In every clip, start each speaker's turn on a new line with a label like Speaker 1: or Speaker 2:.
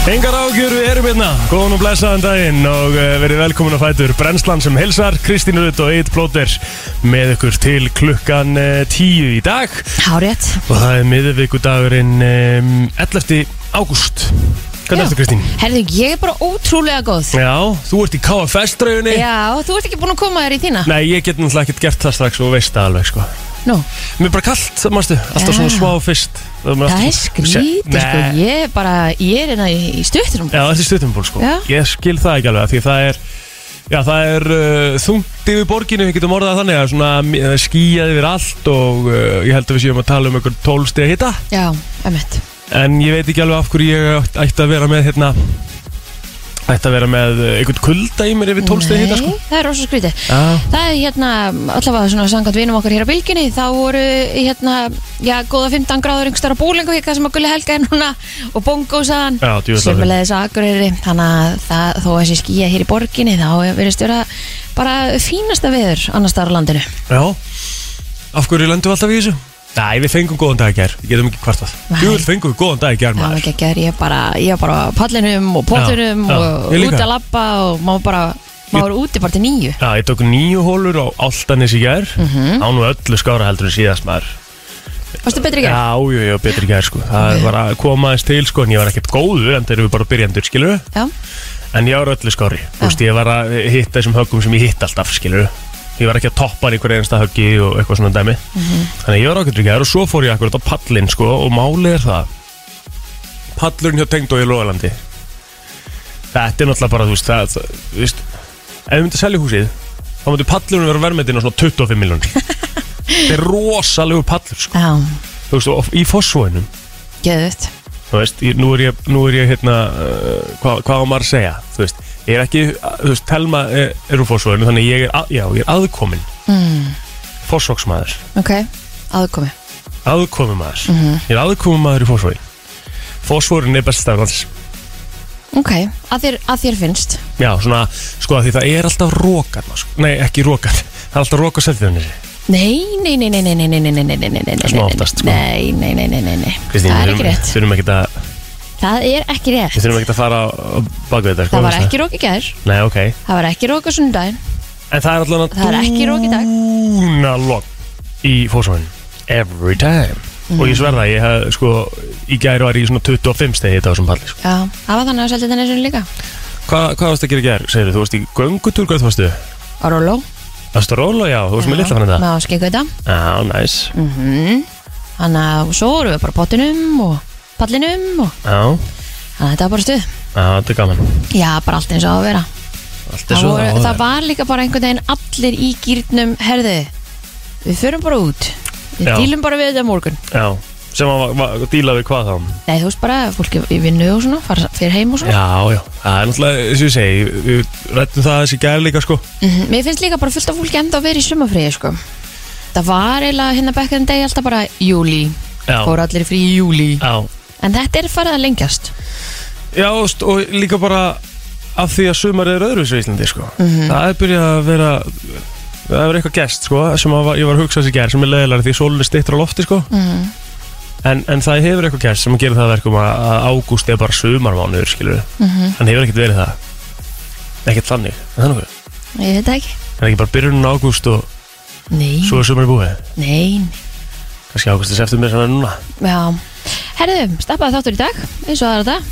Speaker 1: Gjöru erum hérna, góðan og blessaðan daginn og eh, verið velkomin að fætur Brennslan sem hilsar, Kristín Rutt og Eitt Blóter með ykkur til klukkan eh, 10 í dag
Speaker 2: Hárétt
Speaker 1: og það er miðvikudagurinn um, 11. ágúst Hvernig ertu Kristín?
Speaker 2: Herðu, ég er bara ótrúlega góð
Speaker 1: Já, þú ert í KFS-draugunni
Speaker 2: Já, þú ert ekki búin að koma þér í þína
Speaker 1: Nei, ég get náttúrulega ekkert gert það strax og veist það alveg sko
Speaker 2: Nú,
Speaker 1: Mér er bara kalt, mástu, alltaf
Speaker 2: Já.
Speaker 1: svona smá fyrst
Speaker 2: það er skrítið sko Ég er bara, ég er hérna í, í stuttunum
Speaker 1: Já, þetta er stuttumból sko
Speaker 2: Já.
Speaker 1: Ég skil það ekki alveg af Því það er Já, það er uh, þungt yfir borginu Við getum orðað það þannig að svona uh, skýjað yfir allt Og uh, ég held að við séum að tala um einhver tólsti að hitta
Speaker 2: Já, emmett
Speaker 1: En ég veit ekki alveg af hverju ég átt- ætti að vera með hérna Ætti að vera með uh, einhvern kulda í mér yfir tólsti að hitta sko
Speaker 2: það er rosa skrítið
Speaker 1: Já,
Speaker 2: Það er hérna, allavega svona sangat vinum okkar hér á bylginni þá voru hérna, já, góða 15 gráður yngstar á búlingu hér sem að gulli helga er núna og bongo saðan
Speaker 1: Já, djöfull á þeim.
Speaker 2: sömulegðis á Akureyri þannig að það, þó að sé skýja hér í borginni þá verðist vera bara fínasta veður annars þar á landinu
Speaker 1: já Af hverju lendum við alltaf í þessu? Nei, við fengum góðan dag í gær Við getum ekki hvartað
Speaker 2: Nei.
Speaker 1: Jú, við fengum við góðan dag í gær
Speaker 2: Já,
Speaker 1: maður
Speaker 2: ekki ekki, ég er bara, ég er bara á pallinum og pottunum
Speaker 1: Já, já,
Speaker 2: og
Speaker 1: ég líka.
Speaker 2: út að labba og má bara, má vera úti bara til nýju.
Speaker 1: Já, ég tók nýju hólur á Altanis í gær Á
Speaker 2: Mhm.
Speaker 1: nú öllu skára heldur en síðast maður
Speaker 2: Varstu betri ekki?
Speaker 1: Já, jú, jú, betri gær sko Það var að koma aðeins til sko En ég var ekkert góður En þeir eru bara byrjandur, skilur
Speaker 2: Já.
Speaker 1: En ég var á öllu skári Þú veist, ég var að hitta þessum höggum sem ég hitt alltaf, skilur Ég var ekki að toppa hann í hverju einasta höggi Og eitthvað svona dæmi Þannig að ég var ákveður í gær Og svo fór ég akkurat á pallin sko Og málið er það Pallurinn hjá Tengdói í Lóðalandi Þetta er náttúrulega bara, þú veist, það, það, þú veist Ef við myndum að selja húsið Þá myndi pallurinn vera verðmyndin á svona 25 miljónir Þetta er rosalegu pallur sko
Speaker 2: Já,
Speaker 1: þú veist, og í fósfóinum
Speaker 2: geðut.
Speaker 1: þú veist, ég, nú er ég, nú er ég hérna, uh, hvað, hvað á maður að segja þú veist, ég er ekki, uh, þú veist, Telma er, er úr fósfóinu, þannig ég er, að, já, ég er aðkomin mm. fósfóksmaður,
Speaker 2: Ok, aðkomi.
Speaker 1: aðkomumaður
Speaker 2: Mhm.
Speaker 1: ég er aðkomumaður í fósfóin fósfórin er besta lands
Speaker 2: Ok, að þér, að þér finnst.
Speaker 1: já, svona, sko, af því það er alltaf rókan, sko. nei, ekki rókan það er alltaf róka selfiðunir
Speaker 2: Nei, nei, nei, nei, nei, nei, nei, nei, nei, nei, nei, nei, nei, nei,
Speaker 1: Svona oftast, sko.
Speaker 2: nei, nei, nei, nei, nei, nei, það er ekki rétt.
Speaker 1: þurfum ekki að,
Speaker 2: Það er ekki
Speaker 1: við
Speaker 2: rétt.
Speaker 1: þurfum ekki að fara á- á bak við þetta, sko,
Speaker 2: Það var
Speaker 1: veist
Speaker 2: ekki rók í gær,
Speaker 1: nei, ok,
Speaker 2: það var ekki rók á sunnudaginn,
Speaker 1: en það er alltaf
Speaker 2: það er ekki rók í dag.
Speaker 1: dúnalogn í fórsvæðin every time og ég sverða, ég hef, sko, í gæri var ég í svona 25 stegi þetta á þessum palli sko.
Speaker 2: Já, það var þannig að selja þetta neins líka.
Speaker 1: Hva, hvað varst að gera í gæri, segir þú, þú varst í göngutúr hvað þú varstu,
Speaker 2: Á róló.
Speaker 1: varstu að róla, já, þú varst með litla fann þetta
Speaker 2: Með áskikauta.
Speaker 1: já, næs,
Speaker 2: Mm. Þannig að svo vorum við bara á pottinum og pallinum og
Speaker 1: já,
Speaker 2: þannig að þetta var bara stuð.
Speaker 1: já, þetta er gaman
Speaker 2: Já, bara allt eins og á að vera.
Speaker 1: allt er
Speaker 2: Það,
Speaker 1: svo
Speaker 2: voru,
Speaker 1: það,
Speaker 2: það var líka bara einhvern veginn allir í gýrnum, herðu, við förum bara út. Við
Speaker 1: Já.
Speaker 2: dílum bara við þetta á morgun.
Speaker 1: já, sem að var, var, díla við hvað þá
Speaker 2: Nei, þú veist bara, fólki í vinnu og svona, fara fyrir heim og svona.
Speaker 1: já, já, það er náttúrulega, eins og ég segi við- við rættum það þessi gæri líka, sko
Speaker 2: Mhm. Mér finnst líka bara fullt af fólki enda að vera í sumafriði, sko. Það var eiginlega hérna bekkaðin degi alltaf bara júli,
Speaker 1: já,
Speaker 2: fóru allir í frí í júli.
Speaker 1: já,
Speaker 2: En þetta er farið að lengjast.
Speaker 1: Já, og st- og líka bara af því að sumar er öðruvísu í Íslandi sko.
Speaker 2: Mhm.
Speaker 1: Það er byrjað að vera það er eitthvað gest sko, sem að, var- ég var að hugsa þessi gerð sem er leðilega því sólun er stittur á lofti sko.
Speaker 2: Mhm.
Speaker 1: en, en það hefur eitthvað gest sem gerir það að verkum að, að ágúst er bara sumarmánuður skilur
Speaker 2: Mhm.
Speaker 1: hann hefur ekkert verið það ekkert þannig, er það nokkuð
Speaker 2: Ég veit það ekki.
Speaker 1: það er ekki bara byrjunum ágúst og
Speaker 2: Nei,
Speaker 1: svo er sumar búið
Speaker 2: nei, nei.
Speaker 1: kannski ágúst er seftur mér sem er núna
Speaker 2: Já, herðu, stappaði þáttur í dag eins og aðra þetta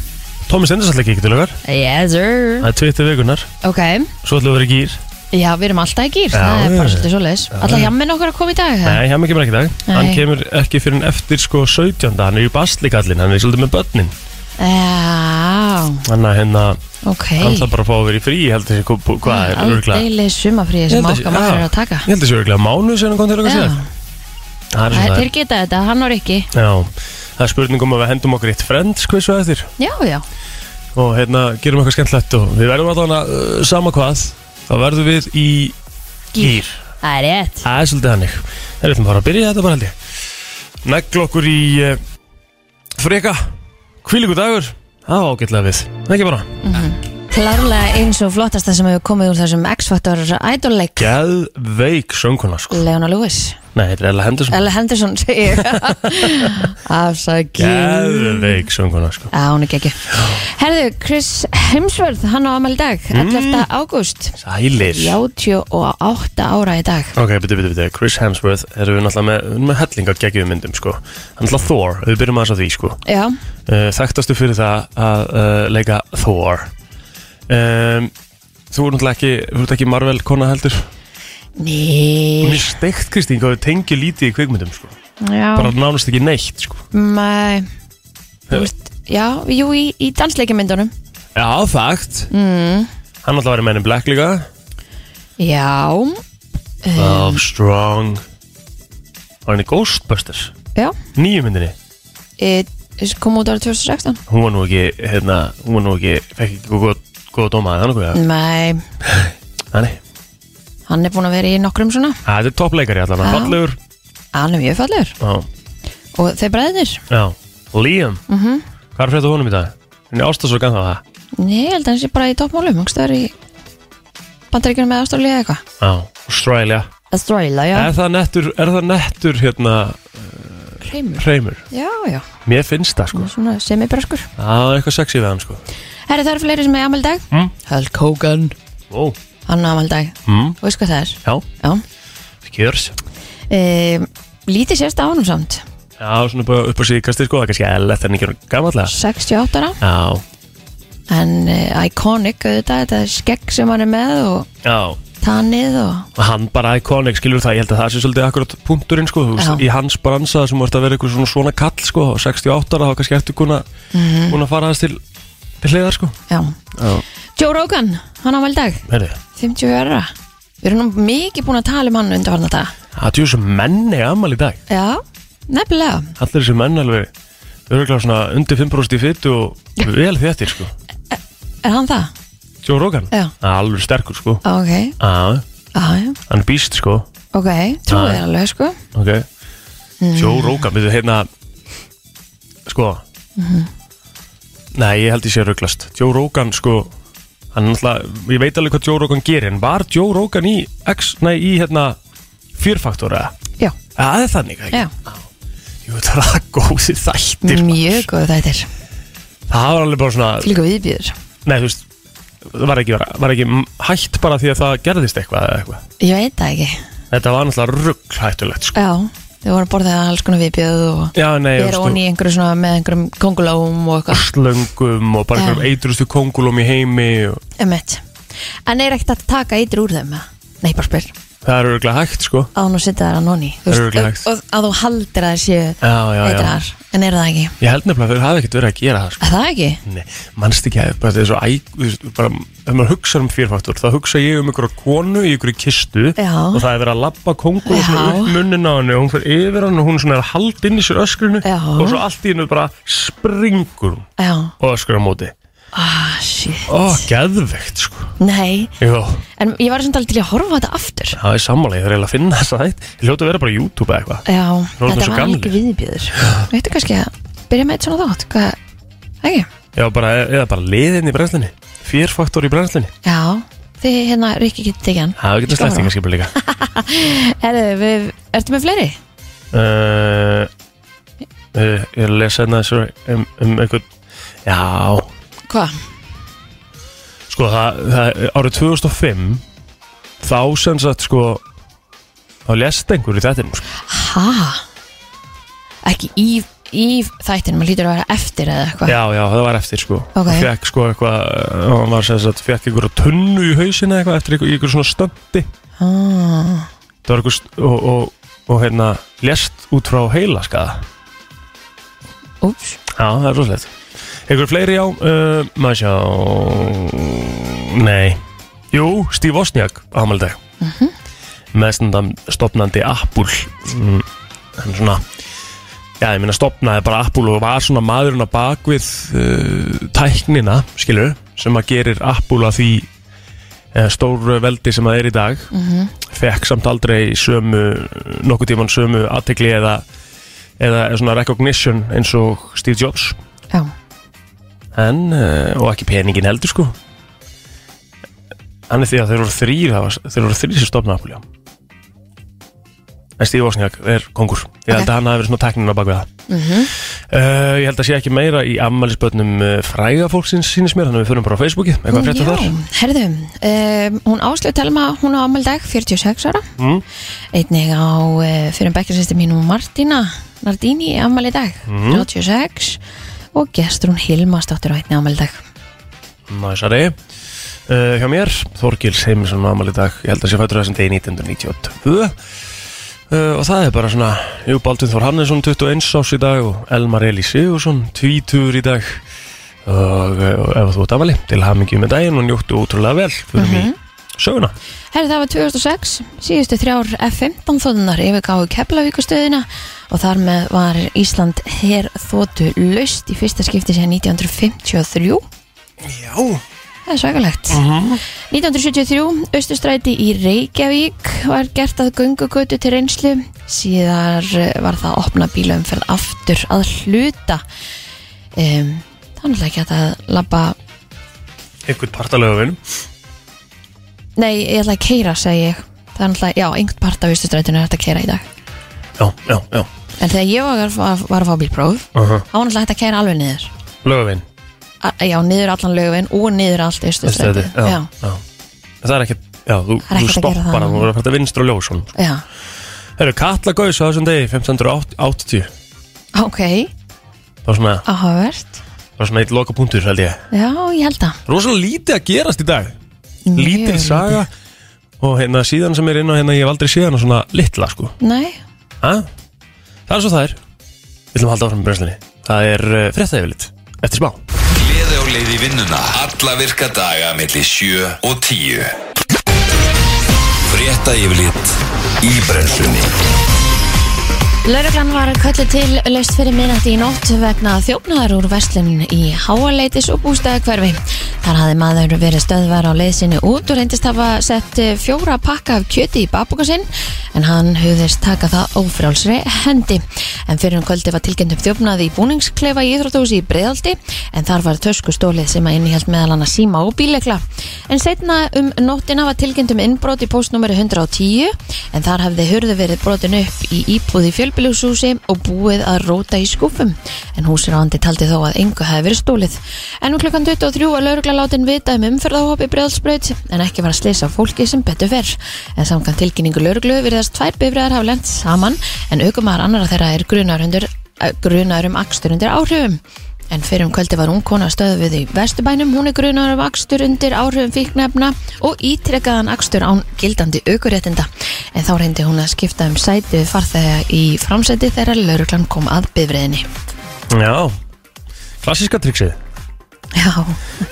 Speaker 1: Tómi sendur alltaf ekki til okkar
Speaker 2: Yes sir
Speaker 1: það er 20 vikunar,
Speaker 2: Ok,
Speaker 1: svo ætlum við að vera í gýr
Speaker 2: já við erum alltaf í gýr
Speaker 1: Já,
Speaker 2: Það er
Speaker 1: já.
Speaker 2: bara svolítið svoleiðis Alla hjammin okkar að koma í dag
Speaker 1: Nei, hann kemur ekki í dag Hann
Speaker 2: Nei.
Speaker 1: kemur ekki fyrir en eftir sko 17. Hann er í baslikallin, hann er svolítið með börnin
Speaker 2: Já,
Speaker 1: Þannig að hérna,
Speaker 2: ok
Speaker 1: hann þarf bara að fá að vera í frí Ég held að sé, hvað- hvað er, örgulega
Speaker 2: Aldeilig sumafríði sem okkar maður er að taka
Speaker 1: Ég held að sé örgulega mánu sem hann kom til okkar
Speaker 2: Já,
Speaker 1: síðan Það er
Speaker 2: það-
Speaker 1: svona
Speaker 2: þeir geta þetta, hann og Rikki
Speaker 1: það Já, það er spurning um að við hendum okkur í eitt friends Hversu að þér
Speaker 2: Já, já,
Speaker 1: Og hérna, gerum eitthvað skemmtlegt Og við verðum allavega uh, sama hvað Þá verðum við í
Speaker 2: Gír.
Speaker 1: gýr
Speaker 2: það er rétt
Speaker 1: Það er svolítið hannig Það er eitthvað bara að byrja þetta bara held ég Negl okkur í uh, freka Hvílíku dagur Það var ágætlega við Það ekki bara
Speaker 2: Klárlega eins og flottasta sem hefur komið úr þessum X-Factor Idol-leik
Speaker 1: Geðveik sönguna sko
Speaker 2: Leona Lewis,
Speaker 1: Nei, þetta er Ella Henderson
Speaker 2: Ella Henderson segir Afsaki
Speaker 1: Geðveik sönguna sko
Speaker 2: Já, hún er ekki Herðu, Chris Hemsworth, hann á amal í dag 11. Mm. ágúst
Speaker 1: Sælir
Speaker 2: 38 ára í dag
Speaker 1: Ok, byrju, byrju, byrju, Chris Hemsworth erum við náttúrulega með, við erum með helling af geggjum myndum sko Hann er náttúrulega Thor, við byrjum aðeins á því sko
Speaker 2: Já,
Speaker 1: uh, Þekktastu fyrir það að uh, leika Thor um, Þú er náttúrulega ekki, þú ert ekki Marvel kona heldur Hún
Speaker 2: ný
Speaker 1: er steikt Kristín, hvað við tengjum lítið í kvikmyndum sko
Speaker 2: Já,
Speaker 1: Bara nánast ekki neitt sko
Speaker 2: mæ Úrst, Já, jú, í, í dansleikjamyndunum
Speaker 1: Já, þekkt mm. Hann náttúrulega verið mennum Black líka
Speaker 2: Já, Eh.
Speaker 1: Oh, strong Var hann í Ghostbusters?
Speaker 2: já
Speaker 1: Nýju myndinni
Speaker 2: e, kom út árið 2016
Speaker 1: Hún var nú ekki, hérna, hún var nú ekki Fekk ekki góð, góð, góð dóma eða nokkuð eða?
Speaker 2: Nei, Mm.
Speaker 1: Þannig,
Speaker 2: hann er búinn að vera í nokkrum svona
Speaker 1: að þetta er toppleikari allan
Speaker 2: Já.
Speaker 1: Fallegur
Speaker 2: Hann er mjög fallegur
Speaker 1: Já,
Speaker 2: Og þeir bræðir
Speaker 1: já Liam mm
Speaker 2: Mhm.
Speaker 1: -hmm. Hvað er frétt á honum í dag? Hann er ástasorgan þá það
Speaker 2: Nei, ég held að hann sé bara í toppmálum Það er í bandaríkjunum með Ástralíu eða eitthvað
Speaker 1: Já, Australia
Speaker 2: Ástralíu, já
Speaker 1: Er það nettur, er það nettur, hérna,
Speaker 2: Hreimur
Speaker 1: hreimur?
Speaker 2: Já, já,
Speaker 1: Mér finnst það, sko
Speaker 2: svona semibröskur
Speaker 1: Það er eitthvað sexy við hann, sko
Speaker 2: Herri, það eru fleiri sem er amal dag
Speaker 1: Mm.
Speaker 2: Hulk Hogan
Speaker 1: Ó,
Speaker 2: Hann er amal dag
Speaker 1: mm.
Speaker 2: Og veist hvað það er?
Speaker 1: já,
Speaker 2: Já
Speaker 1: skjörs
Speaker 2: e, Lítið sérst á honum samt
Speaker 1: Já, svona bara upp á síðkastir sko, það er kannski eðlert en ekki gammallega
Speaker 2: 68 ára
Speaker 1: Já,
Speaker 2: En e, iconic auðvitað Þetta er skegg sem hann er með Og
Speaker 1: já
Speaker 2: tannið og
Speaker 1: Og Hann bara iconic, skilur það, ég held að það sé svolítið akkurat punkturinn sko, þú veist,
Speaker 2: Já.
Speaker 1: í hans bransa sem vart að vera eitthvað svona svona kall sko og 68 ára, þá kannski eftir kuna mm
Speaker 2: Mhm.
Speaker 1: að fara aðeins til, til hliðar sko
Speaker 2: Já
Speaker 1: Já,
Speaker 2: Joe Rogan, hann amal dag
Speaker 1: herri,
Speaker 2: 50 ára Við erum nú mikið búin að tala um hann undanfarnar dag
Speaker 1: það er þessu menn er ammal í dag
Speaker 2: Já, nefnilega
Speaker 1: Allir þessu menn alveg, örgulega svona undir 5% í fytu og vel þettir sko
Speaker 2: Er hann það?
Speaker 1: Joe Rogan,
Speaker 2: Já.
Speaker 1: alveg sterkur sko
Speaker 2: Ok,
Speaker 1: Já,
Speaker 2: aðja,
Speaker 1: hann er býst sko
Speaker 2: ok, trúið
Speaker 1: Ah, Já.
Speaker 2: þér alveg sko
Speaker 1: Ok
Speaker 2: Mm.
Speaker 1: Joe Rogan, við þau hérna Sko
Speaker 2: Mhm.
Speaker 1: Nei, ég held ég sé rugglast Joe Rogan, sko Hann er náttúrulega, ég veit alveg hvað Joe Rogan gerir En var Joe Rogan í X, nei, í hérna Fjörfaktor, eða? Ja,
Speaker 2: Já,
Speaker 1: Það er þannig, ekki?
Speaker 2: já,
Speaker 1: Jú, það er það góði þættir
Speaker 2: mjög góð þættir
Speaker 1: Það var alveg bara svona,
Speaker 2: Fylgum viðbjöður
Speaker 1: nei, þú veist það Var ekki, var ekki hætt bara því að það gerðist eitthvað eða eitthvað
Speaker 2: Ég veit það ekki
Speaker 1: Þetta var náttúrulega rugg hættulegt, sko
Speaker 2: Já, þau voru að borða alls konar viðbjöð og
Speaker 1: Já, nei,
Speaker 2: vera onni í einhverju svona með einhverjum kongulóm og eitthvað
Speaker 1: slöngum og bara
Speaker 2: Já.
Speaker 1: einhverjum eitrustu kongulum í heimi og
Speaker 2: Emmett En er ekkert að taka eitur úr þeim eða? Nei, bara spyr
Speaker 1: Það er örgulega hægt sko
Speaker 2: Án og setja þær að nonni
Speaker 1: Örugglega
Speaker 2: og,
Speaker 1: hægt.
Speaker 2: og að þú haldir að það séu
Speaker 1: Já, já, já
Speaker 2: eitrar En er það ekki?
Speaker 1: Ég held nefnilega að þau hafi ekkert verið að gera það sko
Speaker 2: Er það ekki?
Speaker 1: Nei, mannst ekki að bara, þetta er svo æ, þú veist, bara, ef maður hugsa um fyrfaktor þá hugsa ég um einhverja konu í einhverju kistu
Speaker 2: Já.
Speaker 1: og það er verið að labba kongulum svona
Speaker 2: Já.
Speaker 1: upp munnin á henni og hún fyrir yfir hann og hún svona er að halda inn í sér öskrinu
Speaker 2: Já.
Speaker 1: og svo allt í hennu bara springur hún
Speaker 2: Já,
Speaker 1: og öskrar á móti
Speaker 2: ah, shit
Speaker 1: Ó, geðvegt sko
Speaker 2: Nei,
Speaker 1: Jó,
Speaker 2: en ég var samt alveg til í að horfa á þetta aftur
Speaker 1: það er sammála, ég þarf eiginlega að finna þess að þetta Ég hljóta að vera bara á YouTube eða eitthvað
Speaker 2: Já,
Speaker 1: orðnir
Speaker 2: þetta
Speaker 1: svo
Speaker 2: var
Speaker 1: gamlir.
Speaker 2: ekki viðbjöður Veitu kannski að byrja með eitt svona þátt Hvað, ekki?
Speaker 1: Já, bara, eða bara liðin í brennslunni Fyrfaktor í brennslunni
Speaker 2: Já, þið hérna, Rikki getur tekið hann
Speaker 1: Það er ekki
Speaker 2: Ég skal
Speaker 1: slætt
Speaker 2: horfa.
Speaker 1: yngar skipur líka
Speaker 2: Herðu, við, ertu með fleiri?
Speaker 1: uh, uh, Ég er að lesa hérna þessu um, um einhvern Já,
Speaker 2: Hvað?
Speaker 1: sko það, það árið 2005 þá sem sagt sko þá lest einhver í þettinum sko.
Speaker 2: Ha? Ekki í, í þættinu, maður lítur að vera eftir eða eitthvað
Speaker 1: Já, já, það var eftir sko
Speaker 2: Ok.
Speaker 1: Það fekk sko eitthvað hann var sem sagt, fekk einhverja tunnu í hausina eitthvað eftir einhver, einhver svona stöndi
Speaker 2: ah,
Speaker 1: það var einhver st- og, og, og hérna lest út frá heila skaða
Speaker 2: Úps,
Speaker 1: Já, það er rosalegt Einhver fleiri já, uh, maður sjá Nei Jú, Steve Wozniak á ámaldag mm -hmm. meðstundam stopnandi Apple mm, en svona já, ég meina stopnaði bara Apple og var svona maðurinn að bakvið uh, tæknina, skilur sem að gerir Apple að því uh, stór veldi sem það er í dag fekk samt aldrei sömu nokkuð tíman sömu aðtegli eða eða svona recognition eins og Steve Jobs
Speaker 2: já
Speaker 1: eh, en, uh, og ekki peningin heldur sko hann er því að þeir eru þrýr þeir eru þrýr sem stopna Apple en Steve Wozniak er kongur ég held
Speaker 2: Ok. Mhm.
Speaker 1: að hann hafi verið svona teknina bak við það uh, ég held að sé ekki meira í ammælisbötnum uh, fræga fólksins sínist mér þannig að við förum bara á Facebooki eitthvað að frétta
Speaker 2: Mm, Já,
Speaker 1: þar
Speaker 2: herðu, um, hún Áslöf Telma, hún á ámaldag, 46 ára.
Speaker 1: Mm.
Speaker 2: Einnig á uh, fyrir bekkjarsýstir mínum Martina, Nardini, ámal í dag,
Speaker 1: Mhm.
Speaker 2: 36. Og gestur hún Hilmarsdóttir á einni ámaldag.
Speaker 1: Næsari uh, Hjá mér, Þorgils Heimilsson amal í dag, ég held að sé fættur á þessum degi 1992 uh, Eh, og það er bara svona, jú, Baldvin Þór Hannesson 21 ás í dag og Elmar Eli Sigursson 20 í dag og, uh, og ef þú ert afali til hamingju með daginn og njóttu ótrúlega vel fyrir
Speaker 2: Mhm.
Speaker 1: mm í söguna
Speaker 2: Herðu, það var 2006, síðustu þrjár F-15 þóðunar yfirgáðu Keflavíkustöðina og þar með var Ísland her þóttu laust í fyrsta skipti sér 1953.
Speaker 1: Já
Speaker 2: Það er svakalegt. 1973, Östustræti í Reykjavík var gert að göngugötu til reynslu. Síðar eh, var það að opna bílaumferð aftur að hluta. Um, það var náttúrulega ekki hægt að labba...
Speaker 1: Einhvern partalega vinn
Speaker 2: Nei, ég ætla að keira, segi ég. Það er náttúrulega, já, einhvern part af Östustrætinu er hægt að keira í dag.
Speaker 1: Já, já, já
Speaker 2: En þegar ég var, var, var að fá bílpróf,
Speaker 1: uh -huh.
Speaker 2: þá var náttúrulega hægt að keira alveg niður.
Speaker 1: Lögavinn
Speaker 2: A já, niður allan lögvinn og niður allt Östustrætinu.
Speaker 1: já, já. Það er ekki, já, þú,
Speaker 2: Það er
Speaker 1: þú
Speaker 2: ekkert að gera það.
Speaker 1: stoppar að þú verður að fætta vinstur og ljósun
Speaker 2: já. já,
Speaker 1: Herru, Katla Gauss á þessum degi 1580
Speaker 2: ok,
Speaker 1: Það var svona,
Speaker 2: áhugavert.
Speaker 1: það var svona eitt loka punktur held ég
Speaker 2: Já, ég held það.
Speaker 1: Rósalega lítið að gerast í dag
Speaker 2: Mjög
Speaker 1: Lítil saga Og hérna síðan sem er inn á hérna ég hef aldrei séð hana svona litla sko
Speaker 2: Nei,
Speaker 1: ha? Það er svo það er Við ætlum að halda áfram í brenslinni Það er uh, frétta yfirlit Eftir smá
Speaker 3: Gleði á leið í vinnuna Alla virka daga melli 7 og 10 Frétta yfirlit í brennslunni
Speaker 2: Lauruglan var kallið til laust fyrir minnætti í nótt vegna þjófnaðar úr verslun í Háaleitis og bústæðakverfi. Þar hafði maður verið stöðvar á leiðsynu út og reyndist hafa sett fjóra pakka af kjöti í babuka sinn en hann hugðist taka það ófrálsri hendi. En fyrir um kvöldi var tilkynnt um þjófnaði í búningsklefa í Íþrótúsi í Breiðaldi en þar var töskustólið sem að innihjalt meðal annars síma og bílekla. En setna um nóttina var tilkynnt um innbrot í postnúmeri 110 en þar hafði hurðu verið brotin upp í íbúði fjölbílúshúsi og búið að róta í skúfum en húsráðandi taldi þó að engu hefði verið stólið. En um klukkan 23 var laurugla látin vita um umferðahóp í bregðalsbraut en ekki var að slisa á fólki sem betur fer. En samkvæmt tilkynningu lauruglu virðast tvær bifræðar hafa lent saman en aukumar annara þeirra er grunar, undir, eh, grunar um akstur undir áhrifum. En fyrir um kvöldi var ung kona stöðu við í Vesturbænum, hún er grunar af akstur undir áhrifum fíknefna og ítrekkaðan akstur án gildandi aukuréttinda. En þá reyndi hún að skipta um sæti við farþega í framsæti þegar lauruglan kom að bifriðinni.
Speaker 1: Já Klassíska triksið
Speaker 2: Já,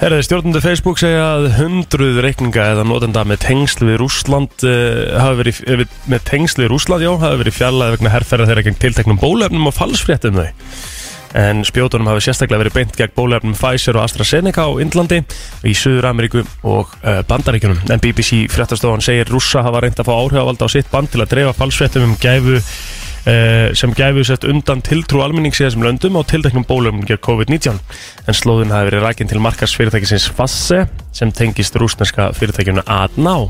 Speaker 1: Herði, stjórnundu Facebook segja að hundruð reikninga eða notenda með tengsl við Rúsland uh, hafi verið, eh, við- með tengsl við Rúsland, já, hafi verið fjallaði vegna herrferða þeirra gegn tilteknum bólefnum og falsfréttum þau. En spjótunum hafi sérstaklega verið beint gegn bólefnum Pfizer og AstraZeneca á Indlandi, í Suður Ameríku og uh, Bandaríkunum. En BBC fréttastofan segir Rússa hafa reynd að fá áhrifavald á sitt band til að dreifa falsfréttum um gæfu eh, sem gæfu sett undan tiltrú almennings í þessum löndum á tilteknum bólum gegn COVID-19 en slóðin hafi verið rækinn til markas fyrirtækisins Fasse sem tengist rúsneska fyrirtækjunu Adná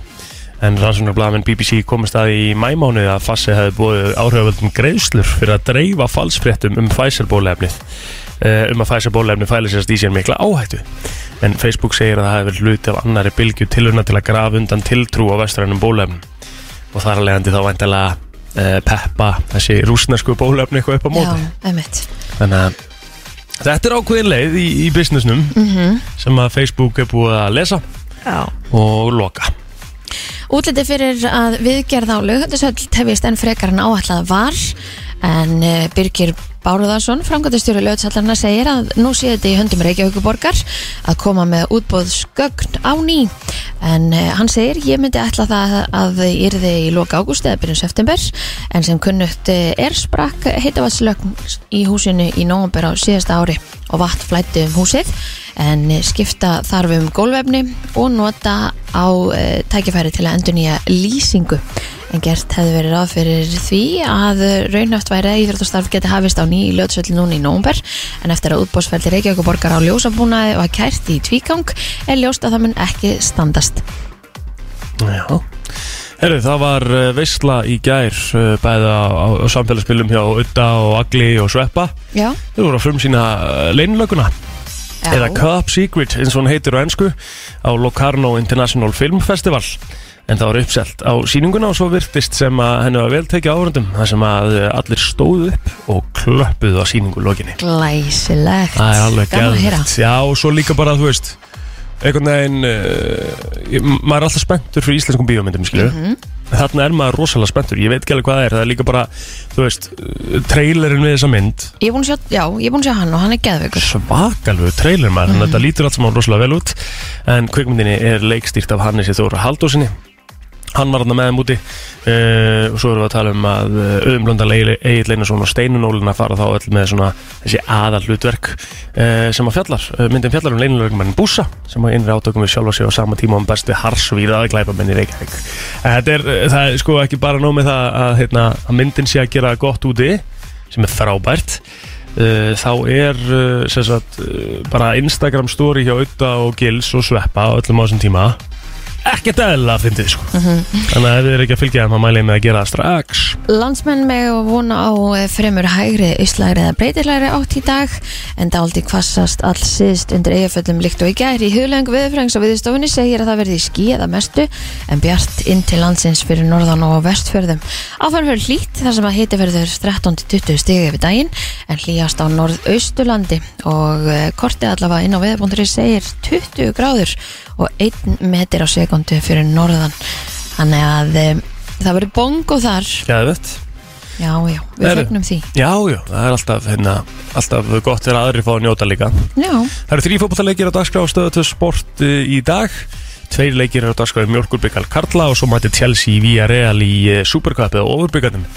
Speaker 1: en rannsóknarblamin BBC komist að í mæmánuði að Fasse hefði búið áhrifavöldum greiðslur fyrir að dreifa falsfréttum um Pfizer bólefnið eh, um að Pfizer bólefni fæli sérst í sér mikla áhættu en Facebook segir að það hefur hluti af annari bylgju tilurna til að grafa undan tiltrú á vestrænum bólefnum og þar að leiðandi þá væntalega uh, peppa þessi rúsnesku bólefni eitthvað upp á
Speaker 2: já,
Speaker 1: móti
Speaker 2: einmitt.
Speaker 1: þannig að þetta er ákveðin leið í, í businessnum sem að Facebook er búið að lesa
Speaker 2: Mhm. Já.
Speaker 1: og loka
Speaker 2: Útliti fyrir að viðgerð á laugandishöll tefjist enn frekar en áallað var en eh, Birgir Bárðarsson, framkvæmdastjóri laugandishallarna segir að nú sé þetta í höndum Reykjavíkuborgar að koma með útbóðsgögn á ný en eh, hann segir ég myndi ætla það að yrði í loka ágúst eða byrjun september en sem kunnugt eh, er sprakk heitavatslögn í húsinu í nógumber á síðasta ári og vatn flætti um húsið en skipta þarf um gólvefni og nota á e, tækifæri til að endur nýja lýsingu en gert hefði verið ráð fyrir því að raunhaft væri að íþróttastarf geti hafist á nýju ljótsvöldi núna í nómber en eftir að útbóðsferði Reykjavíkuborgar á ljósabúnaði og að kært í tvígang er ljóst að það mun ekki standast
Speaker 1: Já Herru, það var eh, veisla í gær eh, bæði á, á, á samfélagsmiðlum hjá Udda og Agli og Sveppa
Speaker 2: Já,
Speaker 1: Þeir voru að frumsýna eh, leinlöguna
Speaker 2: já.
Speaker 1: eða Cup Secret eins og hún heitir á ennsku á Locarno International Film Festival en það var uppselt á sýninguna og svo virtist sem að henni var vel tekið áhörundum þar sem að eh, allir stóðu upp og klöppuðu á sýningu lokinni
Speaker 2: Glæsilegt
Speaker 1: Það er alveg
Speaker 2: Gaman að heyra
Speaker 1: geðveikt. Já, og svo líka bara, þú veist einhvern veginn uh, ég- maður er alltaf spenntur fyrir íslenskum bíómyndum, skilju
Speaker 2: Mhm.
Speaker 1: þarna er maður rosalega spenntur, ég veit ekki alveg hvað það er það er líka bara, þú veist eh, trailerinn við þessa mynd
Speaker 2: Ég er búin að sjá, já, ég er búin að sjá hann og hann er geðveikur
Speaker 1: svakalvöðu trailer maður, þannig að þetta lítur allt saman rosalega vel út en kvikmyndinni er leikstýrt af Hannesi Þóra Haldósinni hann var hann með þeim úti uh, og svo erum við að tala um að auðumblöndan Egil Einarsson og Steinun Ólin að fara þá öll með svona þessi aðal hlutverk uh, sem að fjallar, uh, myndin fjallar um leinlögmann Bússa sem að innri átökum við sjálfa sig á sama tíma um bestu harsvíðaði glæpamenn í Reykjavík En þetta er, eh, það er sko ekki bara nóg með það að, hérna, að myndin sé að gera gott úti sem er frábært Uh, þá er uh, sem sagt, uh, bara Instagram story hjá Udda og Gils og Sveppa á öllum á þessum tíma ekkert eðlilega að fyndið sko. þannig að ef þið eru ekki að fylgja þeim að mæli ég með að gera það strax
Speaker 2: Landsmenn með vona á eh, fremur hægri, auðslagri eða breytilegri átt í dag en dáldi kvassast allsist undir eigaföllum líkt og í gær í hugleng viðfrængs og viðstofunni segir að það verði skí eða mestu en bjart inn til landsins fyrir norðan og vestfjörðum. Áfram verður hlýtt þar sem að hiti verður 13-20 stigi yfir daginn en hlýjast á norðausturlandi og eh, kortið allavega inn á viðbúndri segir 20 gráður og 1 metr á sekundu fyrir norðan. Þannig að eh, það verður bongo þar
Speaker 1: Gæðvett.
Speaker 2: Já, já, við
Speaker 1: Heyrðu.
Speaker 2: fegnum því
Speaker 1: já, já, það er alltaf, hérna, alltaf gott þegar aðri fá að njóta líka
Speaker 2: Já,
Speaker 1: það eru þrý fótballleikir á dagskrá stöðu til sport uh, í dag tveir leikir eru á dagskrá í mjölkurbyggal Karla og svo mæti Chelsea í Villarreal í uh, Supercup eða overbyggarnum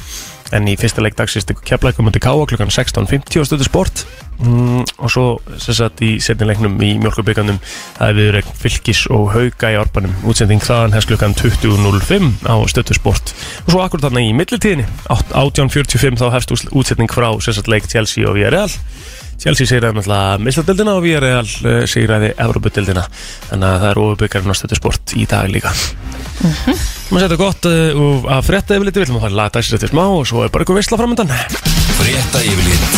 Speaker 1: En í fyrsta leik dagsins tekur keflækum undir K.A. klukkan 16.50 á stöðu sport mm, og svo sem sagt í setni leiknum í mjölkurbyggarnum það er viðurregn fylgis og hauga í orbanum útsending þaðan hefst klukkan 20.05 á stöðu sport og svo akkur þarna í millitíðinni 18.45 þá hefst ús- útsending frá sem sagt leik Chelsea og Villarreal Chelsea sigraði náttúrulega misladeldina og Villarreal eh, sigraði Evropadeldina þannig að það er ofurbyggarinn á stöðu sport í dag líka
Speaker 2: Mhm.
Speaker 1: maður setja gott uh, að frétta yfir liti, við ætlum að fara að laga dagsins eftir smá og svo er bara ykkur veistla framöndan
Speaker 3: Frétta yfirlit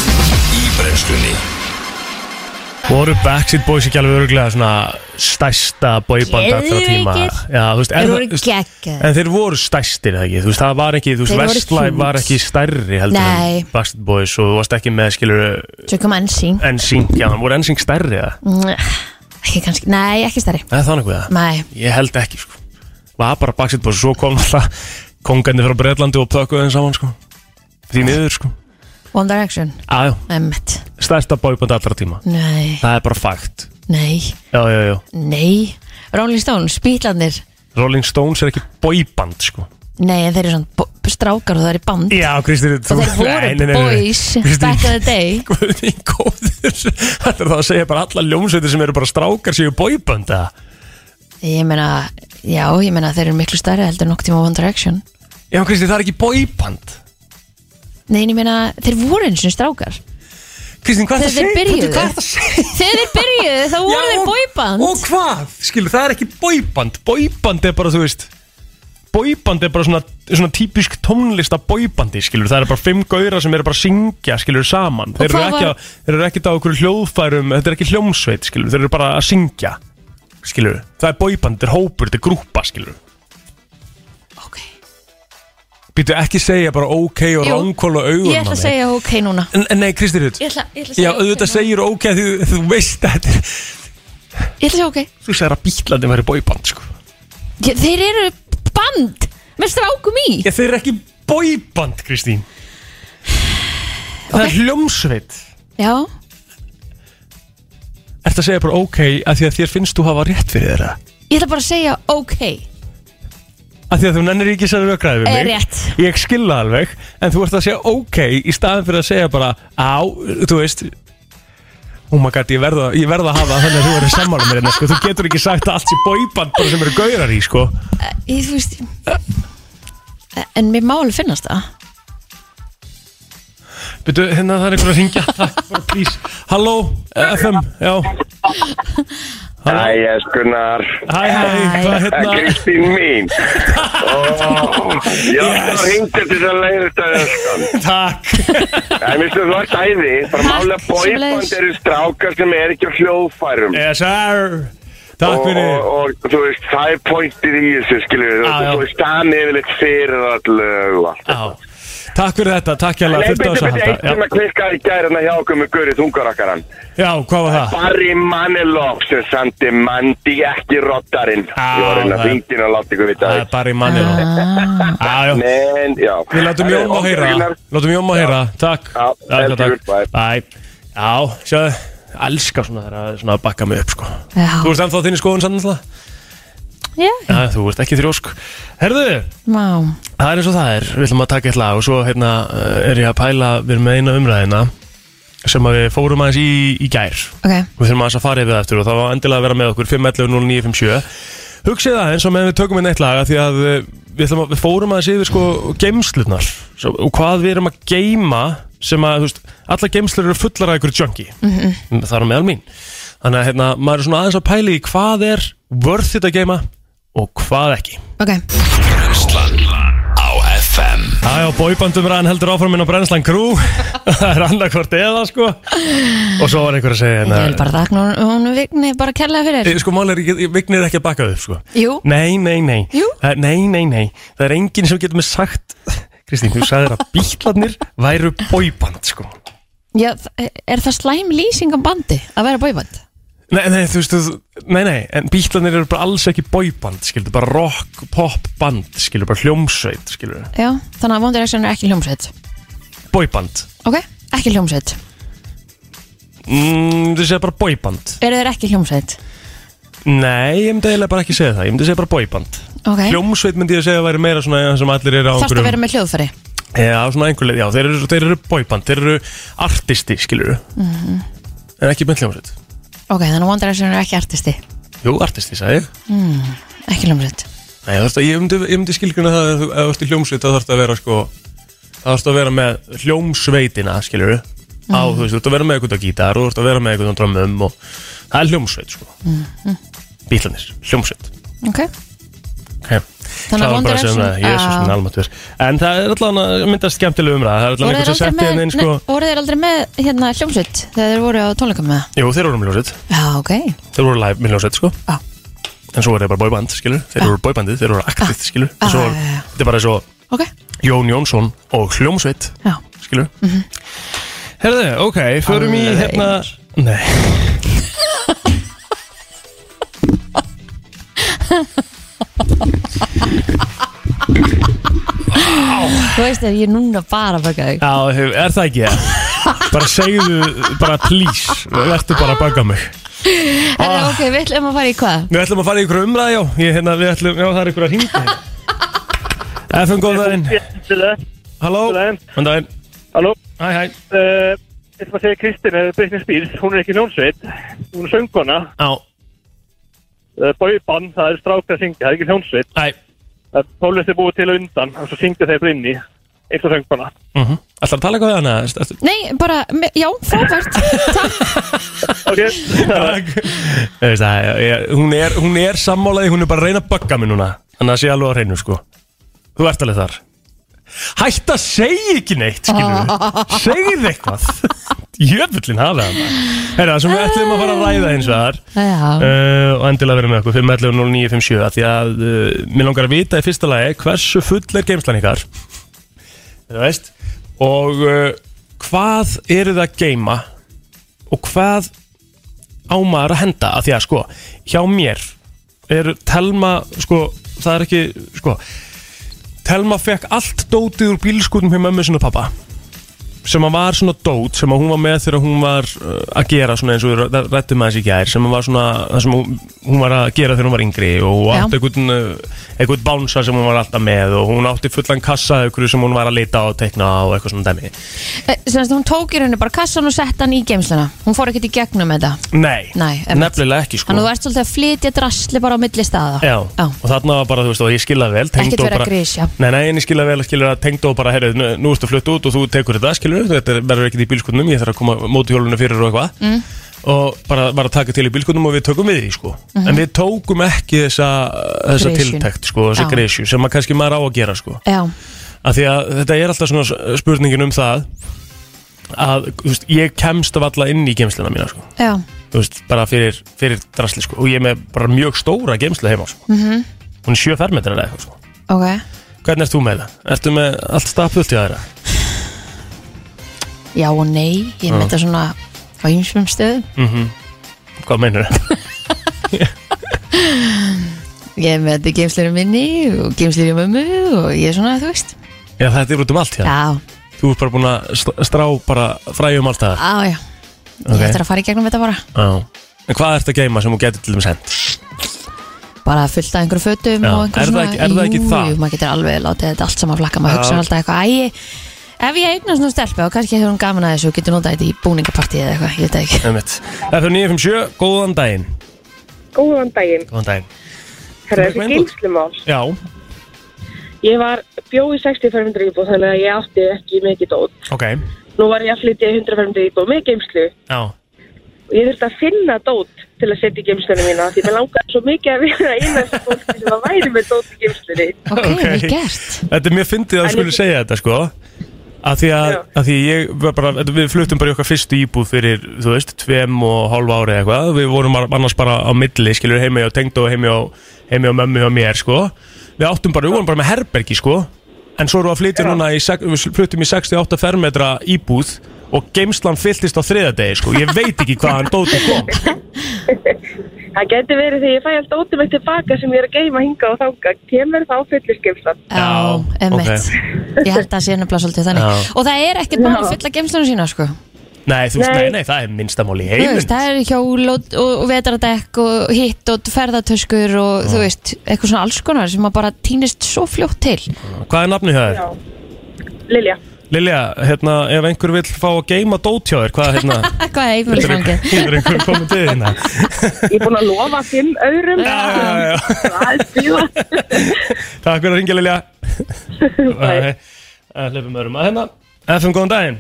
Speaker 3: í brennslunni
Speaker 1: voru Backstreet Boys ekki alveg öruglega svona stærsta boyband allra tíma Já, þú veist,
Speaker 2: þeir
Speaker 1: en,
Speaker 2: voru
Speaker 1: þú veist,
Speaker 2: geggjað
Speaker 1: en þeir voru stærstir eða ekki, þú veist, það var ekki þú veist,
Speaker 2: Þeir voru
Speaker 1: Vestlæf
Speaker 2: cute.
Speaker 1: var ekki stærri heldur
Speaker 2: Nei.
Speaker 1: en Backstreet Boys og þú varst ekki með skilur
Speaker 2: Tökum að ensing
Speaker 1: NSYNC, já, hann voru NSYNC stærri eða,
Speaker 2: Ekki kannski, nei, ekki stærri
Speaker 1: það er þannig við það
Speaker 2: Nei,
Speaker 1: ég held ekki, sko, var bara Backstreet Boys og svo kom alltaf kongandi frá Breitlandi og pökkuðu þeim saman, sko því niður, sko,
Speaker 2: One Direction
Speaker 1: aðjó
Speaker 2: Emmett,
Speaker 1: stærsta bóiband allra tíma
Speaker 2: nei,
Speaker 1: Það er bara fakt
Speaker 2: nei,
Speaker 1: Já, já, já
Speaker 2: nei Rolling Stones, Bítlandir
Speaker 1: Rolling Stones er ekki bóiband, sko
Speaker 2: Nei, en þeir eru svona bo- strákar og það eru band
Speaker 1: Já, Kristi
Speaker 2: Og þeir voru boys back in the day
Speaker 1: Guðni góður Þetta er það að segja bara alla ljómsveitir sem eru bara strákar séu bóiband eða
Speaker 2: Ég meina, já, ég meina þeir eru miklu stærri heldur nokk tíma One Direction
Speaker 1: Já, Kristi, það er ekki bóiband
Speaker 2: Nei, en ég meina, þeir voru eins og strákar
Speaker 1: Kristi, hvað er það
Speaker 2: Þegar
Speaker 1: að
Speaker 2: þeir
Speaker 1: segja?
Speaker 2: byrjuðu.
Speaker 1: Bíddu, Hvað er það að segja?
Speaker 2: Þegar þeir byrjuðu, þá voru
Speaker 1: Já,
Speaker 2: þeir
Speaker 1: og-
Speaker 2: boyband
Speaker 1: Og hvað? Skilur, það er ekki bóiband Bóiband er bara, þú veist Bóiband er bara svona, svona típisk tónlista bóibandi, skilur Það er bara fimm gauðra sem eru bara að syngja, skilur, saman Þeir eru
Speaker 2: hvað
Speaker 1: ekki, á-
Speaker 2: var-
Speaker 1: þeir eru ekki á okkur hljóðfærum Þetta er ekki hljómsveit, skilur Þeir eru bara að syngja, skilur Það er bóiband, þetta er hópur, þetta er grúpa, skilur
Speaker 2: Ok,
Speaker 1: Býtu ekki segja bara ok og
Speaker 2: Jú.
Speaker 1: ránkól og augun
Speaker 2: ég ætla að segja ok núna
Speaker 1: Nei, Kristi Rutt
Speaker 2: Ég ætla, ég ætla að segja
Speaker 1: Já, auðvitað
Speaker 2: ok
Speaker 1: segir ok, þú,
Speaker 2: núna.
Speaker 1: þú veist að þetta er-
Speaker 2: Ég ætla að segja ok
Speaker 1: Þú segir að bítlandi væri bóiband, sko
Speaker 2: Ég- Þeir eru band með strákum í
Speaker 1: Ég, þeir eru ekki bóiband, Kristín Það er hljómsveit
Speaker 2: Já,
Speaker 1: Ertu að segja bara ok að því að þér finnst þú hafa rétt fyrir þeirra
Speaker 2: ég ætla bara að segja ok
Speaker 1: að því að þú nennir ekki sér rökræði við mig
Speaker 2: Er rétt.
Speaker 1: Ég skilða alveg En þú ert að segja ok í staðan fyrir að segja bara Á, þú veist Oh my god, ég verða, ég verða að hafa þannig að þú verður sammála mér hérna, sko. Þú getur ekki sagt að allt sé bóiband bara sem eru gaurar í, sko
Speaker 2: Ég þú veist En mér má alveg finnast það
Speaker 1: Byrju, hérna það er einhver að ringja Takk, bara please Halló, FM, já
Speaker 4: Æs Gunnar
Speaker 1: Hæ, hæ, hvað
Speaker 4: Það er
Speaker 1: hérna?
Speaker 4: Kristín mín Ó, Já, það hringdi til þess að leiðist að öskan
Speaker 1: Takk
Speaker 4: Það er minnstu þú ert æði Bara
Speaker 2: Takk,
Speaker 4: málega
Speaker 2: sömuleiðis.
Speaker 4: bóiband eru strákar sem er ekki á hljóðfærum
Speaker 1: Yes, sir Takk
Speaker 4: og,
Speaker 1: fyrir
Speaker 4: og, og þú veist, það er pointið í þessu skilur við,
Speaker 1: Já, já.
Speaker 4: þú veist, það er yfirleitt fyrir all lög og allt.
Speaker 1: Já. Takk fyrir þetta, takk hérlega
Speaker 4: Nei,
Speaker 1: fyrir
Speaker 4: byrju,
Speaker 1: þess að
Speaker 4: byrju, eitt sem
Speaker 1: halda
Speaker 4: að klikkaði í gærina hjá okkur með Guri Þungarakkaran.
Speaker 1: Já, já, hvað var það?
Speaker 4: Barry Manilow sem sandi Mandy ekki rottarinn.
Speaker 1: Á,
Speaker 4: Ég var að reyna
Speaker 1: það-
Speaker 4: að ringdina og láta ykkur vita
Speaker 1: Það er
Speaker 4: það.
Speaker 1: bara í manni
Speaker 4: Ah.
Speaker 1: Já, já,
Speaker 4: Men, já.
Speaker 1: við látum Jón að heyra Látum Jón að heyra, takk
Speaker 4: Já,
Speaker 1: Já,
Speaker 4: thank you,
Speaker 1: takk.
Speaker 4: bye.
Speaker 1: Bye. Já, sjáðu, elskar svona þegar að svona bakka mig upp, sko
Speaker 2: Já.
Speaker 1: Þú ert ennþá á þinni skoðun sannlega?
Speaker 2: Já.
Speaker 1: Já, þú ert ekki þrjósk Herðu,
Speaker 2: Vá.
Speaker 1: Það er eins og það er, við ætlum að taka eitt lag og svo hérna eh, er ég að pæla við erum með eina umræðina sem að við fórum aðeins í, í gær við
Speaker 2: Ok.
Speaker 1: þurfum aðeins að fara yfir það eftir og það var endilega að vera með okkur 5.11.09.57 Hugsið aðeins og meðan við tökum inn eitt lag af því að eh, við, ætlum að, við fórum aðeins yfir sko geimslunar svo, og hvað við erum að geima sem að, þú veist, alla geimslur eru fullar af ykkur junkie, mm -hmm. það er á meðal mín þannig að hérna, maður er svona aðeins að pæla í hvað er worth it að geima og hvað ekki
Speaker 2: Ok.
Speaker 3: Brennslan á FM
Speaker 1: Jájá, bóibandumræðan heldur áfram inn á Brennslan Crew Það er annarkvort eða sko Og svo var einhver að segja
Speaker 2: Ég vil
Speaker 1: hérna
Speaker 2: bara þakna hún, hún vigni bara kærlega fyrir.
Speaker 1: Eh, Sko mál er, ég- ég- vignir ekki að bakka þau sko
Speaker 2: Jú.
Speaker 1: Nei, nei, nei
Speaker 2: Jú.
Speaker 1: Það, er- Nei, nei, nei Það er enginn sem getur með sagt Kristín, þú sagðir að bílarnir væru bóiband sko
Speaker 2: Já, þ- er það slæm lýsing á bandi að vera bóiband?
Speaker 1: Nei, nei, þú veist, þú- nei, nei En bílarnir eru bara alls ekki bóiband Skilur, bara rock, pop band Skilur, bara hljómsveit, skilur
Speaker 2: Já, þannig að One Direction er ekki hljómsveit.
Speaker 1: Bóiband
Speaker 2: Ok, ekki hljómsveit.
Speaker 1: mm, Þú segir bara bóiband
Speaker 2: Eru þeir ekki hljómsveit?
Speaker 1: Nei, ég myndi eiginlega bara ekki segja það Ég myndi segja bara bóiband
Speaker 2: Ok.
Speaker 1: Hljómsveit myndi ég að segja að væri meira svona sem allir eru á
Speaker 2: Þarfst að
Speaker 1: einhverjum
Speaker 2: vera með hljóðfæri.
Speaker 1: Já, svona einhverjum, já, þeir eru, þeir eru bóiband, þeir eru artisti, skilur mm
Speaker 2: Mhm.
Speaker 1: En ekki með hljómsveit
Speaker 2: Ok, þannig að One Direction er ekki artisti.
Speaker 1: Jú, artisti, sagði ég
Speaker 2: Ekki hljómsveit.
Speaker 1: Nei, þú þarft að, ég myndi, ég myndi skilgruna það að þú ef þú ert í hljómsveit þá þarfst að vera sko þá þarfst að vera með hljómsveitina, skilur Á,
Speaker 2: Mhm.
Speaker 1: þú veist, þú ert að vera með eitthvað gítar og þú ert að vera með eitthvað drömmum og það er hljómsveit, sko mm
Speaker 2: Mhm.
Speaker 1: hljómsveit
Speaker 2: Ok.
Speaker 1: Okay.
Speaker 2: Þannig að
Speaker 1: Klára
Speaker 2: One
Speaker 1: bara segja um það,
Speaker 2: Direction-
Speaker 1: Jesús
Speaker 2: Já.
Speaker 1: minn almáttur En það er allan að myndast skemmtileg umræða Það er allan
Speaker 2: Voru
Speaker 1: einhver
Speaker 2: þeir
Speaker 1: sem setti
Speaker 2: aldrei
Speaker 1: henni inn
Speaker 2: með,
Speaker 1: sko
Speaker 2: sko... voru þeir aldrei með hérna, hljómsveit þegar þeir voru á tónleikum með það?
Speaker 1: Jú, þeir voru með ljósett
Speaker 2: Já, ok.
Speaker 1: Þeir voru live með ljósett sko
Speaker 2: Já.
Speaker 1: En svo voru þeir bara bóiband, skilur Þeir voru bóibandið, þeir voru aktið, skilur
Speaker 2: Ah,
Speaker 1: En svo,
Speaker 2: já, já, já.
Speaker 1: þetta er bara svo
Speaker 2: Ok.
Speaker 1: Jón Jónsson og Hljómsveit,
Speaker 2: Já.
Speaker 1: skilur Herðu, ok, förum í
Speaker 2: Mhm. Alveg
Speaker 1: hérna Nei
Speaker 2: Þú veist að ég er núna bara að baka þig.
Speaker 1: Já, hef- er það ekki það? Bara segðu, bara please Vertu bara að bögga mig
Speaker 2: En ok, við ætlum að fara í hvað?
Speaker 1: Við ætlum að fara í ykkur umræði, já Ég, hérna, Við ætlum, já, það er ykkur að hringja hérna. FM, góðan daginn Halló
Speaker 5: Góðan daginn.
Speaker 1: Góðan daginn
Speaker 5: Halló,
Speaker 1: Hæ, hæ
Speaker 5: uh, ég ætla að segja Kristina eða eh, Britney Spears, hún er ekki hljómsveit, hún er söngona,
Speaker 1: Á,
Speaker 5: uh, bauðbann, það er strákar að syngja, það er ekki hljómsveit,
Speaker 1: hæ
Speaker 5: það er tólest er búið til að undan og svo syngja þeir bara inni, eins og söngona.
Speaker 1: Ætlar að tala eitthvað við hana? Ertu- ertu-
Speaker 2: Nei, bara, me- já, frábært. Takk.
Speaker 5: Ok,
Speaker 1: Þú veist það, ég- ég- Hún er, hún er sammálaði, hún er bara að reyna að bugga mig núna Þannig að það sé alveg á hreinu, sko Þú ert alveg þar Hætt að segja ekki neitt, skilur við Segð eitthvað Jöfullin hafið hana Herra, það sem við ætlum að fara að ræða eins og þar
Speaker 2: Já.
Speaker 1: uh, og endilega vera með okkur 5.11.09.57 af því að uh, mér langar að vita í fyrsta lagi hversu full er geimslan ykkar þú veist og uh, hvað eru það að geima og hvað á maður að henda af því að sko, hjá mér er Telma, sko, það er ekki sko, Telma fekk allt dótið úr bílskútum hjá mömmu sinni og pappa sem að var svona dót sem að hún var með þegar hún var uh, að gera svona eins og við rö- ræddum aðeins í gær sem að var svona það sem hún, hún var að gera þegar hún var yngri og
Speaker 2: Já.
Speaker 1: átti einhvern, uh, einhvern bánsa sem hún var alltaf með og hún átti fullan kassa af einhverju sem hún var að leita á og teikna á og eitthvað svona dæmi
Speaker 2: Sannst, Eh, hún tók í rauninu bara kassan og sett hann í geimsluna. Hún fór ekkert í gegnum þetta.
Speaker 1: Nei,
Speaker 2: Nei, einmitt.
Speaker 1: nefnilega ekki sko
Speaker 2: Þannig að þú ert svolítið að flytja drasli bara á milli staða.
Speaker 1: Já,
Speaker 2: Já.
Speaker 1: og þarna var bara, þú veist, og ég skilða vel tengdó
Speaker 2: Ekkert vera
Speaker 1: bara-
Speaker 2: grisja.
Speaker 1: Nei, nei, en ég skilða vel, skilur að tengdó bara, herrið, nú, nú ertu flutt út og þú tekur þetta, skilur Þetta er- verður ekkert í bílskutnum, ég þarf að koma móti hjólunum fyrir og eitthvað mm. og bara var að taka til í bílkunum og við tökum við því sko
Speaker 2: Mhm.
Speaker 1: en við tókum ekki þessa, þessa
Speaker 2: Gresjun.
Speaker 1: tiltækt sko, þessa
Speaker 2: Já.
Speaker 1: gresju sem maður kannski maður á að gera sko
Speaker 2: Já,
Speaker 1: af því að þetta er alltaf svona s- spurningin um það að þú veist, ég kemst af alla inn í gemslina mína sko
Speaker 2: já,
Speaker 1: Þú veist, bara fyrir, fyrir drasli sko og ég er með bara mjög stóra gemslu heima sko mm -hmm.
Speaker 2: Mhm.
Speaker 1: hún er sjö fermetrar eða eitthvað sko
Speaker 2: ok
Speaker 1: hvernig ert þú með það? Ertu með allt stapult í aðra?
Speaker 2: Já og nei, ég með þetta svona á ýmsum stöðum
Speaker 1: Hvað meinur það?
Speaker 2: Ég er með þetta geimslir um minni og geimslir um ömmu og ég er svona, þú veist
Speaker 1: Já, þetta er út um allt hér
Speaker 2: Já,
Speaker 1: Þú ert bara búin að st- strá bara fræjum allt það
Speaker 2: á já Ég ætti að fara í gegnum þetta bara
Speaker 1: Já En hvað ertu að geima sem þú getur til dæmis hend?
Speaker 2: bara fullt af einhverju fötum
Speaker 1: Já,
Speaker 2: og einhverju
Speaker 1: er það ekki- er það ekki
Speaker 2: jú,
Speaker 1: það?
Speaker 2: Jú, maður getur alveg látið þetta allt saman flakka maður
Speaker 1: Já.
Speaker 2: hugsa alltaf eitthvað, æ ef ég eignar svona stelpu og kannski hefur hún gaman að þessu og getur notað þetta í búningapartíð eða eitthvað, ég veit það ekki
Speaker 1: Það er 957, góðan daginn
Speaker 6: Góðan daginn.
Speaker 1: Góðan daginn Þú
Speaker 6: Herra,
Speaker 1: ert
Speaker 6: þessi
Speaker 1: með innbrot?
Speaker 6: geimslumál.
Speaker 1: Já,
Speaker 6: Ég var bjóð í 60 fermindra íbúð þannig að ég átti ekki mikið dót.
Speaker 1: ok
Speaker 6: Nú var ég að flytja í 100 fermindra íbúð með geimslu
Speaker 1: Já,
Speaker 6: og ég þurfti að finna dót til að setja í geimslunum mína því mér langaði svo mikið að vera einast fólki sem að væri með dót í geimslunni.
Speaker 2: ok,
Speaker 1: Ok.
Speaker 2: vel gert
Speaker 1: þetta er mjög fyndið að
Speaker 6: En
Speaker 1: þú skulle
Speaker 6: ég-
Speaker 1: segja þetta sko Af því að,
Speaker 6: Já.
Speaker 1: að því ég var bara, þetta- við fluttum bara í okkar fyrstu íbúð fyrir, þú veist, tveim og hálf ári eða eitthvað Við vorum ar- annars bara á milli, skilur heimi á tengd og heimi á, heimi á mömmu og mér sko Við áttum bara, við vorum bara með herbergi sko En svo erum við að flytja núna, í, sex- við fluttum í 68 fermetra íbúð Og geimslan fylltist á þriðadegi sko, ég veit ekki hvaðan dóti kom
Speaker 6: Það getur verið þegar ég fæ allt dótið mig tilbaka sem ég er að geima hinga og þanga. Kemur þá fyllist geimslan.
Speaker 2: Já, emmitt Ég held að það sé nefnilega svolítið þannig
Speaker 1: Já.
Speaker 2: Og það er ekkert bara að fylla gemslunum sína sko.
Speaker 1: Nei, þú veist,
Speaker 6: Nei.
Speaker 1: nei, nei, það er minnstamál í
Speaker 2: Þú
Speaker 1: heiminn
Speaker 2: veist, Það er hjól og, og, og vetardekk og hitt og ferðartöskur og þú veist, eitthvað svona alls konar sem að bara týnist svo fljótt til
Speaker 1: sko. Hvað er nafnið hjá þér?
Speaker 6: Já. Lilja.
Speaker 1: Lilja, hérna, ef einhver vill fá að geima dót hjá þér, hvað hérna?
Speaker 2: Hvað er heimilisfangið?
Speaker 1: Getur einhver komið til þín?
Speaker 6: Ég er búin að lofa fimm öðrum.
Speaker 1: Já, já, já.
Speaker 6: Það er bíða.
Speaker 1: Takk fyrir að ringja, Lilja. Hleypum öðrum að hérna. FM, góðan daginn.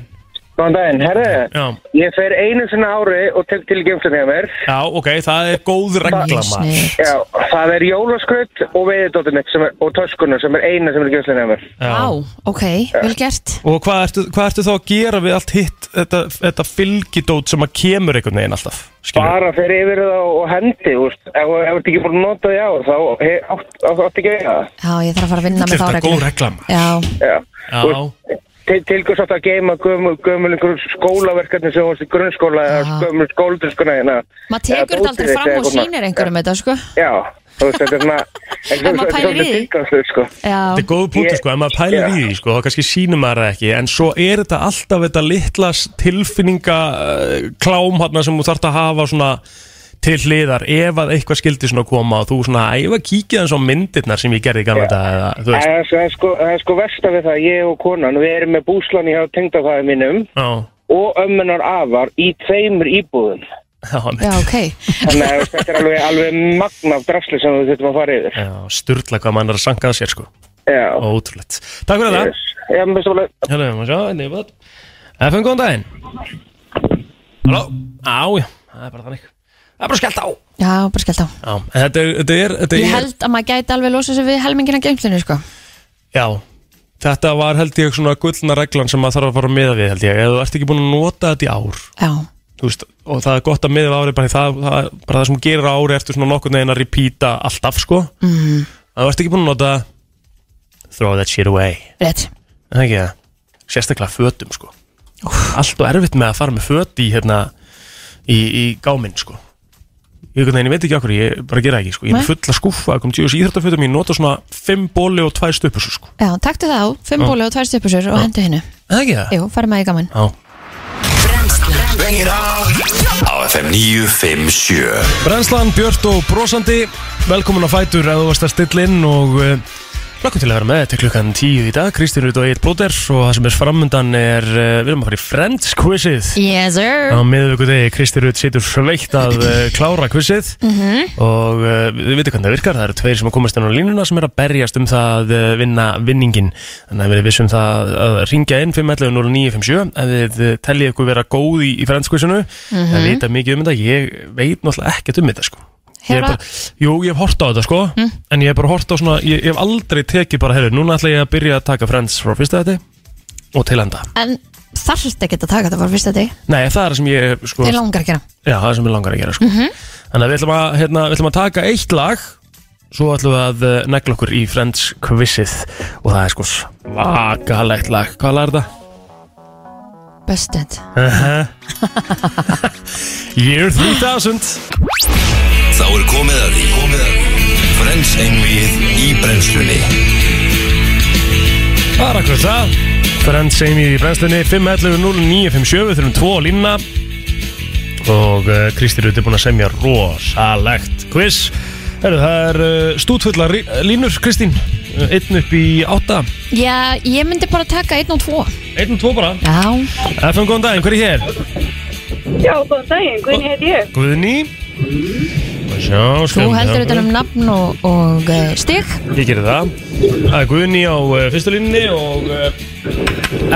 Speaker 5: Góðan daginn, herri,
Speaker 1: Já,
Speaker 5: ég fer einu sinna ári og tek til geimslinni að mér.
Speaker 1: já, ok, það er góð regla maður.
Speaker 2: Snið
Speaker 5: Já, það er jólaskraut og veiðdóttir mitt sem er, og töskunar sem er eina sem er í geimslinni að mér.
Speaker 2: Á,
Speaker 1: Já.
Speaker 2: ok, vel gert
Speaker 1: Og hvað ertu, hvað ertu þá að gera við allt hitt, þetta, þetta fylgidót sem að kemur einhvern veginn alltaf? Skilur?
Speaker 5: Bara fer yfir það og hendi, úst. Ef ef þú ert ekki búin að nota því á, þá he- átt átt- átt ekki að gera það.
Speaker 2: Já, ég þarf að fara að vinna með þá
Speaker 1: Þetta er
Speaker 2: reglu
Speaker 1: góð regla maður.
Speaker 2: Já,
Speaker 5: Já.
Speaker 1: Já,
Speaker 5: Til, til hvers átt að geima gömul, gömul einhver skólaverkarnir sem varst í grunnskóla eða
Speaker 2: Já.
Speaker 5: gömul skóldurskuna hérna.
Speaker 2: maður tekur
Speaker 5: Eða
Speaker 2: þetta aldrei
Speaker 5: dótið
Speaker 2: fram
Speaker 5: þitt
Speaker 2: og
Speaker 5: eða eitthvað.
Speaker 2: sýnir einhverjum þetta, sko
Speaker 5: Já, þú veist, þetta er svona...
Speaker 2: En maður pælir í því.
Speaker 5: því? Sko.
Speaker 1: Þetta er
Speaker 2: Já,
Speaker 1: góð punktu
Speaker 5: Ég-
Speaker 1: sko, ef maður pælir í
Speaker 5: Já.
Speaker 1: því sko, þá kannski sýnum maður það ekki, en svo er þetta alltaf þetta litla tilfinninga uh, klám hana sem þú þarft að hafa svona til hliðar, ef að eitthvað skildi svona koma og þú svona, "Æ, ég var að kíkja þannig á myndirnar sem ég gerði í gamla þetta, eða, þú
Speaker 5: Það
Speaker 1: veist,
Speaker 5: er, það, er sko, það er sko versta við það, ég og konan, við erum með búslan hjá tengdafæði mínum
Speaker 1: já,
Speaker 5: og ömmunar afar í tveimur íbúðum.
Speaker 1: já,
Speaker 2: já,
Speaker 1: já,
Speaker 2: ok
Speaker 5: Þannig að þú veist, þetta er alveg, alveg magna af drasli sem við þurfum að fara yfir.
Speaker 1: já styrla hvað mann er að sanka að sér sko,
Speaker 5: Já.
Speaker 1: ótrúlegt. Takk fyrir það,
Speaker 5: Yes. Já, mér finnst það alveg-
Speaker 1: hérna, maður sjá, hérna, ég veit, FN, góðan daginn. Halló, á, já, það er bara þannig, það er bara skellt á.
Speaker 2: Já, bara skellt á
Speaker 1: Já, en þetta er, þetta er, þetta er
Speaker 2: Ég held að maður gæti alveg losa sig við helmingina geimslinu, sko
Speaker 1: Já, þetta var held ég svona gullna reglan sem maður þarf að fara að miða við held ég, eða þú ert ekki búin að nota þetta í ár
Speaker 2: Já,
Speaker 1: þú veist, og það er gott að miða við árið bara það, það, bara það sem þú gerir á ári ertu svona nokkurn veginn að repeata alltaf sko mm. að þú ert ekki búin að nota throw that shit away
Speaker 2: rétt
Speaker 1: Er það ekki það, sérstaklega fötum sko allt og erfitt með að fara með föt í hérna, í, í gáminn sko ég, einhvern veginn, ég veit ekki okkur, ég bara gera ekki sko ég er
Speaker 2: Nei.
Speaker 1: með fulla skúfa, kom tjóðs íþróttafötum ég nota svona 5 bóli og 2 stöpus sko,
Speaker 2: Já, taktu þá, fimm bóli og tvær stjöpusur og hendu hinnu
Speaker 1: Er það ekki það
Speaker 2: Jú, farið með í gaman
Speaker 1: Já.
Speaker 3: Bengir á Á FM 957
Speaker 1: Brennslan, Björt og Brósandi Velkomin að Fætur að þú varst að stilla inn og uh, Lakka til að vera með þetta er klukkan 10 í dag Kristín Rut og Egil Blóter og það sem er framöndan er uh, við erum að fara í Friends quizið
Speaker 2: Yes sir
Speaker 1: á miðvöku degi Kristín Rut situr sveitt að uh, klára quizið og uh, við veitum hvernig það virkar það eru tveir sem að komast inn á línuna sem er að berjast um það að uh, vinna vinningin þannig að við vissum það að ringja inn 511 0957 ef þið uh, tellið ykkur vera góð í, í Friends quizinu mm -hmm. það vita mikið um þetta ég veit náttúrulega ekkert um þetta sko Ég hef
Speaker 2: Hefur
Speaker 1: bara, jú, ég hef hort á þetta sko En ég hef bara hort á svona Ég, ég hef aldrei tekið bara, heyrðu, núna ætla ég að byrja að taka Friends frá fyrsta þetta Og til enda
Speaker 2: En þarft ekki að taka þetta fyrir fyrsta deg
Speaker 1: Nei, það er það sem ég, sko
Speaker 2: Ég langar að gera
Speaker 1: Já, það er sem ég langar að gera, sko Þannig að við ætlum að, hérna, við ætlum að taka eitt lag Svo ætlum við að eh, negla okkur í Friends quizið Og það er sko svakalegt lag Hvað lag er þetta?
Speaker 2: Busted
Speaker 1: Year 3000
Speaker 3: Þá er komið að því Komið að því Frens einvið í brennslunni
Speaker 1: Það er akkur það Frend segjum í brennslunni 511-0957 Við þurfum tvo línna Og uh, Kristi Rutt er búin að semja rosalegt quiz Heru, Það er uh, stútfulla rí- línur Kristín uh, Einn upp í átta
Speaker 2: Já, ég myndi bara taka einn og tvo
Speaker 1: Einn og tvo bara
Speaker 2: Já
Speaker 1: FM góðan daginn, hver er hér?
Speaker 6: Já, góðan daginn, hvernig heit ég?
Speaker 1: Guðni Sjá,
Speaker 2: Þú heldur utan um nafn og, og uh, stig
Speaker 1: Ég gerir það Það er Guðni á uh, fyrstu línni og uh,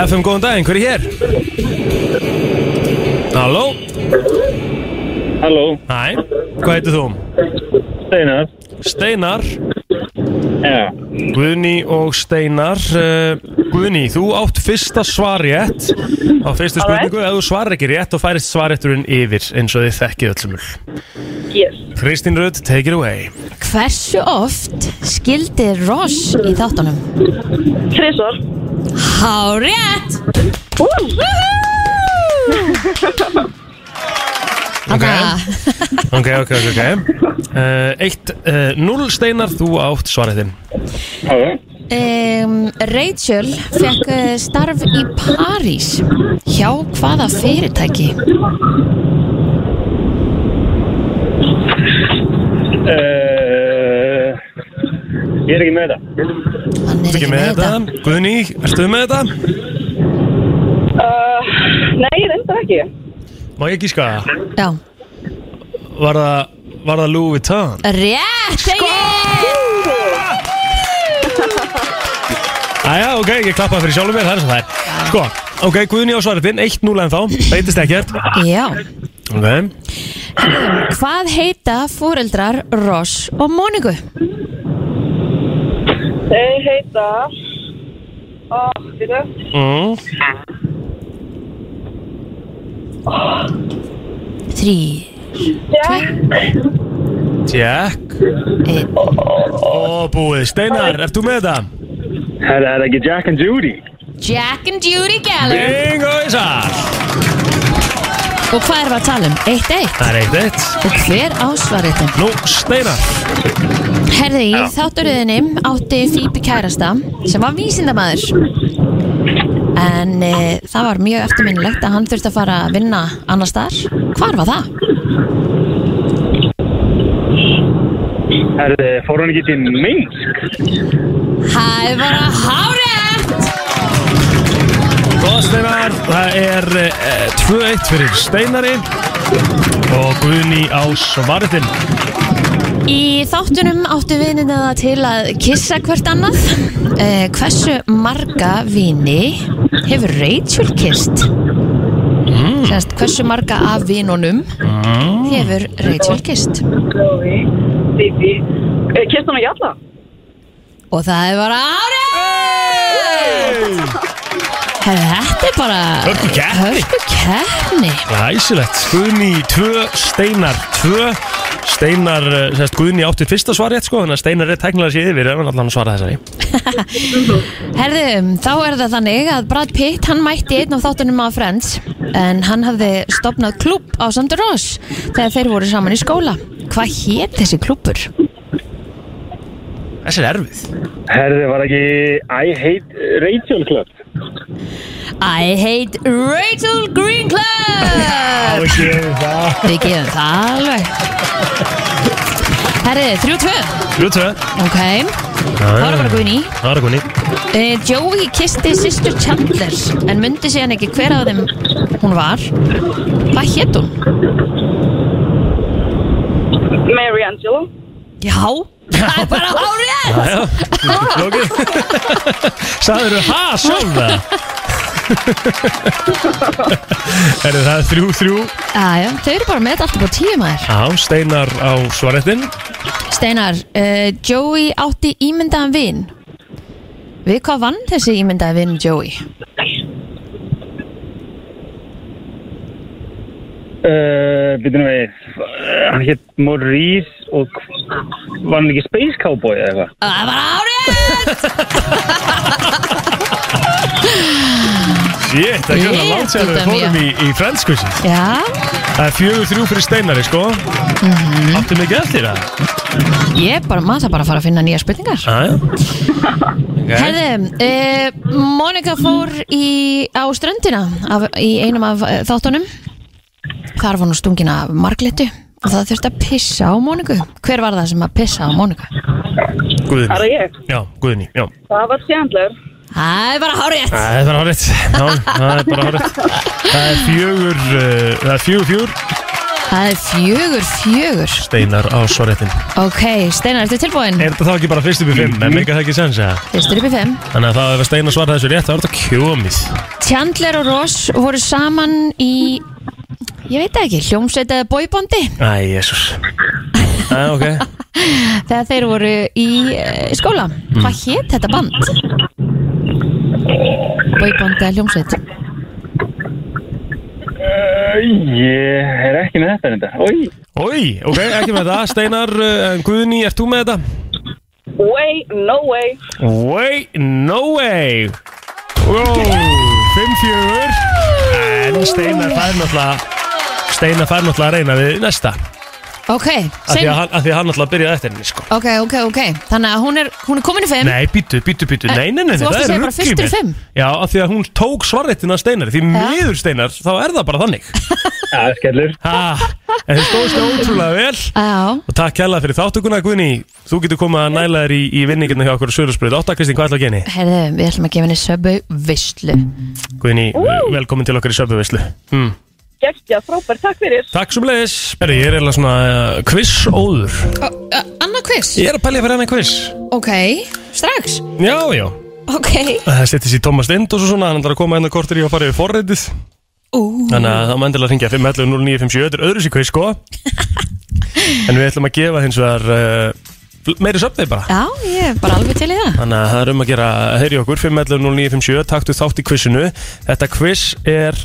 Speaker 1: FM góðan daginn, hver er hér? Halló?
Speaker 5: Halló,
Speaker 1: Hæ, hvað heitir þú?
Speaker 5: Steinar
Speaker 1: Steinar,
Speaker 5: Já,
Speaker 1: Guðni og Steinar Eh, Guðni, þú átt fyrsta svar rétt á fyrstu spurningu ef þú svarar ekki rétt og færist svarrétturinn yfir eins og þið þekkið öllumul
Speaker 6: Yes.
Speaker 1: Kristín Rudd, take it away
Speaker 2: Hversu oft skildi Ross í þáttunum?
Speaker 6: Tresor.
Speaker 2: Hárétt! Þannig að
Speaker 1: Ok, ok, ok, ok uh, Eitt, uh, null Steinar, þú átt svarréttin
Speaker 2: um, Rachel fekk eh, starf í París hjá hvaða fyrirtæki?
Speaker 5: Uh, ég er ekki með þetta
Speaker 2: Hann er
Speaker 1: Ekki með þetta, Guðni, ertu með þetta?
Speaker 6: Uh, nei, reyndar ekki.
Speaker 1: Má ég gíska það?
Speaker 2: Já,
Speaker 1: Var það, var það Louis Vuitton?
Speaker 2: rétt
Speaker 1: Sko! Æja, ok, ég klappaði fyrir sjálfum mér, það er sem það er Sko, ok, Guðni á svarréttin, 1-0 en þá, beitist ekkert
Speaker 2: Egil! Já,
Speaker 1: Ok,
Speaker 2: hvað heita fóreldrar Ross og Móniku?
Speaker 6: Þeir heita... Ó, við þau.
Speaker 1: mm.
Speaker 2: Þrý,
Speaker 6: Jack,
Speaker 1: Jack
Speaker 2: einn
Speaker 1: Og búið, Steinar, ert þú með þetta?
Speaker 5: Það er ekki Jack and Judy
Speaker 2: Jack and Judy Geller
Speaker 1: Bingo í sall
Speaker 2: Og hvað erum við að tala um? Eitt eitt
Speaker 1: Það er eitt eitt
Speaker 2: Og hver ásvariðin?
Speaker 1: Nú, Steinar
Speaker 2: Herði, í þátturöðinni átti Fíbi kærasta sem var vísindamaður en e, það var mjög eftirminnilegt að hann þurfti að fara að vinna annars staðar. Hvar var það?
Speaker 5: Er, Fór hann ekki til Minsk?
Speaker 2: Það er bara hárið!
Speaker 1: Góð Steinar, það er eh, 2-1 fyrir Steinari Og Guðni á svarðin
Speaker 2: Í þáttunum átti vininni það til að kissa hvert annað. E, hversu marga vini hefur Rachel kist? Mm. Sérst, hversu marga af vinunum
Speaker 1: Mm.
Speaker 2: hefur Rachel kist?
Speaker 6: Chloe, Phoebe. Eh, Kysst hann ekki alla?
Speaker 2: Og það er bara árið! Herðu, þetta er bara
Speaker 1: Hörku keppni.
Speaker 2: Hörku keppni.
Speaker 1: Æsilegt, Guðni 2, Steinar 2 Steinar, eh, sérst, Guðni átti fyrsta svar rétt sko Þannig að Steinar er teknilega sér yfir En allan svara þessari
Speaker 2: Herðu, þá er það þannig að Brad Pitt, hann mætti í einn af þáttunum af Friends en hann hafði stopnað klúpp á Sander Ross þegar þeir voru saman í skóla. Hvað hétt þessi klúppur?
Speaker 1: Þessi er erfið
Speaker 5: Herði, var ekki I Hate Rachel Club?
Speaker 2: I hate Rachel Green Club!
Speaker 1: ekki það
Speaker 2: Við gefum það alveg. Herðu, 3-2.
Speaker 1: 3-2
Speaker 2: Ok Það var bara Guðný
Speaker 1: Það var Guðni
Speaker 2: Eh, Joey kisti sýstur Chandler en myndi síðan ekki hver af þeim hún var Hvað hétt hún?
Speaker 6: Mary Angelo
Speaker 2: Já, það er bara hárið
Speaker 1: Já, flókið Sæður þú, ha, sjálf það Erðu það er þrjú, þrjú
Speaker 2: Jæja, Ah, þau eru bara með þetta alltaf bara tíu maður
Speaker 1: Já, steinar á svarettin
Speaker 2: Steinar, uh, Joey átti ímyndaðan vin Við hvað vann þessi ímyndaðan vin Joey?
Speaker 5: Uh, Býtum við, hann hétt Maurice og var hann ekki Space Cowboy eða eitthvað?
Speaker 2: Það er bara hárið
Speaker 1: Shit, það er ekki að langt sér að við
Speaker 2: Ítudamía.
Speaker 1: fórum í, í franskussi
Speaker 2: Já,
Speaker 1: Það er fjögur, þrjú fyrir steinari, sko Áttu mikið eftir það
Speaker 2: ég bara, maður þarf bara að fara að finna nýja spurningar
Speaker 1: Já, já
Speaker 2: Herðu, uh, Monika fór í, á ströndina af, í einum af uh, þáttunum Þar var hún stungin af marglitu og það þurfti að pissa á Moniku Hver var það sem að pissa á Moniku?
Speaker 6: Það
Speaker 1: Guðni
Speaker 6: er ég
Speaker 1: Já, Guðni, já
Speaker 6: Það var Chandler
Speaker 2: Það er bara hárétt
Speaker 1: Það er bara horrið Já, það er bara horrið Það er fjögur, uh, það er fjögur, fjögur
Speaker 2: Það er fjögur, fjögur
Speaker 1: Steinar á svarettin
Speaker 2: Ok, Steinar, ertu tilbúin?
Speaker 1: Er þetta þá ekki bara fyrst upp í fimm? En meika það ekki sens eða?
Speaker 2: Fyrstur upp í fimm
Speaker 1: Mm-hmm. Þannig að það hefur Steinar svarað þessu rétt, þá er þetta kjómið.
Speaker 2: Chandler og Ross voru saman í Ég veit það ekki, hljómsveit eða bóibondi
Speaker 1: Æ, jésús. Æ, ok.
Speaker 2: þegar þeir voru í uh, skóla
Speaker 1: Mm.
Speaker 2: Hvað hétt þetta band? Bóibond eða hljómsveit
Speaker 5: Ég er ekki með þetta reynda. Ói,
Speaker 1: Ói, ok, ekki með það. Steinar, uh, en Guðni, ert þú með þetta?
Speaker 6: Way, no way
Speaker 1: Way, no way. Wow, fimm fjögur. En Steinar fær náttúrulega, Steinar fær náttúrulega að reyna við næsta.
Speaker 2: Ok,
Speaker 1: Af því
Speaker 2: segn
Speaker 1: að hann, af því að hann náttúrulega byrjaði eftir henni, sko.
Speaker 2: Ok, ok, ok Þannig að hún er, hún er komin í fimm
Speaker 1: Nei, býtu, býtu, býtu,
Speaker 2: En
Speaker 1: nei, nei, nei, nei,
Speaker 2: þú varst að
Speaker 1: það
Speaker 2: segja
Speaker 1: er
Speaker 2: bara
Speaker 1: ruggið
Speaker 2: fyrstur
Speaker 1: mér.
Speaker 2: fimm.
Speaker 1: Já, af því að hún tók svarréttina steinar Því miður steinar, þá er það bara þannig
Speaker 5: það er skellur.
Speaker 1: Ha, en þið stóðst það ótrúlega vel
Speaker 2: Já,
Speaker 1: Og takk hella fyrir þáttuguna Guðni Þú getur komað að næla þér í, í vinningirna hjá okkur Sjölusbröð Átta Kristín, hvað ætla að geni?
Speaker 2: herðu, við ætlum að gefa henni söbu vislu
Speaker 1: Guðni, velkomin til okkar í Sjöluvislu mm.
Speaker 6: Gæstja, frábær, takk fyrir
Speaker 1: Takk sem leiðis Herri, ég er eða svona uh, quiz óður
Speaker 2: Anna quiz,
Speaker 1: Ég er að pælja fyrir henni quiz
Speaker 2: ok, strax
Speaker 1: Já, já
Speaker 2: Ok,
Speaker 1: Það settist í Thomas Lind og svo svona Hann ætlar að koma hennar kortir í að fara yfir forreitið
Speaker 2: ú,
Speaker 1: Þannig að það má endilega hringja 511 0957 Þetta er öðru sér quiz sko En við ætlum að gefa hins vegar uh, Meiri söpvið bara
Speaker 2: já, ég er bara alveg til í það
Speaker 1: Þannig að það er um að gera Heyri okkur 511 0957 Taktu þátt í quizinu Þetta quiz er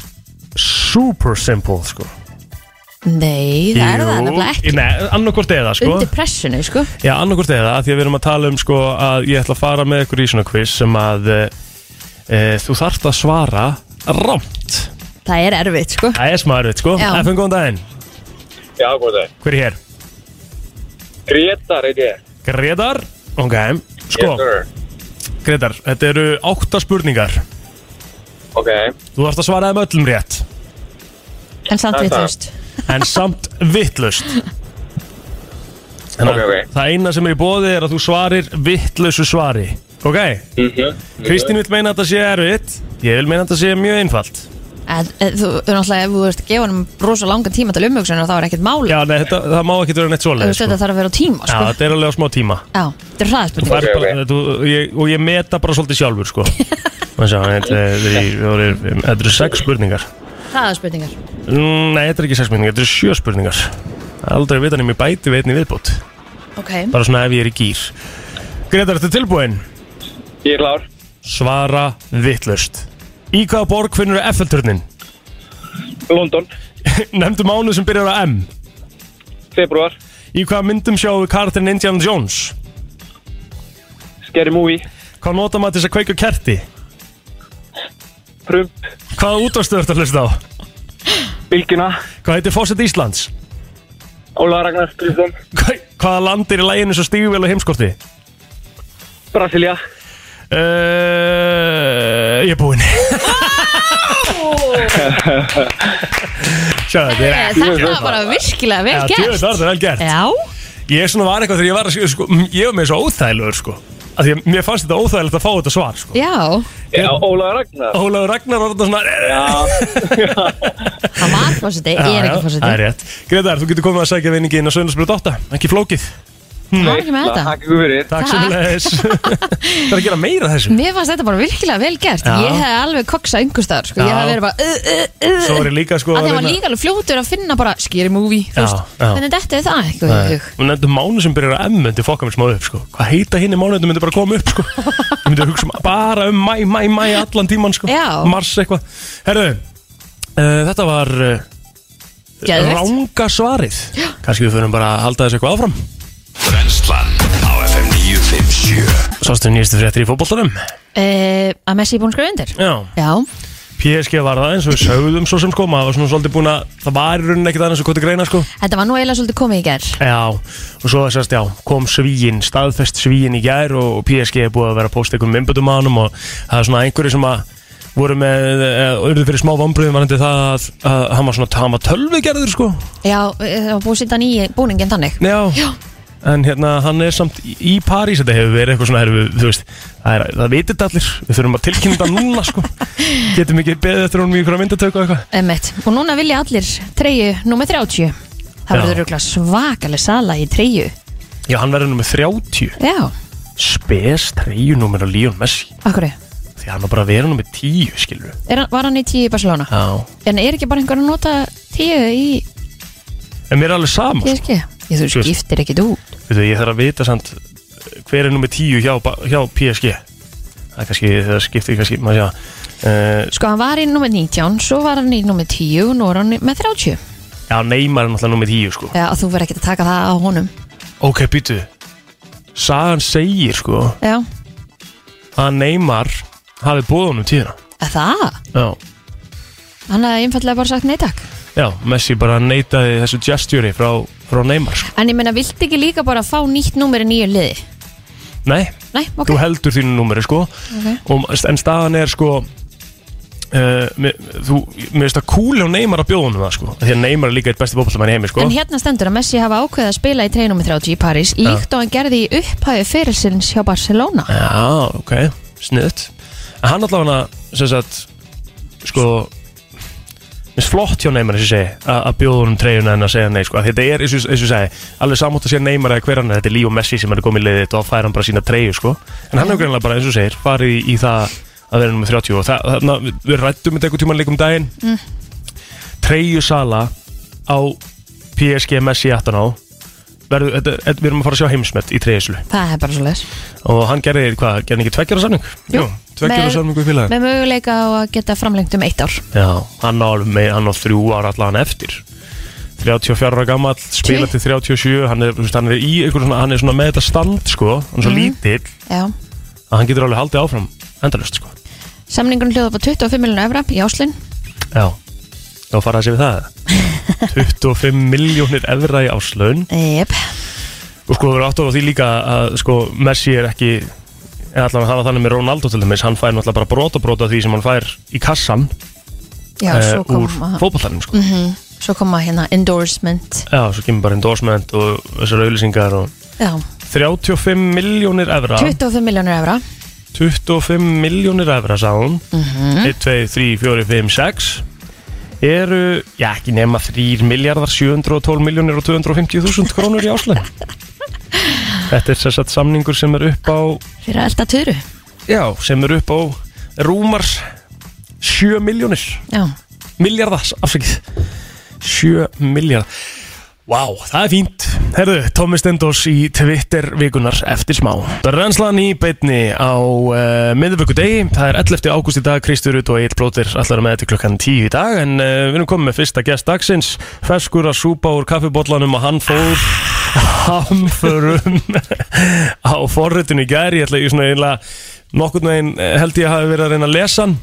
Speaker 1: Super simple sko
Speaker 2: Nei, það er það nefnilega ekki
Speaker 1: Nei, annarkort eða sko
Speaker 2: Undir pressinu, sko
Speaker 1: Já, annarkort eða af Því að við erum að tala um sko Að ég ætla að fara með ykkur í svona quiz Sem að e, e, Þú þarft að svara Rámt
Speaker 2: Það er erfitt, sko
Speaker 1: Það er smarfitt sko
Speaker 2: Já.
Speaker 1: FN, góðan daginn
Speaker 4: Já, góð dag.
Speaker 1: Hver er hér?
Speaker 4: Gretar er ég.
Speaker 1: Gretar Ok, sko
Speaker 4: Yes,
Speaker 1: Gretar, þetta eru átta spurningar
Speaker 4: sir. ok.
Speaker 1: Þú þarfst að svara þeim öllum rétt
Speaker 2: En samt
Speaker 4: Það er
Speaker 2: við
Speaker 4: það.
Speaker 2: þúst
Speaker 1: En samt vittlust
Speaker 4: Ok, ok.
Speaker 1: Það eina sem er í bóði er að þú svarir vittlusu svari Ok,
Speaker 4: Mm -hmm.
Speaker 1: Kristín vil meina að þetta sé erfitt Ég vil meina að þetta sé mjög einfalt
Speaker 2: En eh, þú, þú náttúrulega, ef þú ert að gefa hann rosa langan tíma til umhugsunar, þá er ekkert máli
Speaker 1: Já, nei, þetta, það má ekki vera neitt
Speaker 2: Þú
Speaker 1: svoleið
Speaker 2: veist, þetta þarf að vera á tíma,
Speaker 1: Já,
Speaker 2: sko
Speaker 1: þetta er alveg á smá tíma
Speaker 2: Já, þetta er
Speaker 1: Þú
Speaker 2: hraðaspurning
Speaker 1: færð
Speaker 4: Ok, ok.
Speaker 1: bara- þú- ég- Og ég meta bara svolítið sjálfur sko. Má sjá, Þetta er- þetta eru þetta eru sex spurningar
Speaker 2: Hraðaspurningar
Speaker 1: Mm, Nei, þetta er ekki sex spurningar, þetta eru sjö spurningar Aldrei að vita nefnir bæti við einni viðbót
Speaker 2: Ok
Speaker 1: Bara svona ef ég er í gýr Gretar, þetta er tilbúin
Speaker 4: Ég er klár.
Speaker 1: Svara vittlust Í hvaða borg finnur Eiffelturnin?
Speaker 4: London,
Speaker 1: Nefndu mánuð sem byrjar á M
Speaker 4: februar,
Speaker 1: Í hvaða myndum sjáum við karakterinn Indiana Jones?
Speaker 4: Scary Movie,
Speaker 1: Hvað nota maður til þess að kveika kerti?
Speaker 4: Prump,
Speaker 1: Hvaða útvarstöð ertu að hlusta á?
Speaker 4: Bilgina,
Speaker 1: Hvað heitir Fawcett Íslands?
Speaker 4: Óla Ragnar, Kristján,
Speaker 1: Hva- Hvaða land er í læginu svo stígvél og heimskorti?
Speaker 4: Brasilia,
Speaker 1: Uh, ég er búinn Sjá, þetta er
Speaker 2: Eh, Þetta var bara virkilega vel
Speaker 1: Já,
Speaker 2: gert
Speaker 1: djöfull var þetta vel gert
Speaker 2: Já,
Speaker 1: Ég svona var eitthvað þegar ég var að sko, m- Ég var með svo óþægilegur sko af því að mér fannst þetta óþægilegt að fá þetta svar sko.
Speaker 2: Já,
Speaker 7: Já, Ólaður Ragnar
Speaker 1: Ólaður Ragnar var þetta svona
Speaker 2: hann var fórseti, ég er
Speaker 1: Það
Speaker 2: ekki
Speaker 1: er
Speaker 2: fórseti
Speaker 1: rétt Gretar, þú getur komið að sækja vinningi inn á Söndagsbröð 8 Ekki flókið
Speaker 2: Það er ekki með þetta
Speaker 7: Takk ykkur fyrir
Speaker 1: Takk
Speaker 2: Takk.
Speaker 1: sem leis Það er að gera meira af þessu
Speaker 2: Mér fannst þetta bara virkilega vel gert
Speaker 1: Já.
Speaker 2: Ég hef alveg koksa yngustar sko. Ég
Speaker 1: Já.
Speaker 2: hef verið bara uh, uh, uh.
Speaker 1: Svo er ég líka sko
Speaker 2: að
Speaker 1: að
Speaker 2: þeim var
Speaker 1: reyna-
Speaker 2: líka alveg fljótur að finna bara skýri movie, þú
Speaker 1: Já,
Speaker 2: veist,
Speaker 1: já.
Speaker 2: hvernig þetta er það eitthvað í
Speaker 1: Nei.
Speaker 2: hug
Speaker 1: Hún nefndi mánu sem byrjar að M myndi fokka mér smá upp sko. Hvað heita hinn í mánu þetta myndi bara koma upp sko. Ég myndi hugsa um- bara um mæ, mæ, mæ allan tíman sko.
Speaker 2: Já.
Speaker 1: Mars eitthvað Herru, uh, þetta var uh,
Speaker 2: Geðvegt.
Speaker 1: ranga svarið Kanski við fyrir bara að halda þessu eitthvað áfram
Speaker 3: Brennslan á FM 957
Speaker 1: Sástu nýjastu fréttir í fótboltanum
Speaker 2: Eh, Að Messi er búin að skrifa undir
Speaker 1: Já
Speaker 2: Já,
Speaker 1: PSG var það eins og við sögðum svo sem sko maður var svona svolítið búin að það var í rauninni ekkert aðeins og kvoti greina sko
Speaker 2: þetta var nú eiginlega svolítið komið í ger
Speaker 1: Já, og svo sérst, já, kom svíin, staðfest svíin í gær og og PSG er búið að vera að posta einhverjum myndböndum á hannum og það er svona einhverju sem að voru með, eh, og urðu fyrir smá vombriðum varandi það að, að hann var svona, hann var tölvigerður sko,
Speaker 2: Já, eh, það var búið að setja hann í búningin þannig
Speaker 1: já,
Speaker 2: Já.
Speaker 1: en hérna hann er samt í í París, þetta hefur verið eitthvað svona, herfi, þú veist, það, er, það veitir þetta allir, við þurfum að tilkynna þetta núna sko, getum ekki beðið eftir honum í einhverja myndatöku og eitthvað.
Speaker 2: Emmett, og núna vilja allir treyju nummer 30 Það
Speaker 1: Já.
Speaker 2: verður örugglega svakaleg sala í treyju
Speaker 1: Já, hann verður nummer 30,
Speaker 2: Já,
Speaker 1: spes treyjunúmer á Líón Messi,
Speaker 2: okkur
Speaker 1: því hann var bara að vera nummer 10, skilur
Speaker 2: er, hann- Var hann í 10 í Barcelona?
Speaker 1: Já.
Speaker 2: En er ekki bara einhver að nota 10 í
Speaker 1: En mér er alveg sama sko.
Speaker 2: PSG? Ég þú
Speaker 1: Sure.
Speaker 2: skiptir ekkit út
Speaker 1: Veitu, Ég þarf að vita samt hver er nummið 10 hjá, hjá PSG Það er kannski, það skiptir kannski maður sjá uh,
Speaker 2: Sko, hann var í nummer 19, svo var hann í nummer 10 og Nú er hann í- með 30
Speaker 1: Já, Neymar er náttúrulega nummið 10 sko
Speaker 2: Já, þú verður ekkert að taka það á honum
Speaker 1: Ok, býtu Sagan segir sko
Speaker 2: Já,
Speaker 1: að Neymar hafi búið honum tíðina
Speaker 2: að það
Speaker 1: Já,
Speaker 2: Hann hefði einfallega bara sagt nei takk
Speaker 1: já Messi bara neitaði þessu gestjúri frá, frá Neymar sko
Speaker 2: En ég meina, viltu ekki líka bara fá nýtt númer í nýju liði?
Speaker 1: Nei,
Speaker 2: Nei, ok,
Speaker 1: þú heldur þínu númeri sko
Speaker 2: Ok.
Speaker 1: og, En staðan er sko Uh, mér, þú, mér finnst það kúli á Neymar að bjóða honum það sko Því að Neymar er líka eitt besti bópallamann í heimi sko
Speaker 2: En hérna stendur að Messi hafa ákveðið að spila í treinum 30 í París Líkt og hann gerði í upphæðu fyrirsins hjá Barcelona
Speaker 1: Já, ok, sniðt En hann allavega sem sagt sko minnst flott hjá Neymar eins og ég segi a- að bjóða honum treyjuna en að segja nei sko Af því Þetta er, eins og eins og ég segi, alveg samátt að sé Neymar eða hver hann er, þetta er Líó Messi sem er komið í liðið og þá fær hann bara sína treyju sko En hann er greinlega bara eins og þú segir, farið í, í það að vera nummer 30 og það, þarna, við- við rættum þetta einhvern tímann líka um daginn mm. Treyjusala á PSG Messi 18 á verður, þetta, þetta, við erum að fara að sjá heimsmet í treyjuslu
Speaker 2: Það er bara svo leis
Speaker 1: og hann gerði, hvað, gerði hann ekki tveggjara samning?
Speaker 2: Jú.
Speaker 1: tveggjara
Speaker 2: Með-
Speaker 1: samning við félagin
Speaker 2: Með möguleika á að geta framlengt um eitt ár
Speaker 1: Já, hann á, alveg með, hann á þrjú ára allan eftir 34 ára gammal, spila
Speaker 2: Tjú.
Speaker 1: til 37 hann er, þú veist, hann er í einhver svona, hann er svona með þetta stand sko, hann er
Speaker 2: Mhm.
Speaker 1: svo lítill
Speaker 2: Já
Speaker 1: að hann getur alveg haldið áfram endalust sko
Speaker 2: Samningun hljóða upp á 25 miljonar evra í áslinn
Speaker 1: Já, þá fara þessi við það 25 miljónir evra í áslaun
Speaker 2: Jep
Speaker 1: og sko við erum átt á því líka að sko Messi er ekki eða allavega hann var þannig með Ronaldo til dæmis hann fær náttúrulega bara brota brota því sem hann fær í kassan
Speaker 2: Já,
Speaker 1: eh,
Speaker 2: svo kom,
Speaker 1: úr
Speaker 2: að,
Speaker 1: fótballtarnum sko.
Speaker 2: svo kom að hérna endorsement
Speaker 1: Já, svo kemur bara endorsement og þessar auðlýsingar og
Speaker 2: Já,
Speaker 1: 35 miljónir evra
Speaker 2: 25 miljonar evra
Speaker 1: 25 miljónir evra sá hún 1, 2, 3, 4, 5, 6 eru, já ekki nema 3 miljardar 712 miljónir og 250 þúsund krónur í áslega Þetta er sess að samningur sem er upp á
Speaker 2: Fyrir að elda töru
Speaker 1: já, sem er upp á rúmar 7 miljónir
Speaker 2: Já,
Speaker 1: miljardar, afsakið 7 miljardar Vá, það er fínt Herðu, Tommi Stendos í Twitter vikunar eftir smá Renslan í beinni á uh, miðvöku degi Það er 11. ágúst í dag, Kristur Rut og Egil Blóttir allar með þetta klukkan 10 í dag En uh, við erum komið með fyrsta gest dagsins Feskur að súpa úr kaffibóllanum og hann fór hamförum á forritun í gær Ég ætla ég svona einlega nokkurn veginn eh, held ég að hafi verið að reyna að lesa hann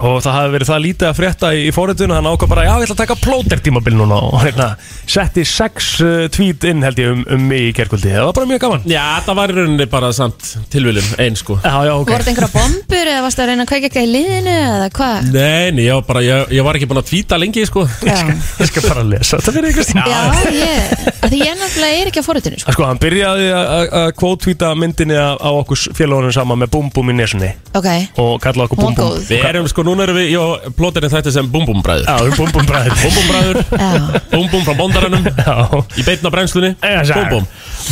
Speaker 1: og það hafi verið það lítið að frétta í, í fóritun hann ákvað bara, já, ég ætla að taka plóter tímabil núna og hérna, setti sex uh, tweet inn held ég um, um mig í kerkvöldi það var bara mjög gaman
Speaker 7: Já, það var í rauninni bara samt tilviljun, einn sko
Speaker 1: Já, já, ok
Speaker 2: Voru þetta einhverja bombur eða varst það að reyna að kveika eitthvað í liðinu eða hvað?
Speaker 7: Nei, nei, ég var bara, ég, ég var ekki búin að tvíta lengi sko
Speaker 2: Já,
Speaker 1: Ég skal bara lesa þetta fyrir ykkur stíma
Speaker 2: já ég, að því ég náttúrulega er ekki á forutinu sko.
Speaker 1: Sko, hann byrjaði að- að- að kvótvíta myndinni á á okkur félagunum saman með búmbúm í nesunni
Speaker 2: Ok,
Speaker 1: og kalla okkur
Speaker 2: hún var
Speaker 1: búmbúm
Speaker 2: góð
Speaker 7: Við erum sko, núna erum við, já, plóterinn þetta sem búmbúmbræður
Speaker 1: Já, búmbúm bræðið
Speaker 7: Búmbúmbræður,
Speaker 2: Já.
Speaker 7: búmbúm frá bóndaranum
Speaker 1: Já
Speaker 7: Í beitna brennslunni, búmbúm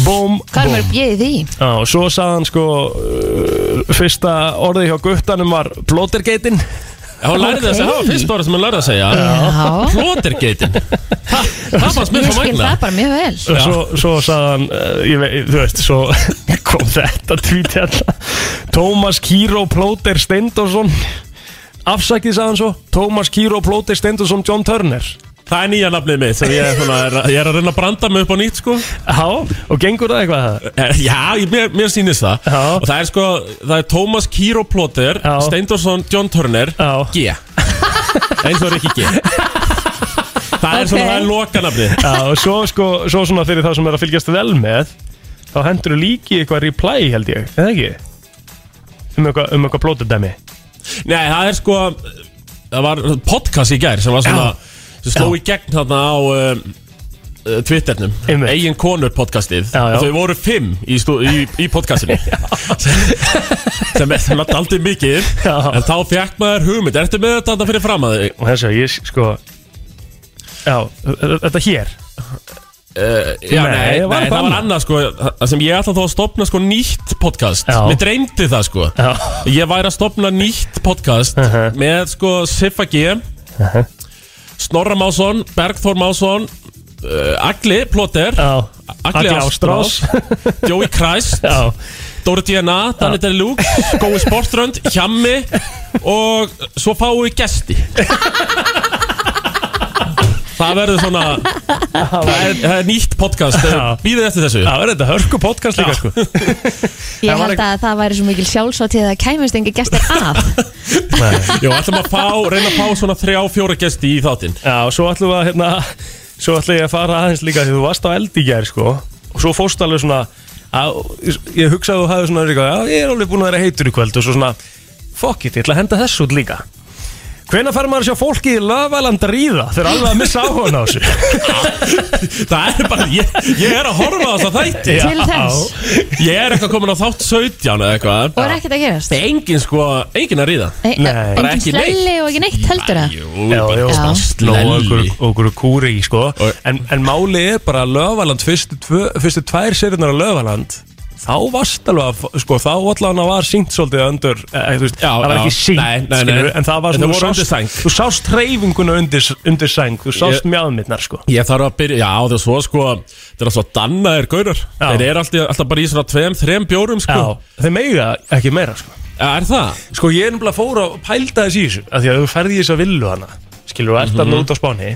Speaker 1: Búm,
Speaker 2: Hvað er mér
Speaker 1: búm
Speaker 2: ég í því?
Speaker 1: Já, og svo sagði hann sko uh, Fyrsta orðið hjá guttanum var Plótergeitin
Speaker 7: Já, hún lærði það að segja, það var fyrst bara sem hún lærði að segja
Speaker 2: Já.
Speaker 7: Plótergeitin Það það fannst mér
Speaker 2: Ég
Speaker 7: svo
Speaker 2: skil
Speaker 7: magna
Speaker 2: það bara mjög vel
Speaker 1: og svo, svo sagði hann uh, ég vei, Þú veist, svo kom þetta tweet hérna Tómas Kíró Plóter Steindorsson Afsakið sagði hann svo Tómas Kíró Plóter Steindorsson John Turner
Speaker 7: Það er nýja nafnið mitt sem ég, svona, er, ég er að reyna að branda mig upp á nýtt sko
Speaker 1: Já, og gengur það eitthvað það?
Speaker 7: Eh, Já, ég- mér, mér sýnist það
Speaker 1: Já.
Speaker 7: Og það er sko, það er Tómas Kíró Plóter
Speaker 1: Já.
Speaker 7: Steindorsson John Turner
Speaker 1: Já.
Speaker 7: G Eins og Rikki G Það er svona,
Speaker 2: Ok.
Speaker 7: það er lokanafnið
Speaker 1: Já, og svo sko, svo svona fyrir það sem er að fylgjast vel með Þá hendur þú líki eitthvað reply held ég, eða ekki? Um eitthvað, um eitthvað plóterdæmi
Speaker 7: Nei, það er sko Það var podcast í gær sem var svona sem sló í gegn þarna á um, uh, Twitternum
Speaker 1: Einmitt.
Speaker 7: Egin konur podcastið
Speaker 1: Já, já.
Speaker 7: Og Þau voru fimm í, stú, í, í podcastinu sem, sem er svona daldið mikið
Speaker 1: Já.
Speaker 7: En þá fekk maður hugmynd Ertu með þetta þarna fyrir fram að þig?
Speaker 1: Og þess að ég sko Já, þetta hér
Speaker 7: Eh, Já,
Speaker 1: Nei, það
Speaker 7: nei,
Speaker 1: var
Speaker 7: nei,
Speaker 1: eitthvað
Speaker 7: það var
Speaker 1: annað.
Speaker 7: annað sko Það sem ég ætla þá að stopna sko nýtt podcast
Speaker 1: Já.
Speaker 7: Mér dreymdi það sko
Speaker 1: Já,
Speaker 7: Ég væri að stopna nýtt podcast
Speaker 1: Uh-huh.
Speaker 7: Með sko Siffa G Snorra Másson Bergþór Másson uh, Agli Plóter
Speaker 1: já
Speaker 7: Agli Ástrás Jói Kræs
Speaker 1: Já,
Speaker 7: Dóri DNA Danny Deluxe Gói Sportrönd Hjammi Og svo fáum við gesti Það verður svona Það er, það er nýtt podcast
Speaker 1: Já.
Speaker 7: Býðið eftir þessu
Speaker 1: það verður þetta hörku podcast líka sko
Speaker 2: Ég held að það væri svo mikil sjálfsvátt að það kæmist engi gestir að
Speaker 7: Jó, ætlum að fá, reyna að fá svona þrjá, fjóra gesti í þáttinn
Speaker 1: Já, og svo ætlum við að hérna Svo ætlum ég að fara aðeins líka því þú varst á eld í gær sko Og svo fórst alveg svona að, Ég hugsaði að þú hafði svona líka, Já, ég er alveg búin að vera heitur í kvöld Og svo svona, fuck it, ég ætla að henda þessu út líka Hvenær fær maður að sjá fólki í löfaland ríða? Þeir eru alveg að missa áhugan á þessu
Speaker 7: Það er bara, ég, ég er að horfa á þess þætti
Speaker 2: Til þess.
Speaker 7: Ég er eitthvað komin á þátt 17 eða
Speaker 2: og
Speaker 7: eitthvað
Speaker 2: er ekkert að gerast
Speaker 7: Það er engin sko, engin að ríða
Speaker 2: Nei,
Speaker 1: Nei.
Speaker 2: Engin
Speaker 7: Bara ekki neitt.
Speaker 2: slelli og ekki neitt heldur það
Speaker 7: Jú,
Speaker 1: Já,
Speaker 7: bara
Speaker 1: já.
Speaker 7: smá
Speaker 2: Já.
Speaker 1: Ló og
Speaker 7: slelli
Speaker 1: okkur- og okkur kúri í sko
Speaker 7: Og-
Speaker 1: en, en máli er bara að Löfaland fyrstu, tvö, fyrstu tvær seriunar á Löfaland þá varst alveg að f- sko, þá allan að var sínt svolítið undur eh, þú veist,
Speaker 7: Já,
Speaker 1: það var
Speaker 7: já.
Speaker 1: ekki sínt
Speaker 7: Nei, nei, nei.
Speaker 1: skilurðu, en það var
Speaker 7: En
Speaker 1: svona
Speaker 7: það voru
Speaker 1: þú
Speaker 7: undir
Speaker 1: sást-
Speaker 7: sæng.
Speaker 1: þú sást hreyfinguna undir, undir sæng þú sást
Speaker 7: Ég-
Speaker 1: ég... mjáðmyndnar sko
Speaker 7: Ég þarf að byrja, já það er svo sko Það er alltaf dannaðir gaurar
Speaker 1: Já.
Speaker 7: Þeir eru alltaf, alltaf bara í svona tveim, þreim bjórum sko
Speaker 1: já, þeir meiga ekki meira sko
Speaker 7: Er það?
Speaker 1: sko ég er nefnilega fór að pælda þess í þessu af því að þú ferði í þess að villu hana skilur þú ert mm út á spáni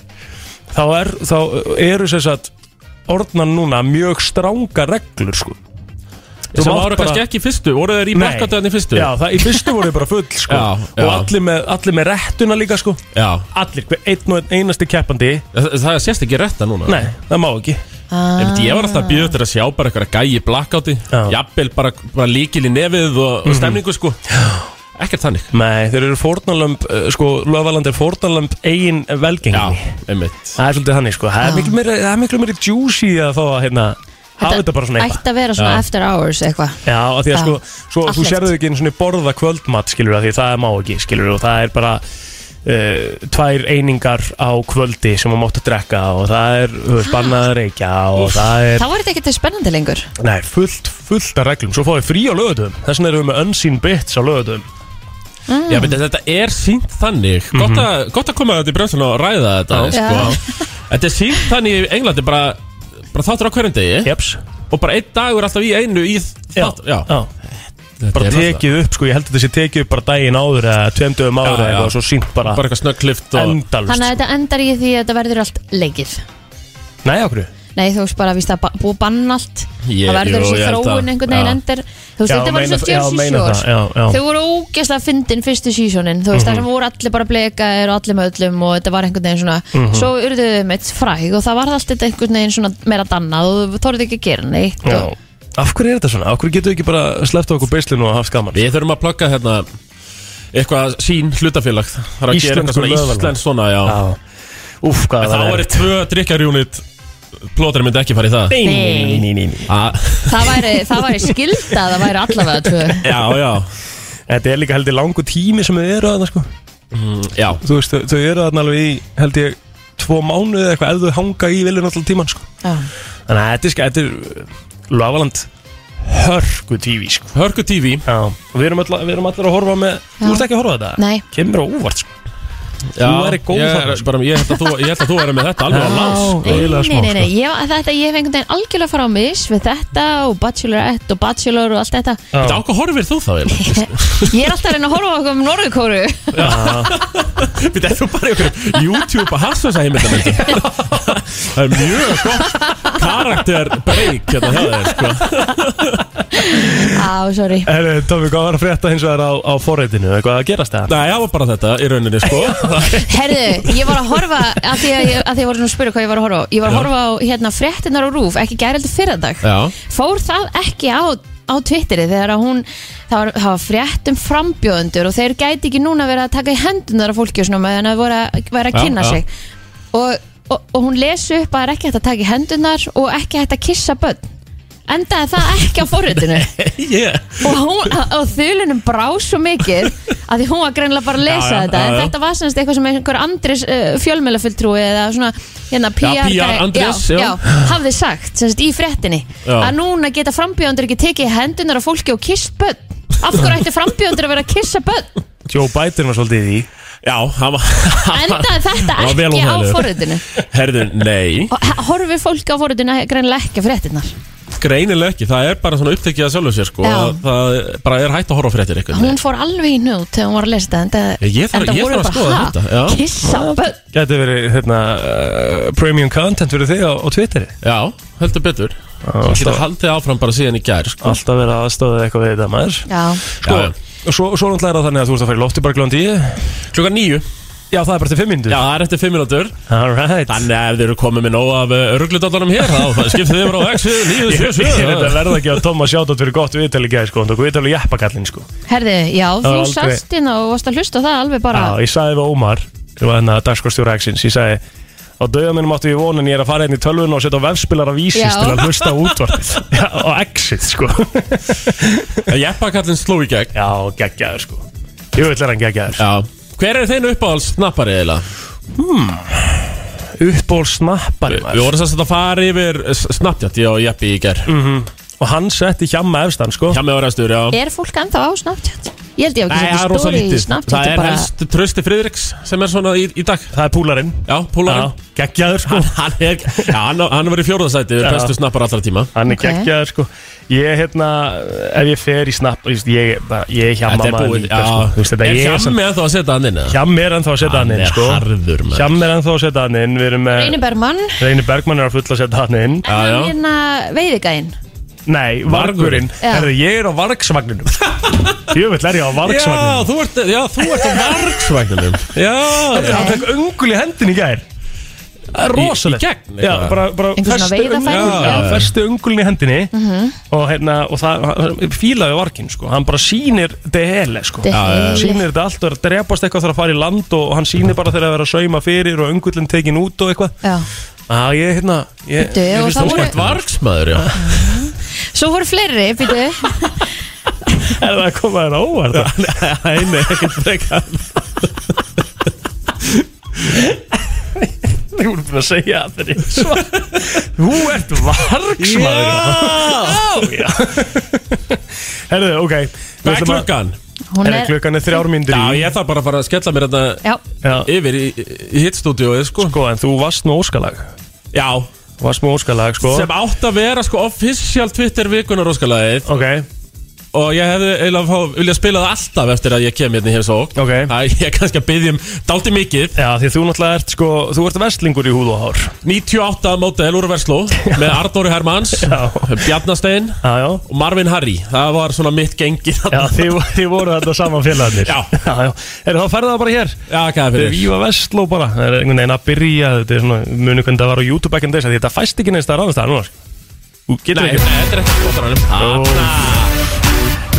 Speaker 1: þá, er, þá eru þess að orðnan núna mjög stranga reglur sko Þú
Speaker 7: Sem
Speaker 1: mátt
Speaker 7: voru
Speaker 1: bara-
Speaker 7: kannski ekki í fyrstu, voru þeir í
Speaker 1: Nei.
Speaker 7: barkatöðan í fyrstu?
Speaker 1: Já, það í fyrstu voru þið bara full sko
Speaker 7: Já, já.
Speaker 1: og allir með, allir með réttuna líka sko
Speaker 7: já.
Speaker 1: allir, hver einn og einn einasti keppandi
Speaker 7: Það, það sést ekki rétta núna
Speaker 1: Nei, það má ekki
Speaker 7: Ég, veit, ég var alltaf að býða til að sjá bara eitthvað gæi í blackouti
Speaker 1: Já. Mhm.
Speaker 7: Jafnvel bara, bara líkil í nefið og, og stemningu sko Ekkert þannig
Speaker 1: Nei, þeir eru fórnalömb, uh, sko, Löfaland er fórnalömb eigin
Speaker 7: Já,
Speaker 1: velgengni
Speaker 7: einmitt
Speaker 1: Það er svolítið þannig sko, það er miklu meira, það er miklu meira juicy að fá að hérna hafa þetta bara svona eitthvað
Speaker 2: ætti að vera svona after hours eitthvað
Speaker 1: Já, af því að
Speaker 2: Já.
Speaker 1: sko, svo, þú
Speaker 2: Allegt.
Speaker 1: sérðu ekki einu svona borða kvöldmat skilur af því það má ekki skilur og það er bara Uh, tvær einingar á kvöldi sem maður máttu drekka og það er þú veist, bannað að reykja og það er
Speaker 2: þá var þetta ekkert spennandi lengur
Speaker 1: Nei, fullt, fullt af reglum Svo fáum við frí á lögutum Þess vegna erum við með unseen bits á lögutum Ah.
Speaker 7: Já, veit, þetta er sínt þannig gott,
Speaker 1: Mhm.
Speaker 7: að, gott að koma þetta í bremsun og ræða þetta sko. Þetta er sínt þannig í Englandi bara, bara þáttur á hverjum degi
Speaker 1: Jeps
Speaker 7: og bara einn dagur alltaf í einu í þátt Já,
Speaker 1: Já.
Speaker 7: þetta
Speaker 1: Bara
Speaker 7: er náttúrulega-
Speaker 1: tekið upp, sko Ég held að þessi tekið upp bara daginn áður eða tveim dögum áður
Speaker 7: Já,
Speaker 1: eða eitthvað og
Speaker 7: já.
Speaker 1: Svo sínt bara,
Speaker 7: bara eitthvað snögglift og
Speaker 1: endalust
Speaker 2: þannig að þetta endar í því að þetta verður allt leikið
Speaker 1: Nei, okkur
Speaker 2: Nei, þú veist bara að víst að ba- búið að banna allt
Speaker 7: Ég-
Speaker 2: Það verður
Speaker 7: jú,
Speaker 2: þessi
Speaker 7: ég held
Speaker 2: þróun
Speaker 7: það.
Speaker 2: einhvern veginn
Speaker 7: Já.
Speaker 2: endur Þú veist,
Speaker 1: Já,
Speaker 2: þetta var eins
Speaker 1: meina
Speaker 2: og
Speaker 1: það- já,
Speaker 2: Jersey
Speaker 1: meina það, já, já. Mhm.
Speaker 2: Shore Þau voru ógeðslega fyndin fyrstu sísónin Þú veist, það sem voru allir bara blekaðir og allir með öllum og þetta var einhvern veginn svona
Speaker 1: Mhm.
Speaker 2: Svo urðu þau meitt fræg og það var allt þetta einhvern veginn svona meira dannað og þú þorði ekki að gera neitt
Speaker 1: Já.
Speaker 2: og,
Speaker 1: Af hverju er þetta svona? Af hverju getur við ekki bara sleppt á okkur beislinu og haft gaman?
Speaker 7: Við þurfum að plugga hérna eitthvað sín hlutafélag Það er að gera
Speaker 1: Íslensku
Speaker 7: eitthvað svona
Speaker 1: lögverðlaun.
Speaker 7: íslensk svona, já
Speaker 1: Úf, hvað
Speaker 7: En þá
Speaker 1: það
Speaker 7: eru tvö drikkarjúnit Plóter myndi ekki fara í það Ah.
Speaker 1: Nei, nei, nei, nei, nei, nei.
Speaker 7: A-
Speaker 2: það, væri, það væri skilda, það væri allavega tvö
Speaker 7: Já, já
Speaker 1: Þetta er líka heldur langu tími sem þau eru að sko.
Speaker 7: Já,
Speaker 1: Þú veist, þau- þau eru að alveg í, held ég, tvo mánuði eða eitthvað ef þau hanga í viljun alltaf tíman sko.
Speaker 2: Já.
Speaker 1: Þannig að þetta er, sko, þetta er Lávaland hörgu tífi sko.
Speaker 7: Hörku TV
Speaker 1: Já, og við erum, alla, við erum allir að horfa með
Speaker 2: Já.
Speaker 1: Þú ert ekki að horfa á þetta?
Speaker 2: Nei.
Speaker 1: Kemur á óvart sko
Speaker 7: Já,
Speaker 1: Þú væri góð
Speaker 7: ég,
Speaker 1: þarna,
Speaker 7: er bara, ég, held að þú, ég held að þú erum með þetta alveg að lás
Speaker 1: sko,
Speaker 2: nei,
Speaker 1: eiginlega smá,
Speaker 2: nei, nei, nei.
Speaker 1: sko.
Speaker 2: Ég, þetta, ég hef einhvern veginn algjörlega fara á mis við þetta og Bachelorette og Bachelor og allt þetta
Speaker 7: Þetta ákvað horfir þú þá eiginlega?
Speaker 2: Ég er alltaf að reyna að horfa okkur um Norðurkóru
Speaker 7: Þetta er þú bara í okkur YouTube að hassa þessa heimildamöndu Það er mjög gott karakter break hérna hjá þeir sko.
Speaker 2: Á, sorry
Speaker 1: Herru, Tómi, hvað var að frétta hins vegar á, á forreitinu? Eitthvað að gerast það?
Speaker 7: Nei, það var bara þetta í rauninni sko.
Speaker 2: Herðu, ég var að horfa að því að ég, að því að ég var svona að spyrja hvað ég var að horfa á Ég var að
Speaker 7: Já.
Speaker 2: horfa á hérna fréttinar á rúf ekki gæreldi fyrradag
Speaker 7: Já,
Speaker 2: Fór það ekki á, á Twitteri þegar að hún það var, það var frétt um frambjóðendur og þeir gæti ekki núna verið að taka í hendunar af fólki og svona meðan að voru að, vera að
Speaker 7: Já,
Speaker 2: kynna
Speaker 7: já.
Speaker 2: sig og, og, og hún lesi upp að það er ekki hægt að taka í hendunar og ekki hægt að kissa börn Endaði það ekki á forritinu
Speaker 7: yeah.
Speaker 2: og, hún, og þulunum brá svo mikið að því hún var greinlega bara að lesa
Speaker 7: Já, já,
Speaker 2: þetta
Speaker 7: já,
Speaker 2: en
Speaker 7: já.
Speaker 2: þetta var semst eitthvað sem einhver Andris uh, fjölmjölafulltrúi eða svona hérna PR,
Speaker 7: PR
Speaker 2: gæ-
Speaker 7: Andrés,
Speaker 2: já,
Speaker 7: já.
Speaker 2: já, hafði sagt semst í fréttinni
Speaker 7: Já.
Speaker 2: að núna geta frambjóðandur ekki tekið hendunar á fólki og kist börn af hverju ætti frambjóðandur að vera að kissa börn
Speaker 1: Joe Biden var svolítið í því
Speaker 7: Já, það var
Speaker 2: endaði þetta
Speaker 7: var vel
Speaker 2: ekki á
Speaker 7: óþægilegt.
Speaker 2: forritinu
Speaker 7: Herðu, nei,
Speaker 2: og h- horfir fólki á forritinu greinlega ekki á fréttinar
Speaker 7: greinilega ekki Það er bara svona upptekið að sjálfu sér sko.
Speaker 2: Já.
Speaker 7: að Það bara er hægt að horfa á fréttir eitthvað
Speaker 2: hún fór alveg í nút þegar hún var að lesa þetta enda,
Speaker 7: Ég þarf-
Speaker 2: enda
Speaker 7: ég
Speaker 2: voru
Speaker 7: þarf að skoða
Speaker 2: "Ha?
Speaker 7: þetta, já."
Speaker 2: kissa börn
Speaker 1: Gæti verið, hérna, uh, premium content fyrir þig á, á Twitteri
Speaker 7: Já, heldur betur Ég geta haldið áfram bara síðan í gær sko.
Speaker 1: Alltaf verið aðstofið eitthvað við þetta maður
Speaker 2: já
Speaker 1: Sko,
Speaker 7: Já, já.
Speaker 1: og svo, svo náttúrulega er það þannig að þú ert að fara í lofti bara glóðan 10
Speaker 7: Klukkan níu
Speaker 1: Já, það er bara til 5 minnur
Speaker 7: Já, það er eftir fimm minútur
Speaker 1: Alright
Speaker 7: Þannig að ef þið eru komið með nóg af örgludallanum hér Þá skiptið þið bara á X, 9,
Speaker 1: Ég ég
Speaker 7: 7,
Speaker 1: er þetta
Speaker 7: 7
Speaker 1: verða ekki að Tóma sjátt fyrir gott viðtali gæði sko, og viðtali jeppakallin sko.
Speaker 2: Herði, já, þú
Speaker 1: var aldrei-
Speaker 2: sast inn og varst að hlusta á það alveg bara
Speaker 1: Já, ég sagði við Ómar sem var hérna dagskostjóra X-ins Ég sagði á döðaminnum áttu ég von en ég er að fara hérna í tölvun og setja á vefspilar af Ísis
Speaker 2: Já.
Speaker 1: til að hlusta á útvarpið Já, og Exit sko
Speaker 7: Jeppakallin sló í gegn
Speaker 1: Já, geggjaður sko Jú, þetta er hann geggjaður
Speaker 7: Já Hver er þeim uppáhalds snappari eiginlega?
Speaker 1: Uppból snappari
Speaker 7: Við vorum sérst að fara yfir snappjátt Ég og Jeppi í gær
Speaker 1: Og hann setti hjamma efstan sko
Speaker 7: Hjá mig var efstur, Mm. já
Speaker 2: Er fólk ennþá á Snapchat? Ég held ég hef
Speaker 7: Nei,
Speaker 2: ekki
Speaker 7: það er
Speaker 2: sett í
Speaker 7: rosa
Speaker 2: stóri í
Speaker 7: lítið
Speaker 2: Snapchat
Speaker 7: Það
Speaker 2: ég
Speaker 7: er
Speaker 2: bara,
Speaker 7: helst Trösti Friðriks sem er svona í, í dag
Speaker 1: Það er púlarinn
Speaker 7: Já, Pólarinn
Speaker 1: Já, geggjaður sko
Speaker 7: Hann, er, já, hann, hann var í fjórðasæti
Speaker 1: Já.
Speaker 7: yfir bestu snappar allra tíma
Speaker 1: Hann er
Speaker 2: Ok.
Speaker 1: geggjaður sko Ég hérna, ef ég fer í snapp Ég, ég, bara- ég er hjamma
Speaker 7: Þetta er
Speaker 1: maður
Speaker 7: búið
Speaker 1: líka, sko. Þú veist,
Speaker 7: já.
Speaker 1: þetta
Speaker 7: Er
Speaker 1: ég er samt-
Speaker 7: hjá mig að að setja hann inn eða?
Speaker 1: Hjamm er ennþá að setja hann
Speaker 7: Hann
Speaker 1: inn
Speaker 7: er
Speaker 1: sko
Speaker 7: harður, maður.
Speaker 1: Hjamm er ennþá að setja hann inn Við erum með
Speaker 2: Reynir Bergmann
Speaker 1: Reynir Bergmann er að fulla að setja hann inn
Speaker 7: Já,
Speaker 2: En
Speaker 7: já.
Speaker 2: hann hérna veiðigæinn
Speaker 1: Nei, vargurinn
Speaker 7: Vargurinn.
Speaker 2: Já.
Speaker 1: Herðu, ég er á vargsvagninum Jöfell er ég á
Speaker 7: Já,
Speaker 1: vargsvagninum
Speaker 7: þú ert, já, þú ert á vargsvagnunum Já,
Speaker 1: Hann fekk öngul í hendin í gær Það er
Speaker 7: Í- í
Speaker 1: rosalegt
Speaker 7: gegn,
Speaker 1: Já,
Speaker 7: eitthvað.
Speaker 1: bara, bara
Speaker 2: Einhver svona
Speaker 1: festu
Speaker 2: veiðarfæri? Mhm.
Speaker 1: öngul-
Speaker 7: Já.
Speaker 1: Já, festu öngulin í hendinni Og hérna, og það hann Fílaði varginn, sko Hann bara sýnir DL, sko
Speaker 2: Þetta
Speaker 7: já,
Speaker 2: er
Speaker 1: Sýnir þetta allt og er að drepast eitthvað Þarf að fara í land og, og hann sýnir bara þegar það er að sauma fyrir Og öngulin tekin út og eitthvað
Speaker 2: Já.
Speaker 1: Já, ég, hérna ég,
Speaker 2: Bíddu,
Speaker 1: ég
Speaker 2: og
Speaker 1: finnst
Speaker 2: þá
Speaker 1: það
Speaker 7: þú
Speaker 2: voru-
Speaker 7: ert vargsmaður, já
Speaker 2: Svo voru fleiri, býtu
Speaker 1: Er það að koma þér á óvart? Nei, nei, ekkert frekar Þú erum búin að segja að þeirri svar. Þú ert vargsmaður Já Herðu, ok Við
Speaker 7: Hvað er
Speaker 1: ætlum að-
Speaker 7: klukkan?
Speaker 2: Hún
Speaker 1: Herðu,
Speaker 2: er,
Speaker 1: klukkan er þrjár mínútur
Speaker 7: Já,
Speaker 1: í
Speaker 7: ég þarf bara að fara að skella mér þetta
Speaker 2: já,
Speaker 1: Já,
Speaker 7: yfir í, í hittstúdíóið, sko
Speaker 1: sko, en þú varst með óskalag
Speaker 7: Já,
Speaker 1: Varst með óskalag, sko
Speaker 7: sem átt að vera, sko, official Twitter vikunar óskalagið
Speaker 1: Ok,
Speaker 7: og ég hefði eiginlega fá, vilja spila það alltaf eftir að ég kem hérna í heimsók
Speaker 1: Ok.
Speaker 7: það ég er kannski að byggja um daldi mikið
Speaker 1: Já, því þú náttúrulega ert sko, þú ert vestlingur í húð og hár
Speaker 7: 98 mótel úr versló með Arnóri Hermans
Speaker 1: Já.
Speaker 7: Bjarnastein
Speaker 1: Já, já,
Speaker 7: og Marvin Harry það var svona mitt gengi
Speaker 1: já
Speaker 7: þarna.
Speaker 1: þið, þið voru þetta saman félagarnir
Speaker 7: Já.
Speaker 1: já, já. Er það ferðað bara hér?
Speaker 7: já hvað
Speaker 1: Þetta
Speaker 7: er
Speaker 1: er
Speaker 7: fyrir
Speaker 1: Íva Vestló bara, það er einhvern veginn að byrja Þetta er svona, muni hvernig það var á YouTube ekki en þess að Þetta fæst ekki neins það ráðast það núna sko. Þú getur
Speaker 7: Nei,
Speaker 1: ekki
Speaker 7: þetta er ekki skotanum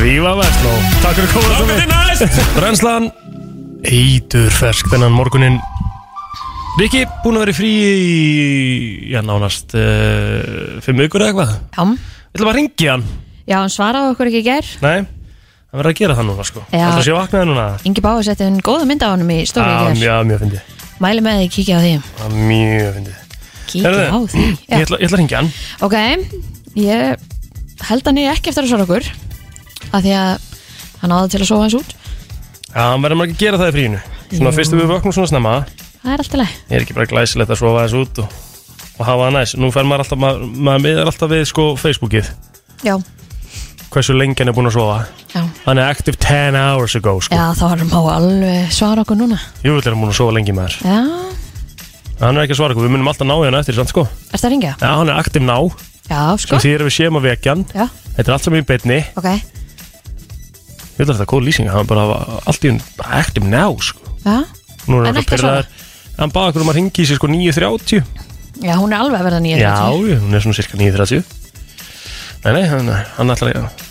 Speaker 1: Íva Vestló, takk fyrir komuna
Speaker 7: Þangum til næst
Speaker 1: Brennslan Eitur fersk þennan morgunin Riki, búin að vera í frí í, já, nánast uh, Fimm vikur eða eitthvað
Speaker 2: Já,
Speaker 1: Við ætlum að ringja hann
Speaker 2: já hann svaraði okkur ekki í gær
Speaker 1: Nei, það verður að gera það núna sko
Speaker 2: Já.
Speaker 1: Það sé vaknaði núna
Speaker 2: Ingi Báði setti hún góða mynd af honum í stóri
Speaker 1: Já,
Speaker 2: í gær
Speaker 1: mjög, mjög fyndið
Speaker 2: Mæli með því, kíkja á því
Speaker 1: Já, Mjög fyndið
Speaker 2: Kíkja á
Speaker 1: Herðu,
Speaker 2: því
Speaker 1: Ég
Speaker 2: Já.
Speaker 1: ætla ég ætla að ringja hann
Speaker 2: Ok, ég held hann ég ekki eftir að svara okkur Af því að hann áði til að sofa hans út
Speaker 1: Já, hann verður maður ekki að gera það í fríinu Svona
Speaker 2: Jú.
Speaker 1: fyrst við vöknum svona snemma
Speaker 2: Það er alltaf leið
Speaker 1: Ég er ekki bara glæsilegt að sofa þessu út og, og hafa það næs Nú fer maður alltaf, maður, maður miðar alltaf við sko Facebookið
Speaker 2: Já,
Speaker 1: Hversu lengi hann er búin að sofa
Speaker 2: já,
Speaker 1: Hann er active 10 hours ago sko
Speaker 2: já þá var hann á alveg svara okkur núna
Speaker 1: Jú, er hann búin að sofa lengi maður
Speaker 2: Já,
Speaker 1: Hann er ekki að svara okkur, við munum alltaf ná í hann eftir samt sko
Speaker 2: ertu að ringja?
Speaker 1: Já, hann er active now sem
Speaker 2: Já, sko
Speaker 1: því er við séum að vekja hann
Speaker 2: Já,
Speaker 1: Þetta er allt saman í beinni
Speaker 2: ok,
Speaker 1: Ég vil að þetta er góð lýsing, hann bara allt í hann active now sko
Speaker 2: já
Speaker 1: Nú er
Speaker 2: En
Speaker 1: hann
Speaker 2: ekki að svara.
Speaker 1: pyrraðar Hann baði okkur um að ringi í sér sko 9.30
Speaker 2: Já, hún er alveg að verða nýja hérna, sko.
Speaker 1: Já, hún er svona cirka 9.30 Nei, nei, hann, hann ætlar ekki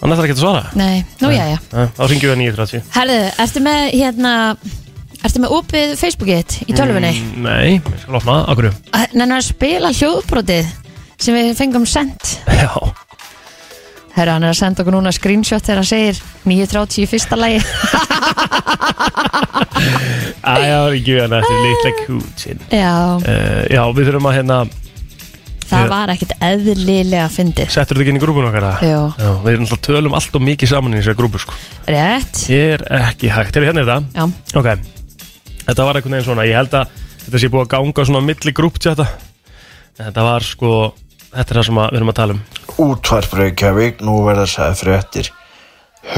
Speaker 1: Hann ætlar ekki að svara
Speaker 2: Nei, nú já, já
Speaker 1: Nei, Þá ringjum við að 9.30
Speaker 2: Herðu, ertu með hérna Ertu með opið Facebookið þitt í tölvunni? Mm.
Speaker 1: Nei, ég skal opna það, akkur
Speaker 2: Nennar að spila hljóðbrotið sem við fengum sendt
Speaker 1: Já,
Speaker 2: Herra, hann er að senda okkur núna screenshot þegar hann segir 9.30 í fyrsta lagi
Speaker 1: aðja, ringjum við hann eftir litla kútin
Speaker 2: Já,
Speaker 1: uh, Já, við þurfum að hérna
Speaker 2: það
Speaker 1: Ég-
Speaker 2: var ekkit eðlilega fyndið
Speaker 1: Settur þetta ekki inn í grúpun okkar að
Speaker 2: Jú,
Speaker 1: Já, við erum alltaf tölum allt og mikið saman í þessari grúpu sko
Speaker 2: rétt
Speaker 1: Ég er ekki hægt, hefur hérna er þetta
Speaker 2: Já,
Speaker 1: Ok, þetta var einhvern veginn svona Ég held að þetta sé búið að ganga svona á milli grúptjata En þetta var sko Þetta er það sem að- við erum að tala um
Speaker 8: Útvarp Reykjavík, nú verða sæði fréttir.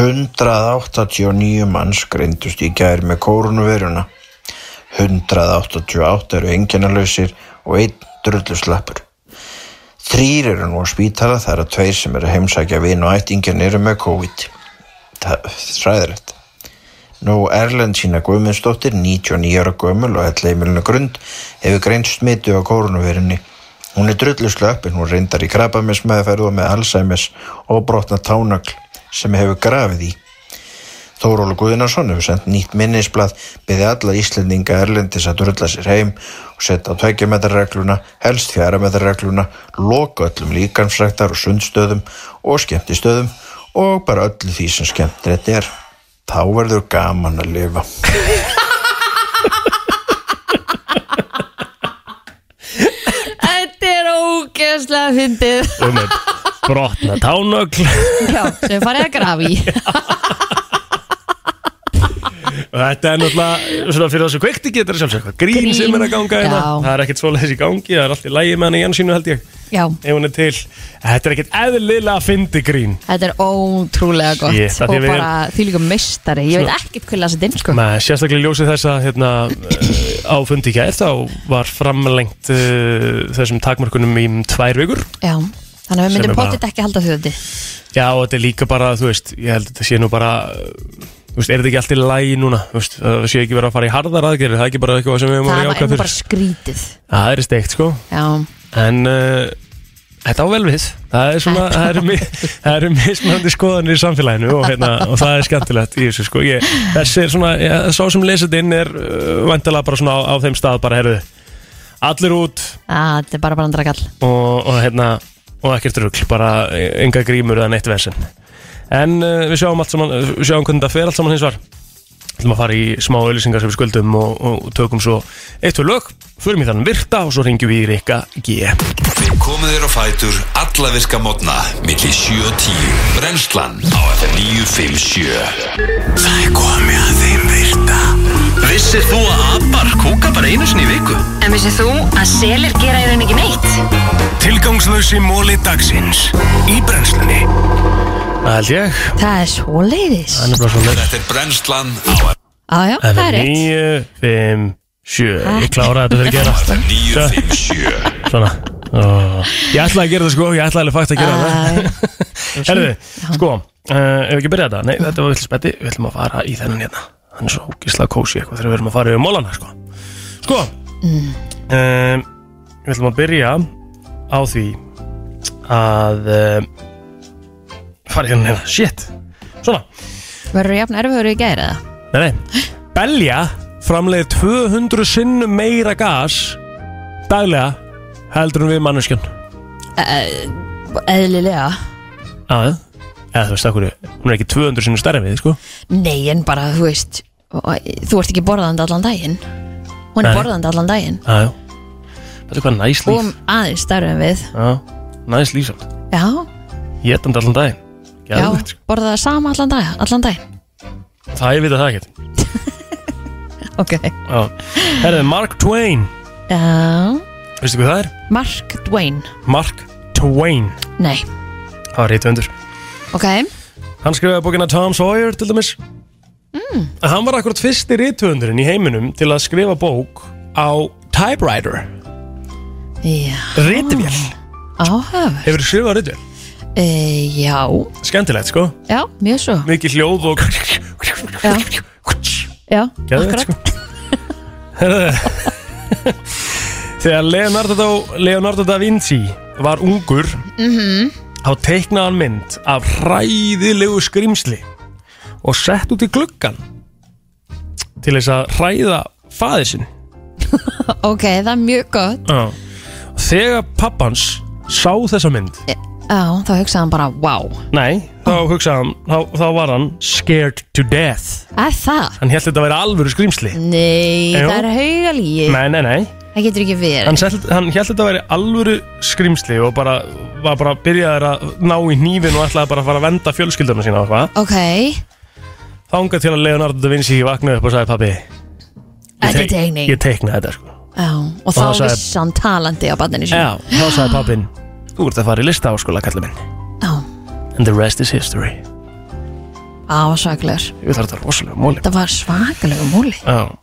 Speaker 8: 189 manns greindust í gær með kórunveruna. 188 eru enginnalausir og einn drulluslappur. Þrýr eru nú á spítala, það eru tveir sem eru að heimsækja vin og ættingin eru með COVID. Það er ræðilegt. Nú Erlendsína Guðmundsdóttir, 99 ára Guðmul og ætlaimilinu grund, hefur greint smitu á kórunuverinni. Hún er drulluslöppin, hún reyndar í krabbamessmeðferð og með Alzheimer's og brotna tánagl sem hefur grafið í. Þórólu Guðnason hefur sendt nýtt minnisblad byggði alla Íslendinga Erlendis að drulla sér heim og setja á tveggjumetarregluna, helst fjörametarregluna, loka öllum líkansræktar og sundstöðum og skemmtistöðum og bara öllu því sem skemmtrið er. Þá verður gaman að lifa.
Speaker 2: þetta er ógeðslega fyndið
Speaker 1: Um einn brotna tánögl
Speaker 2: Já, sem farið að grafi í
Speaker 1: Og Þetta er náttúrulega svona fyrir þessu kveikti getur sjálfsög Grín,
Speaker 2: Grín,
Speaker 1: sem er að ganga hérna
Speaker 2: já.
Speaker 1: Það er ekkert svoleiðis í gangi, það er allt í lægi með hann í hann sínu held ég
Speaker 2: Já,
Speaker 1: Ef hún er til Þetta er ekkert eðlilega að fyndi grín
Speaker 2: þetta er ótrúlega gott
Speaker 1: Shit, af því
Speaker 2: og
Speaker 1: við-
Speaker 2: bara því líka meistari Ég veit ekkert hvað lasið inn, sko
Speaker 1: Með sérstaklega í ljósi þess að hérna, eh, á fundi gær þá var framlengt uh, þessum takmörkunum í um tvær vikur
Speaker 2: Já, þannig að við
Speaker 1: Sem er
Speaker 2: myndum
Speaker 1: bara-
Speaker 2: potið ekki halda því þetta
Speaker 1: Já, og þetta er líka bara, þú veist, ég held að þetta sé nú bara eh, Þú veist, er þetta ekki allt í lagi núna? Þú veist, það sé ekki verið að fara í harðar aðgerðir Það er ekki bara eitthvað sem við erum að
Speaker 2: Það
Speaker 1: vera
Speaker 2: er
Speaker 1: jákað
Speaker 2: nú
Speaker 1: fyrir
Speaker 2: bara skrítið
Speaker 1: Það er steikt, sko
Speaker 2: Já,
Speaker 1: En uh, þetta á vel við Það er svona, það eru mi- það eru mismöndi skoðanir í samfélaginu og, hérna, og það er skemmtilegt í þessu, sko ég, Þessi er svona, ég, sá sem lesið inn er uh, Væntalega bara svona á, á þeim stað bara, herðu Allir út
Speaker 2: að, þetta er bara brandrakall
Speaker 1: og, og hérna og ekkert rugl, bara eh, enga grímur eða neitt versin en uh, við sjáum allt saman, við sjáum hvernig það fer allt saman hins var ætlum að fara í smá auðlýsingar sem við skuldum og, og tökum svo eitt fyrir lög, förum í þann virta og svo ringjum við í Rikka G
Speaker 3: Við komum þér á fætur alla virka mótna milli 7 og 10 Brennslan á FM 957 Það er komið að þeim virta Vissir þú að abar kúka bara einu sinni í viku?
Speaker 9: En vissið þú að selir gera í rauninni ekki neitt?
Speaker 3: Tilgangslösi móli dagsins í brennslunni
Speaker 1: Það held ég
Speaker 2: Það er svo leiðis
Speaker 1: Það er bara svona
Speaker 3: Þetta er brennslan á
Speaker 2: Ájá, það er rétt
Speaker 1: 9, 5, 7 Ég klára þetta fyrir að gera
Speaker 3: FM 957
Speaker 1: Svona Ó, Ég ætlaði að gera það sko, ég ætlaði alveg fakt að gera það
Speaker 2: Æ,
Speaker 1: Herðu, sko, uh, ef við ekki byrja þetta Nei, þetta var vill spetti, við ætlum að fara í þennan hérna Hann er svo ógislega kósi eitthvað þegar við erum að fara yfir mólana sko Sko
Speaker 2: Mm.
Speaker 1: um, Við ætlum að byrja á því að um, fara í þennan hérna, shit Svona,
Speaker 2: Verður jafn erfiður í gæri það?
Speaker 1: nei, nei Belja framleiði 200 sinnum meira gas daglega heldur en við manneskjön
Speaker 2: Eðlilega
Speaker 1: að eða þú veist okkur, hún er ekki 200 sinni stærri en við, sko
Speaker 2: Nei, en bara, þú veist og- Þú ert ekki borðandi allan daginn Hún er
Speaker 1: Nei.
Speaker 2: borðandi allan daginn
Speaker 1: aðjó, þetta er hvað næs
Speaker 2: Og
Speaker 1: líf
Speaker 2: aðeins starfum við
Speaker 1: já, næs líf samt,
Speaker 2: Já,
Speaker 1: ég er þetta allan daginn
Speaker 2: já,
Speaker 1: Geðvegt, sko.
Speaker 2: borða það sama allan daginn Allan daginn,
Speaker 1: það ég vita það ekkert
Speaker 2: ok
Speaker 1: já, herðu, Mark Twain
Speaker 2: Já,
Speaker 1: veistu hvað það er?
Speaker 2: Mark Dwayne
Speaker 1: Mark Twain,
Speaker 2: Nei,
Speaker 1: það var rétt undur
Speaker 2: ok
Speaker 1: Hann skrifaði bókina Tom Sawyer til dæmis mm. Hann var akkurat fyrsti rithöfundurinn í heiminum til að skrifa bók á typewriter
Speaker 2: Já,
Speaker 1: Ritvél,
Speaker 2: áhafur
Speaker 1: hefur skrifað ritvél
Speaker 2: e, Já,
Speaker 1: Skemmtilegt sko,
Speaker 2: já, mjög svo
Speaker 1: mikið hljóð og
Speaker 2: Já, já,
Speaker 1: Geðveikt,
Speaker 2: akkurat
Speaker 1: sko. Herðu, Þegar Leonardo, da- Leonardo da Vinci var ungur þá teiknaði hann mynd af hræðilegu skrimsli og sett út í gluggan til þess að hræða faði sinn
Speaker 2: Ok, það er mjög gott
Speaker 1: Já. Þegar pappans sá þessa mynd
Speaker 2: Já, Ah. þá hugsaði hann bara, wow
Speaker 1: Nei, þá hugsaði hann þá, þá var hann scared to death
Speaker 2: Er það?
Speaker 1: Hann held þetta að vera alvöru skrimsli
Speaker 2: Nei,
Speaker 1: Jú.
Speaker 2: það er haugalíi
Speaker 1: Nei, nei, nei
Speaker 2: Það getur ekki verið
Speaker 1: hann, sett, hann held þetta að vera alvöru skrimsli og bara, var bara byrjaði að ná í hnífin og ætlaði bara að fara að venda fjölskylduna sína og eitthvað.
Speaker 2: Ok,
Speaker 1: Þangað til að Leonardo da Vinci vaknaði upp og sagði pappi,
Speaker 2: þetta er
Speaker 1: teik-
Speaker 2: teikning
Speaker 1: ég teiknaði þetta sko.
Speaker 2: Já, og þá
Speaker 1: þá sagði-
Speaker 2: vissi hann talandi á barninu sínu
Speaker 1: Já, þá sagði pappin, þú ert að fara í lista áskóla, kallar minn.
Speaker 2: Já,
Speaker 1: And the rest is history.
Speaker 2: ásaklegur
Speaker 1: Ég þarf þetta rosalega móli.
Speaker 2: Það var svakalegu múli
Speaker 1: Já,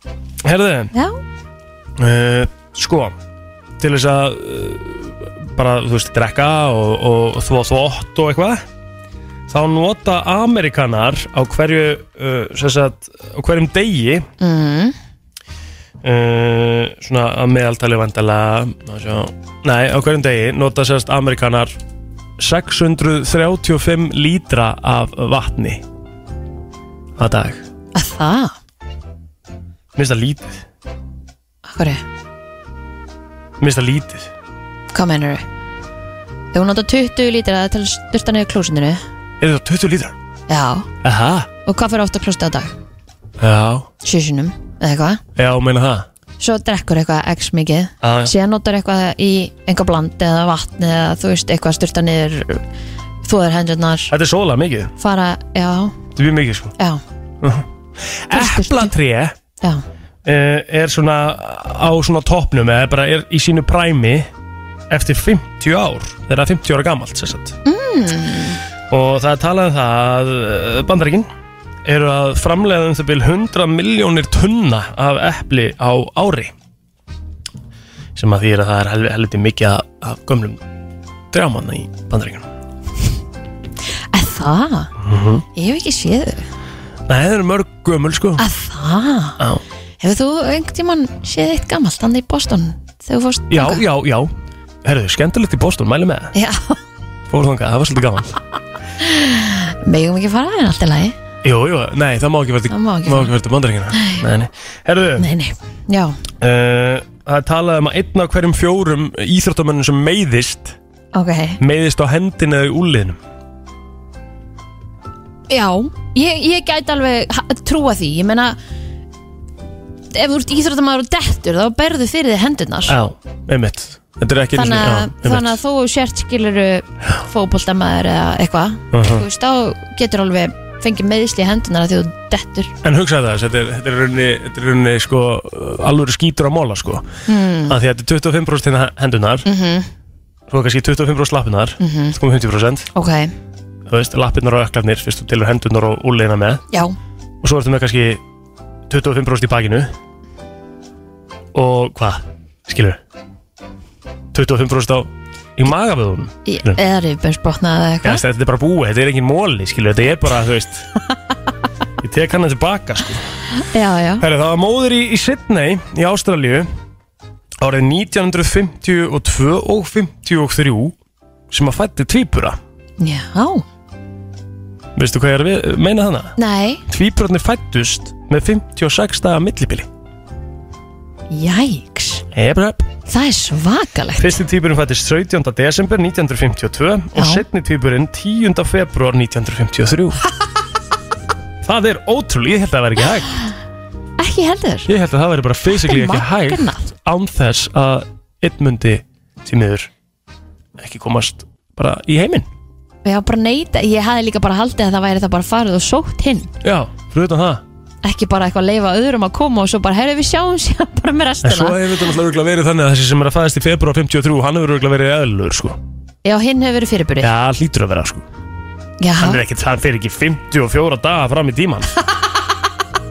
Speaker 1: herðu,
Speaker 2: Já,
Speaker 1: uh, sko, til þess að uh, bara, þú veist, drekka og, og þvó þvótt og eitthvað þá nota Amerikanar á hverju uh, sem sagt, á hverjum degi
Speaker 2: mm.
Speaker 1: uh, svona að meðaltali vandala nei, á hverjum degi nota sérst Amerikanar 635 lítra af vatni að dag
Speaker 2: að það
Speaker 1: minnst það lítið,
Speaker 2: Akkur,
Speaker 1: minnst það lítið
Speaker 2: hvað mennur þau? Þegar hún nota 20 lítra til að styrta niður klósundinu
Speaker 1: er það 20 lítra?
Speaker 2: Já,
Speaker 1: Aha,
Speaker 2: og hvað fyrir ofta klósti á dag?
Speaker 1: já,
Speaker 2: Sjösunum, eða eitthvað
Speaker 1: já, meina það
Speaker 2: Svo drekkur eitthvað x mikið
Speaker 1: Já, já.
Speaker 2: Síðan notar eitthvað í einhver bland eða vatn eða þú veist eitthvað styrta niður Þóður hendurnar
Speaker 1: Þetta er sóla mikið,
Speaker 2: Fara, já,
Speaker 1: þetta er mjög mikið sko
Speaker 2: já,
Speaker 1: Eplatré uh,
Speaker 2: já
Speaker 1: eh, er svona á svona toppnum eða bara er í sínu præmi eftir 50 ár þegar það er 50 ára gamalt sérstætt mm. og það er talað um það að bandaríkin eru að framleiða um þau bil 100 miljónir tunna af epli á ári sem að því er að það er helvi- helviti mikið af- af gömlum drjámanna í bandaríkinu
Speaker 2: Að það?
Speaker 1: Mhm.
Speaker 2: Ég hef ekki séð þau.
Speaker 1: Nei, það eru mörg gömul sko
Speaker 2: Að það?
Speaker 1: Já.
Speaker 2: Hefur þú einhvern tímann séð eitt gammalt hann í Boston þegar þú fórst?
Speaker 1: Já,
Speaker 2: þangað?
Speaker 1: já, já Herðu, skemmtilegt í Boston, mæli með það
Speaker 2: Já,
Speaker 1: Fór þangað, það var svolítið gaman
Speaker 2: megum ekki fara en allt í lagi.
Speaker 1: Jú, jú, nei, það má ekki verið
Speaker 2: Það má ekki
Speaker 1: Má
Speaker 2: fara.
Speaker 1: ekki verið til bandaríkina Nei, nei Herðu, uh,
Speaker 2: Nei, nei, já,
Speaker 1: það er talað um að einn af hverjum fjórum íþróttamönnum sem meiðist
Speaker 2: ok.
Speaker 1: Meiðist á hendinu eða í úliðnum
Speaker 2: Já, ég, ég gæti alveg ha- trúa því, ég meina, ef þú ert íþróttamæður og dettur þá berðu fyrir þið hendurnar.
Speaker 1: Já, einmitt Þetta er ekki einu
Speaker 2: Þannig
Speaker 1: sinni-
Speaker 2: að,
Speaker 1: já,
Speaker 2: þannig að þú sért skiluru fótboltamæður eða eitthvað,
Speaker 1: Mhm.
Speaker 2: þú veist, þá getur alveg fengið meðisli í hendurnar að því þú dettur.
Speaker 1: einmitt. En hugsaðu það, þetta er, þetta er runni, þetta er runni sko, alvöru skítur á móla sko
Speaker 2: Hmm.
Speaker 1: mm. Því að þetta er 25%
Speaker 2: Mhm.
Speaker 1: hérna hendunar mm -hmm. Svo kannski 25% lappunar mm -hmm. 50%
Speaker 2: Ok,
Speaker 1: þú veist, lappirnar og öklarnir fyrst þú tilur hendurnar og úrleina með
Speaker 2: Já,
Speaker 1: og svo ertu með kannski 25% í bakinu og hvað, skilur 25% á í magaföðunum
Speaker 2: í, eða rifbensbrotna eða
Speaker 1: ja,
Speaker 2: eitthvað
Speaker 1: þetta er bara búið, þetta er engin móli skilur, þetta er bara, þú veist ég tek hann tilbaka sko.
Speaker 2: Já, já,
Speaker 1: Herri, það var móður í, í Sydney í Ástralíu árið 1952 og 53 sem að fætti tvíbura
Speaker 2: já
Speaker 1: veistu hvað ég er að við- meina þannig?
Speaker 2: Nei,
Speaker 1: Tvíburarnir fættust með 56 daga millibili
Speaker 2: jæks
Speaker 1: Yep, yep.
Speaker 2: Það er svakalegt
Speaker 1: Fyrsti tvíburinn fættist 17. desember 1952 og
Speaker 2: Já.
Speaker 1: setni tvíburinn 10. februar 1953 Það er ótrúlega, ég held að það væri ekki hægt
Speaker 2: Ekki heldur
Speaker 1: Ég held að það væri bara fysikli
Speaker 2: Þetta
Speaker 1: ekki
Speaker 2: er magnað.
Speaker 1: hægt án þess að einn mundi því miður ekki komast bara í heiminn
Speaker 2: Já, bara neita, ég hafði líka bara haldið að það væri það bara farið og sótt hinn
Speaker 1: Já, fyrir utan það
Speaker 2: Ekki bara eitthvað að leifa öðrum að koma og svo bara, herru við sjáum sér bara með
Speaker 1: En svo
Speaker 2: restina
Speaker 1: hefur þetta náttúrulega örugglega verið þannig að þessi sem er að fæðast í februar 53 hann hefur örugglega verið eðlur sko
Speaker 2: Já, hinn hefur verið fyrirbyrði
Speaker 1: Já, hlýtur að vera sko
Speaker 2: Já,
Speaker 1: hann er ekki, hann fer ekki 54 daga fram í tíman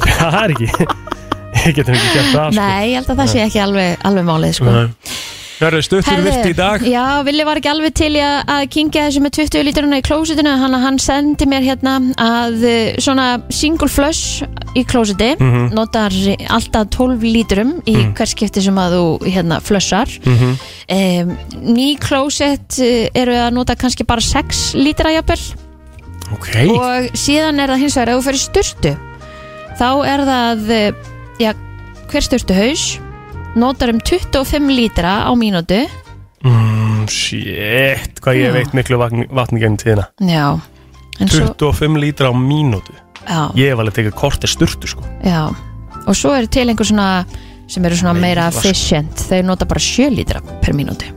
Speaker 1: það er ekki ég getum ekki gert það sko.
Speaker 2: nei, ég held að það sé ekki alveg, alveg málið sko.
Speaker 1: Nei. það er stuttur virt í dag
Speaker 2: já, Vili var ekki alveg til í að, að kingja þessu með 20 lítruna í klósitinu hann, hann sendi mér hérna að eh, svona single flush í klósiti
Speaker 1: Mhm.
Speaker 2: notar alltaf 12 lítrum í hver skipti sem að þú hérna flushar mm
Speaker 1: Mhm.
Speaker 2: ný klósit eh, eru að nota kannski bara 6 lítra jafnvel
Speaker 1: ok,
Speaker 2: og síðan er það hins vegar ef þú fyrir styrtu þá er það eh, já, hver styrtu haus notar um 25 lítra á mínútu
Speaker 1: Mm, shit hvað ég veit miklu vatn, vatn gegn tíðina
Speaker 2: já, en svo
Speaker 1: 25 lítra á mínútu
Speaker 2: já,
Speaker 1: ég hef alveg tekið kortir sturtu sko
Speaker 2: já. og svo eru til einhver svona sem eru svona meira
Speaker 1: Meira.
Speaker 2: efficient þau nota bara 7 lítra per mínútu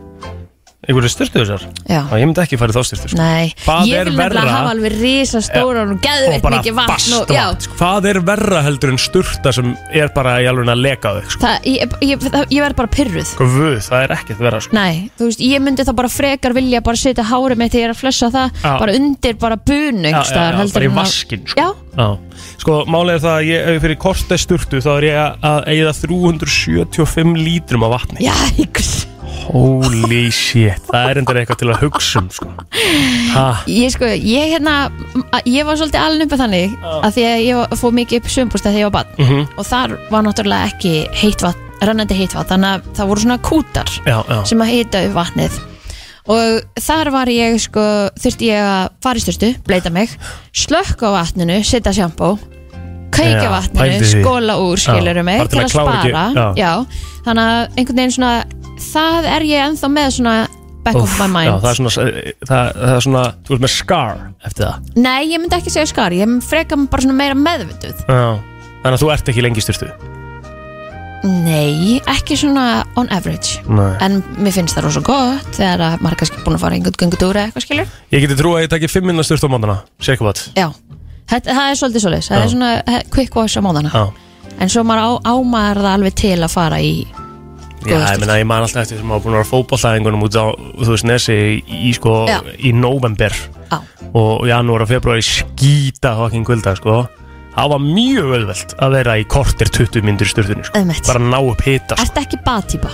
Speaker 1: einhverju sturtu þessar,
Speaker 2: já,
Speaker 1: já, ég myndi ekki farið þá sturtu sko.
Speaker 2: nei
Speaker 1: Hvað
Speaker 2: ég
Speaker 1: er
Speaker 2: vil nefnilega
Speaker 1: verra?
Speaker 2: hafa alveg risa stóra og
Speaker 1: og
Speaker 2: geðveitt
Speaker 1: bara
Speaker 2: mikið vatn
Speaker 1: fast
Speaker 2: og, já,
Speaker 1: vatn sko. hvað er verra heldur en sturta sem er bara í alveg að leka þau sko.
Speaker 2: það, ég, ég, það, ég verð bara pyrruð
Speaker 1: Guð, Sko, það er ekkert verra sko.
Speaker 2: Nei, þú veist, ég myndi þá bara frekar vilja bara setja hárið mitt þegar ég er að flessa það
Speaker 1: Já.
Speaker 2: bara undir bara
Speaker 1: Já,
Speaker 2: bunu einhvers staðar,
Speaker 1: já, já,
Speaker 2: heldur
Speaker 1: bara í
Speaker 2: en að-
Speaker 1: vaskinn, sko.
Speaker 2: Já,
Speaker 1: Já, sko málið er það að ég, ef ég fyrir kortið sturtu þá er ég að eigða 375 lítrum af vatni
Speaker 2: já, ykkur
Speaker 1: Holy shit, það er endur eitthvað til að hugsa um sko. ha,
Speaker 2: Ég sko, ég hérna a- ég var svolítið alveg uppið þannig að því að ég var- fór mikið upp sömbúst þegar ég var bann
Speaker 1: Mhm.
Speaker 2: og þar var náttúrulega ekki heitt vatn, rennandi heitt vatn þannig að það voru svona kútar
Speaker 1: Já, já,
Speaker 2: sem að hita upp vatnið og þar var ég sko þurfti ég að fara í styrstu, bleita mig slökka á vatninu, setja sjampó kveikja
Speaker 1: Já,
Speaker 2: á
Speaker 1: pældi
Speaker 2: vatninu,
Speaker 1: því.
Speaker 2: skóla úr skilur mig,
Speaker 1: bara til
Speaker 2: til
Speaker 1: að
Speaker 2: að
Speaker 1: klára ekki-
Speaker 2: spara
Speaker 1: já.
Speaker 2: þannig að einhvern veginn svona það er ég ennþá með svona back of my
Speaker 1: já,
Speaker 2: mind
Speaker 1: það er svona eh, það, það er svona, þú veist með scar eftir það
Speaker 2: nei, ég myndi ekki segja skar, ég freka bara svona meira meðvituð
Speaker 1: já. Þannig að þú ert ekki lengi í sturtu
Speaker 2: nei, ekki svona on average
Speaker 1: Nei.
Speaker 2: en mér finnst það rosa gott þegar að maður er kannski búin að fara einhvern göngutúra eða eitthvað skilur
Speaker 1: Ég geti trú að ég taki 5 minna sturtu á mótana Sérkvæmt
Speaker 2: Já, þetta, það er svolítið svolítið Það
Speaker 1: Já.
Speaker 2: er svona he- quick wash á móðana
Speaker 1: Já,
Speaker 2: En svo maður á, ámaður það alveg til að fara í
Speaker 1: já
Speaker 2: Góða
Speaker 1: ég
Speaker 2: sturtu.
Speaker 1: meina, ég man alltaf eftir sem á búin að vera fótballtæðingunum út á, þú veist, nesi í, í sko,
Speaker 2: Já.
Speaker 1: í november
Speaker 2: á
Speaker 1: og janúar og februari skýta fucking kvölda sko það var mjög auðvelt að vera í kortir 20 myndir styrðunni sko
Speaker 2: Einmitt.
Speaker 1: bara ná upp hita sko.
Speaker 2: Ertu ekki baðtýpa?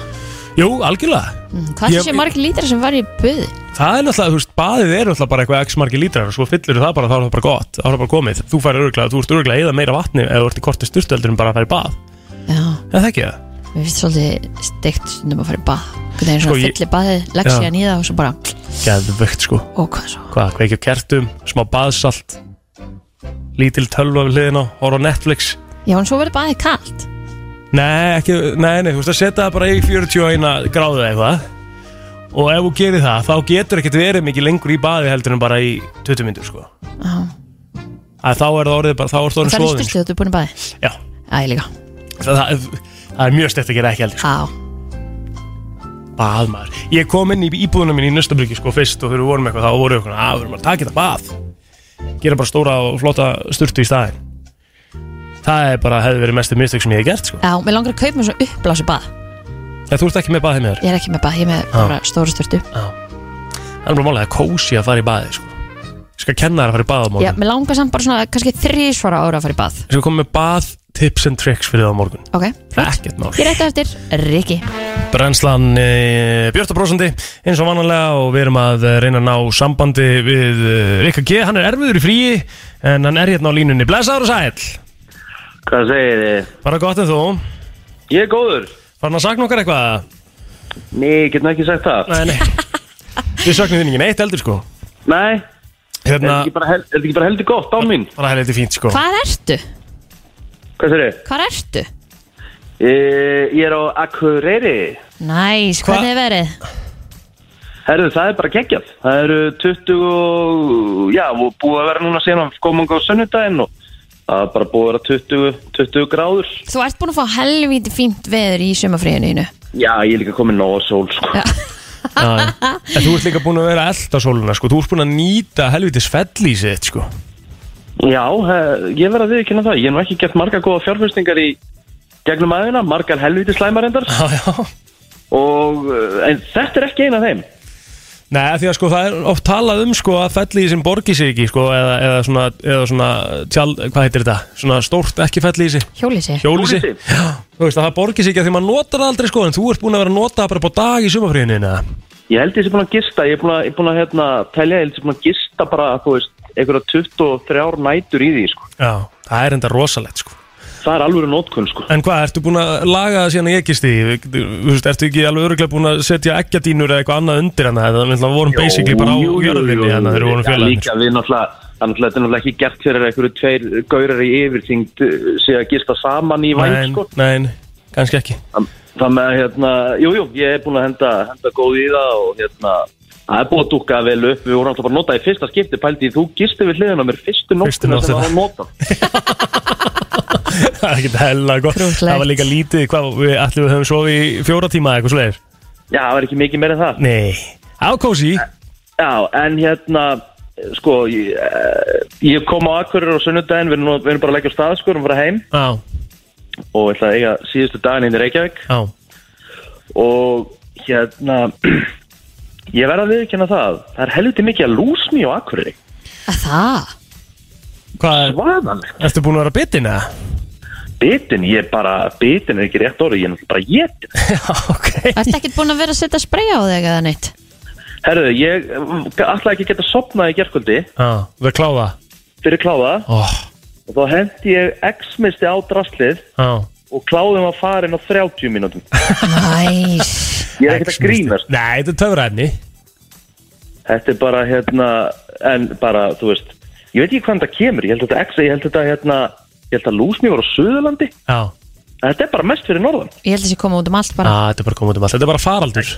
Speaker 1: Jú, algjörlega
Speaker 2: Mm, Hvað
Speaker 1: Ég-
Speaker 2: er þessi marg lítra sem var í buð?
Speaker 1: það er náttúrulega, þú veist, baðið er náttúrulega bara eitthvað x margi lítrar og svo fyllir það bara, þá er það bara gott þá er það bara komið, þú fær öruglega, þú ert öruglega eða meira vatni eða þú ert í kortir styrðöldur en bara að fara í bað
Speaker 2: Já,
Speaker 1: en það ekki það
Speaker 2: mér finnst svolítið steikt stundum að fara í bað Hvernig er
Speaker 1: Sko,
Speaker 2: svona
Speaker 1: ég-
Speaker 2: fyllir baðið, legg
Speaker 1: Já.
Speaker 2: síðan í það og svo bara
Speaker 1: geðvögt sko,
Speaker 2: Ó, hvað svo?
Speaker 1: hvað, kveikja á kertum smá baðsalt lítil tölva við hliðina, horfa á Netflix
Speaker 2: Já, en svo verður baðið kalt
Speaker 1: Nei, ekki, nei, nei, þú veist að setja það bara í 41 gráðu eða eitthvað og ef þú gerir það, þá getur ekkert verið mikið lengur í baði heldur en bara í 20 myndur, sko
Speaker 2: Já,
Speaker 1: að þá er það orðið bara, þá er það
Speaker 2: og
Speaker 1: orðið
Speaker 2: það er
Speaker 1: svoðin sko.
Speaker 2: styrstu að þú er búin í baðið
Speaker 1: Já,
Speaker 2: Já, ég líka
Speaker 1: það, það, það er mjög stert að gera ekki heldur,
Speaker 2: Á,
Speaker 1: sko, bað maður Ég kom inn í íbúðunum minn í Nöstabriki, sko, fyrst og þegar við vorum eitthvað, þá voru eitthvað, að, við erum að taka þetta bað gera bara stóra og flotta sturtu í staðin Það er bara, hefði verið mestu mistök sem ég hef gert, sko
Speaker 2: já, mér langar að kaupa mér svo uppblásu bað
Speaker 1: En þú ert ekki með bað heim með þér
Speaker 2: Ég er ekki með bað, ég er með bara stóra styrtu
Speaker 1: Það er bara málega, það er kósi að fara í baði, sko skal kenna þér að fara í bað á morgun
Speaker 2: Já, mér langar samt bara svona kannski þrísvara ára að fara í bað
Speaker 1: Ég skal koma með bað, tips and tricks fyrir það á morgun
Speaker 2: Ok,
Speaker 1: Ekkert mál
Speaker 2: ég rétti eftir Rikki
Speaker 1: Brennslan e, Björta Brósandi eins og vananlega og við erum að eh, reyna að ná sambandi við e, Rikka G hann er erfiður í fríi en hann er hérna á línunni Blessaður og sæl
Speaker 10: Hvað segir þið?
Speaker 1: Bara gott en þú
Speaker 10: Ég er góður
Speaker 1: Farin að sakna okkar eitthvað?
Speaker 10: Nei, ég get nú ekki sagt það
Speaker 1: Nei, nei Við saknum þín ekki neitt heldur sko
Speaker 10: Nei
Speaker 1: Hérna
Speaker 10: Er þetta ekki bara hel- er þetta ekki bara heldur gott á mín?
Speaker 1: Bara heldur fínt sko
Speaker 2: Hvað ertu?
Speaker 10: Hvað segir þið?
Speaker 2: Hvað ertu?
Speaker 10: Ég er á Akureyri
Speaker 2: Næs, hvernig er verið?
Speaker 10: Herðu, það er bara geggjað Það eru 20 og Já, og búið að vera núna síðan komanga á sunnudaginn og það er bara búið að vera 20, 20 gráður
Speaker 2: Þú ert búin að fá helvíti fínt veður í sömafríðinu innu
Speaker 10: Já, ég er líka komin nóg á sól sko
Speaker 2: Já,
Speaker 1: En þú ert líka búin að vera elda sóluna sko Þú ert búin að nýta helvitis fell í sitt sko
Speaker 10: Já, eh, ég verð að viðkynna það. Ég hef nú ekki gert margar góða fjárfyrstingar í gegnum aðeina, margar helviti slæmarendar.
Speaker 1: Já, já.
Speaker 10: Og, eh, en þetta er ekki eina af þeim.
Speaker 1: Nei, af því að sko það er oft talað um sko að fellið sem borgi sig ekki sko eða, eða svona, eða svona tjál, hvað heitir þetta? Svona stórt ekki fellið í sig
Speaker 2: hjólísi
Speaker 1: Hjólísi
Speaker 10: Hjólhýsi?
Speaker 1: Já, þú veist að það borgi sig ekki að því maður notar það aldrei sko en þú ert búin að vera að nota það bara på dag í sumafríðinu eða
Speaker 10: Ég held ég sé búin að gista, ég er búin að, ég er búin að hérna, telja, ég held ég sé búin að gista bara, þú veist, einhverja 23 nætur í því, sko.
Speaker 1: Já, það er enda rosalegt sko
Speaker 10: Það er alveg nótkunn, sko.
Speaker 1: En hvað, ertu búin að laga það síðan að ég gist í? Þú veist, ertu ekki alveg öruglega búin að setja eggjadínur eða eitthvað annað undir hana eða þannig að við vorum basically bara á
Speaker 10: Jú, jú, jú,
Speaker 1: jörðinni
Speaker 10: jú,
Speaker 1: hana þegar við vorum
Speaker 10: Já,
Speaker 1: félagarnir
Speaker 10: Líka, við náttúrulega, það er náttúrulega- þetta er náttúrulega ekki gert fyrir einhverju tveir gaurar í yfirþyngd eh, sé að gista saman í væn,
Speaker 1: Nein,
Speaker 10: sko.
Speaker 1: nein, kannski ekki
Speaker 10: Það með að hérna, jújú, jú, ég er búin að henda, henda góð í það og hérna, það er búin að dúkka vel upp, við vorum alltaf bara að nota í fyrsta skipti, pældi þú gisti við hliðina á mér fyrstu
Speaker 1: Fyrstu
Speaker 10: nóttina sem
Speaker 1: nóttina.
Speaker 10: það var að nota.
Speaker 1: Það er ekki hella gott
Speaker 2: Krútlegt.
Speaker 1: Það var líka lítið, hvað, við ætlum við höfum sofið í fjóra tíma eða eitthvað slegir
Speaker 10: Já, það var ekki mikið meira en það.
Speaker 1: Nei, á kósi
Speaker 10: Já, en hérna, sko, ég, eh, ég kom á Akureyri á sunnudaginn, við erum, nú- við erum bara að leggja á stað, sko, við erum bara heim
Speaker 1: Á,
Speaker 10: og ég ætla að eiga síðustu daginn inn í Reykjavík
Speaker 1: á,
Speaker 10: og hérna, ég verð að viðkynna það, það er helviti mikið að lúsni á Akureyri.
Speaker 2: Að það?
Speaker 1: hvað,
Speaker 10: Hvaðan?
Speaker 1: ertu búin að vera bitin eða?
Speaker 10: Bitin, ég bara, bitin er ekki rétt orðið, ég er náttúrulega bara getin.
Speaker 1: Já, ok
Speaker 2: Ertu ekkert búin að vera að setja spreyja á þig eða neitt?
Speaker 10: Herðu, ég mm, ætlaði ekki að geta sopnað í gerkvöldi
Speaker 1: Á, við erum kláða
Speaker 10: fyrir kláða
Speaker 1: Ó,
Speaker 10: og þá hendi ég x-misti á draslið
Speaker 1: á,
Speaker 10: og kláðum að fara inn á 30 mínútum.
Speaker 2: Næs
Speaker 10: Ég er ekkert að grínast.
Speaker 1: Nei, þetta er töfraefni
Speaker 10: Þetta er bara, hérna, en bara, þú veist, ég veit ekki hvaðan þetta kemur. Ég held að þetta x, ég held að þetta, hérna, ég held að lúsni var á Suðurlandi.
Speaker 1: Já,
Speaker 10: En Þetta er bara mest fyrir norðan.
Speaker 2: Ég held að þessi koma út um allt
Speaker 1: á,
Speaker 2: bara
Speaker 1: þetta er bara komað um allt Þetta er bara faraldur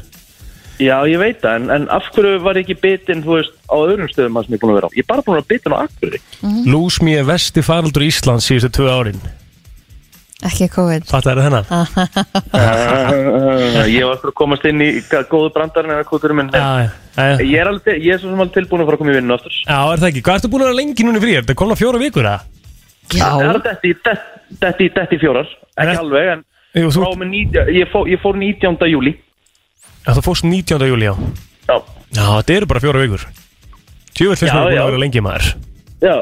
Speaker 10: Já, ég veit það, en, en af hverju var ég ekki bitin, þú veist, á öðrum stöðum að sem ég er búin að vera á? Ég er bara búin að vera bitin á Akureyri.
Speaker 1: Lús mér vesti faraldur Íslands síðustu tvö árin
Speaker 2: Ekki COVID
Speaker 1: Fattar þetta
Speaker 10: Ah.
Speaker 1: hennan?
Speaker 10: Uh, ég var eftir að komast inn í g- góðu brandarinn eða kvoturum minn
Speaker 1: Já, já, já, já
Speaker 10: Ég er, alveg, ég er svo sem alveg tilbúin að fara að koma í vinnu aftur
Speaker 1: Já, er það ekki? Hvað ertu búin að vera lengi núna í frí? Er þetta komin á fjóra vikur eða?
Speaker 10: Það
Speaker 2: Já
Speaker 10: er detti, detti, detti, detti í fjórar Ekki
Speaker 1: En-
Speaker 10: alveg, en
Speaker 1: Jú, þú,
Speaker 10: frá með 19 ég, fó, ég fór 19. júli
Speaker 1: já, þú fórst 19. júli, já
Speaker 10: Já,
Speaker 1: Já, þetta eru bara fjóra vikur Tjúvill finnst
Speaker 10: Já,
Speaker 1: mér búin
Speaker 10: já.
Speaker 1: að vera lengi maður
Speaker 10: já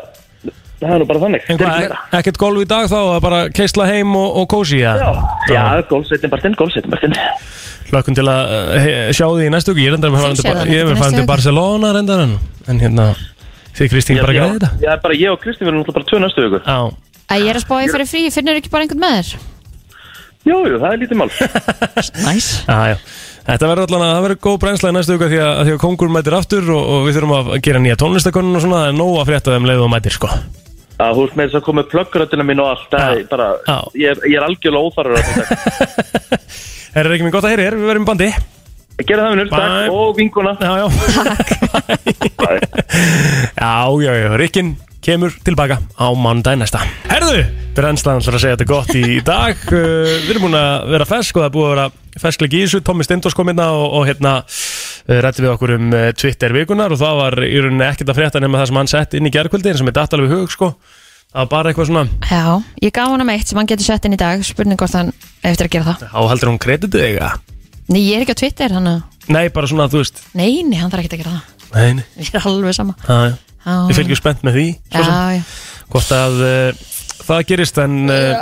Speaker 10: Það er nú bara þannig
Speaker 1: En
Speaker 10: þetta er
Speaker 1: hvað,
Speaker 10: ekki meira.
Speaker 1: ekkert golf í dag þá að bara keisla heim og, og kósi
Speaker 10: Já, já
Speaker 1: já
Speaker 10: gólfsveitin Bartin, gólfsveitin Bartin
Speaker 1: Hlökkum til að uh, he- sjá því í næstu viku Ég reyndar með
Speaker 2: Þú sérð það
Speaker 1: farandi
Speaker 2: ekki
Speaker 1: Ég er
Speaker 2: næstu
Speaker 1: farandi til
Speaker 2: viku.
Speaker 1: Barcelona reyndar en, en hérna, þið Kristín bara greiði þetta
Speaker 10: Já, já, bara ég og Kristi verðum náttúrulega bara tvö næstu viku
Speaker 1: Já,
Speaker 2: Að ég er að spá ég fyrir frí, finnur ekki bara einhvern með þér?
Speaker 10: Jú, jú, það er lítið mál
Speaker 2: Næs
Speaker 1: já, já Þetta verður allan að það verður góð brennsla í næstu viku af Því að, að því að kongur mætir aftur og, og við þurfum að gera nýja tónlistakonun og svona Það er nóg að frétta þeim leiðu og mætir sko
Speaker 10: að Þú veist með þess að koma með plöggröndina mín og allt Það
Speaker 1: Já.
Speaker 10: er bara,
Speaker 1: Já.
Speaker 10: ég er, ég er algjörlega óþarur að þetta
Speaker 1: Það er ekki minn gott að heyri, þér, við verðum í bandi
Speaker 10: Gerðu það minnur,
Speaker 1: Bye.
Speaker 10: takk, og vinkuna
Speaker 1: Já, já Já, já, já, Rikkin kemur tilbaka á mánudag næsta Herðu, brennslan ætlar að segja þetta gott í dag uh, Við erum búin að vera fersk og það er búið að vera ferskleik í þessu Tommi Stendors kom hérna og, og hérna uh, rætti við okkur um uh, Twitter vikunar og það var í rauninni ekkert að frétta nema það sem hann sett inn í gerkvöldi eins og mér datt alveg í hug sko Það var bara eitthvað svona,
Speaker 2: Já, ég gaf hann um eitt sem hann getur sett inn í dag Spurning hvort hann eftir að gera það
Speaker 1: þá heldur hún kreditið eiga
Speaker 2: Nei, ég er ekki á Twitter, hann að
Speaker 1: Nei, bara svona, þú veist
Speaker 2: Nei, nei, hann þarf ekki að gera það
Speaker 1: Nei, nei,
Speaker 2: Ég er alveg sama
Speaker 1: já, já
Speaker 2: Já.
Speaker 1: Við fylgjum spennt með því svo sem.
Speaker 2: Mhm. Já, já.
Speaker 1: Hvort að uh, það gerist en uh,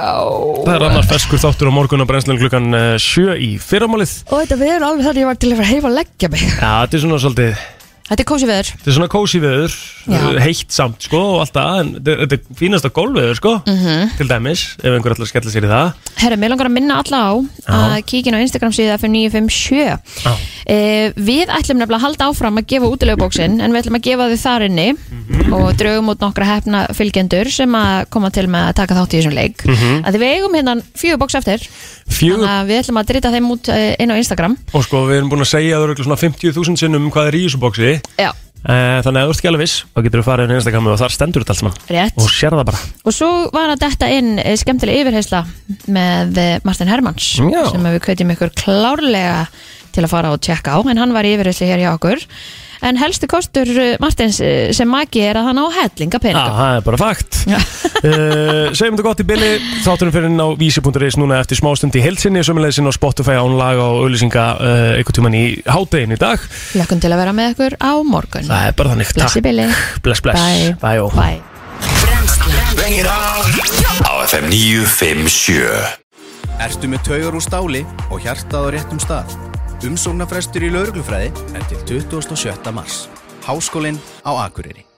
Speaker 1: það er annar ferskur þáttur á morgun á brennslan klukkan uh, sjö í fyrramálið
Speaker 2: Og þetta við erum alveg þar ég var til að fara heim að leggja mig
Speaker 1: Já, þetta er svona svolítið
Speaker 2: Þetta er kósi veður
Speaker 1: Þetta er svona kósi veður,
Speaker 2: Já.
Speaker 1: heitt samt sko og allt það, en þetta er- þetta er fínasta gólveður sko,
Speaker 2: Mhm.
Speaker 1: til dæmis, ef einhver ætlar að skella sér í það
Speaker 2: Herra, mér langar að minna alla á að kíkin á Instagram síða F957
Speaker 1: Já.
Speaker 2: e, Við ætlum nefnilega að halda áfram að gefa útilegubóksin en við ætlum að gefa þau þar inni
Speaker 1: Mhm.
Speaker 2: og draugum út nokkra hefna fylgjendur sem að koma til með að taka þátt í þessum leik
Speaker 1: Mhm.
Speaker 2: að við eigum hérna fjögur bóks eftir
Speaker 1: Fjögur?
Speaker 2: þannig að við ætlum að drita þeim út eh, inn á Instagram
Speaker 1: Og sko, við erum búin að segja það eru svona 50.000 sinnum um hvað er í þessu bóksi
Speaker 2: Já.
Speaker 1: Þannig að ef þú ert ekki alveg viss, þá getur þú farið á Instagramu og þar stendur þetta allt saman
Speaker 2: Rétt.
Speaker 1: Og sér það bara
Speaker 2: Og svo var að detta inn eh, skemmtileg yfirheysla með eh, Martin Hermans
Speaker 1: Já.
Speaker 2: sem að við kveitjum ykkur klárlega til að fara og tjekka á en hann var í yfirheysli hér hjá okkur en helstu kostur eh, Martins eh, sem maki er að hann á hellinga
Speaker 1: Já,
Speaker 2: peninga
Speaker 1: það er bara fakt uh, Segjum þetta gott í billi Þátturum fyrir inn á vísi.is núna eftir smástund í heilsinni Sömulegðsinn á Spotify ánlag og auðlýsinga uh, einhvern tíman í hádegin í dag
Speaker 2: Lökkum til að vera með ykkur á morgun
Speaker 1: Það er bara þannig
Speaker 2: Blessi Billy
Speaker 1: Bless, bless Bye, ó.
Speaker 2: Bye.
Speaker 3: Á FM 957
Speaker 11: Ertu með taugar úr stáli og hjartað á réttum stað? Umsóknarfrestur í lauruglufræði er til 27. mars. Háskólinn á Akureyri.